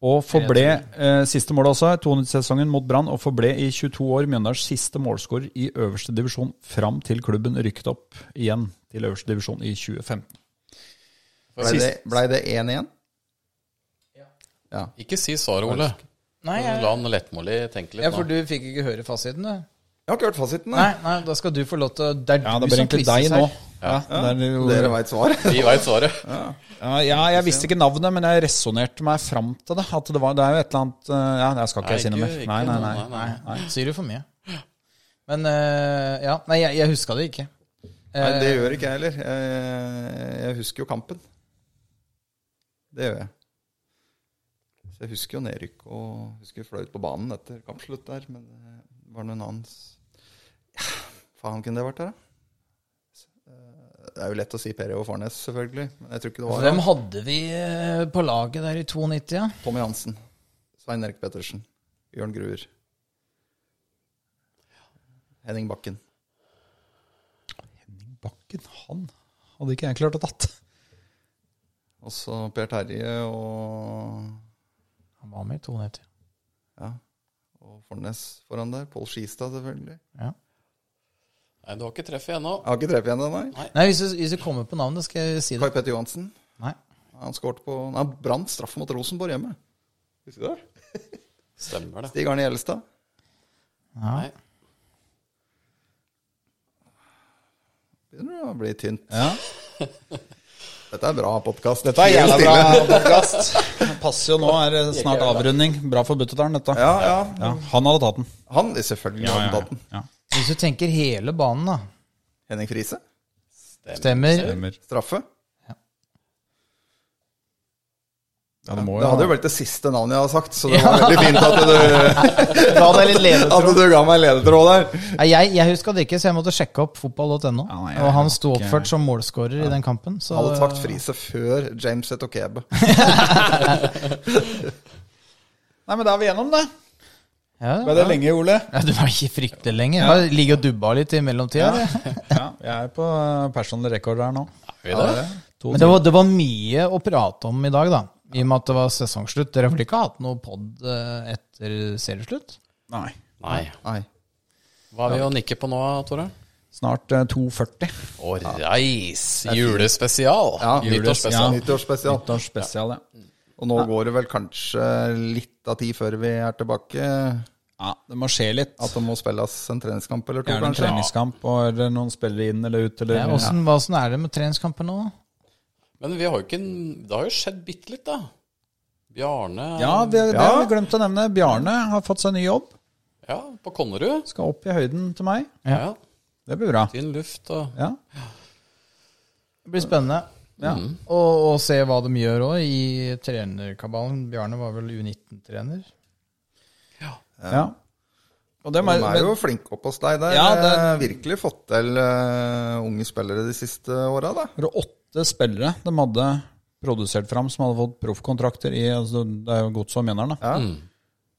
Og forble eh, siste målet også, 200-sesongen mot Brann, og forble i 22 år Mjøndals siste målskårer i øverste divisjon fram til klubben rykket opp igjen til øverste divisjon i 2015. Blei det- Blei det 1-1? Ikke si svaret, Ole. Nei, jeg- La han lettmålig tenke litt Ja, for nå. du fikk ikke høre fasiten, du? Jeg har ikke hørt fasiten. Nei, Nei. nei, da skal du få lov til å Det er Ja, det du blir som egentlig quizes deg her. nå. Ja, det er jo- Dere veit svaret. Vi veit svaret. ja, ja, jeg visste ikke navnet, men jeg resonnerte meg fram til det. At det, var, det er jo et eller annet eh, Ja, jeg skal ikke si noe mer. ikke Nei, nei, nei. noe, nei, nei. Sier du for mye? Men eh, ja, nei, jeg, jeg huska det ikke. Nei, Eh, det gjør ikke jeg heller. Jeg, jeg husker jo kampen. Det gjør jeg. Så jeg husker jo nedrykk og husker fløy ut på banen etter kampslutt der, men det var noen annens ja, Faen, kunne det vært der, da? Det er jo lett å si Per Evo Farnes, selvfølgelig, men jeg tror ikke det var Hvem hadde vi eh, på laget der i 92? Ja? Tommy Hansen, Svein Erik Pettersen, Bjørn Gruer Henning Bakken. Bakken, han hadde ikke jeg klart å tatt. Og så Per Terje og Han var med i 92. Ja. Og Fornes foran der. Pål Skistad, selvfølgelig. Ja. nei, du har ikke treffet ennå. Jeg har ikke treffet igjen ennå, nei. Nei, hvis du, hvis du kommer på navnet, skal jeg si Kai det. Petter Johansen. Nei. Han skårte på Nei, han brant straff mot Rosenborg hjemme. Husker du det? Stemmer det. Stig Arne Gjelstad. Nei. Begynner å bli tynt. Ja. Dette er bra podkast. Dette er jævla bra podkast. Passer jo nå, er det snart avrunding. Bra for Buttetaren, dette. Ja, ja. Ja, han hadde tatt den. Han er selvfølgelig ja, tatt den. Ja. Hvis du tenker hele banen, da. Henning Friise. Stemmer. Stemmer. Straffe. Ja, det må Det hadde jo jo vært det siste navnet jeg hadde sagt, så det var veldig fint at du, Da hadde jeg litt ledetråd. at du ga meg ledetråd der. Nei, jeg, jeg huska det ikke, så jeg måtte sjekke opp fotball.no. Ja, nei, jeg og han nok, sto eh, oppført som målskårer i den kampen. Så, Jeg hadde sagt Friise før James Etokebe. Nei, men da er vi gjennom det. Ja, Ble det lenge, Ole? ja, du var ikke fryktelig lenge. Jeg ligger og dubba litt i mellomtida. eller? Ja, jeg er på eh, personlig rekord her nå. Vi det? To Men det var, det var mye å prate om i dag, da. I og med at det var sesongslutt. Dere har vel ikke hatt noe pod eh, etter serieslutt? timer. Nei. Nei. Nei. Hva er vi å nikke på nå, Tore? Snart eh, 2,40. Å reis! Julespesial. Ja, Nyttårsspesial. Nyttårsspesial. Nyttårsspesial, ja. Og nå går det vel kanskje litt av tid før vi er tilbake. ja. Det må skje litt. At det må spilles en treningskamp eller to, Gjerne en kanskje. treningskamp, og er det noen spillere inn eller ut, eller Ja, Åssen åssen er det med treningskamper nå? Men vi har jo ikke en- Det har jo skjedd bitte litt, da. Bjarne Ja, vi, det har vi glemt å nevne. Bjarne har fått seg ny jobb. ja, på Konnerud. Skal opp i høyden til meg. Ja. Det blir bra. Tynn luft og Ja. Det blir spennende. Og, og se hva de gjør òg i trenerkabalen. Bjarne var vel U19-trener? ja. Og dem De er, er jo flinke opp hos deg. Der. Ja, det- Eh, virkelig fått til eh, unge spillere de siste åra, da. Det var åtte spillere de hadde produsert fram, som hadde fått proffkontrakter i altså, Det er jo godt som mener den, da. Ja.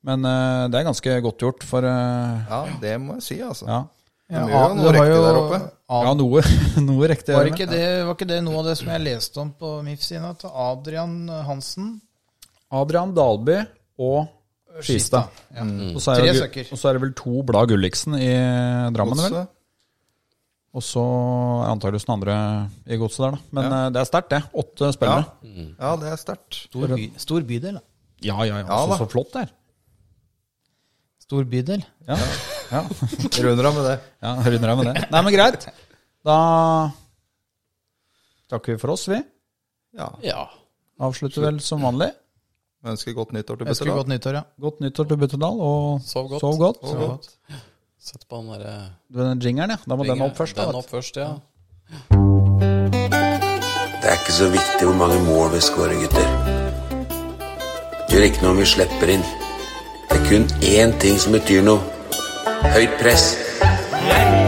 Men eh, det er ganske godt gjort, for eh, ja, det må jeg si, altså. ja. De gjør jo noe det var riktig der jo- oppe. ja, noe, noe riktig. Var gjør de. ikke, det, var ikke det noe av det som jeg leste om på MIF sin? At Adrian Hansen Adrian Dalby og Skistad. Ja. Og, så er Tre det- søkker. og så er det vel to Blad Gulliksen i Drammen, vel? Godset. Og så er antakeligvis den andre i godset der, da. Men eh, det er sterkt, det. Åtte spillere. Ja, det er sterkt. Stor, by, stor bydel, da. Ja, ja, ja. Ja, så, da. så flott det er. Stor bydel. Ja, ja. Runder av med det. ja runder av med det. Nei, men greit. Da takker vi for oss, vi. Ja. Ja. Avslutter vel som vanlig. Jeg ønsker godt nyttår til Ønsker Butterdal. godt nyttår, ja. Godt nyttår til Butterdal, og Sov godt. Sov godt. Sov godt. Sett på den derre Den jingeren, ja. Da må den opp først. da, Den vet opp først, ja. Det er ikke så viktig hvor mange mål vi scorer, gutter. Det gjør ikke noe om vi slipper inn. Det er kun én ting som betyr noe. Høyt press. Let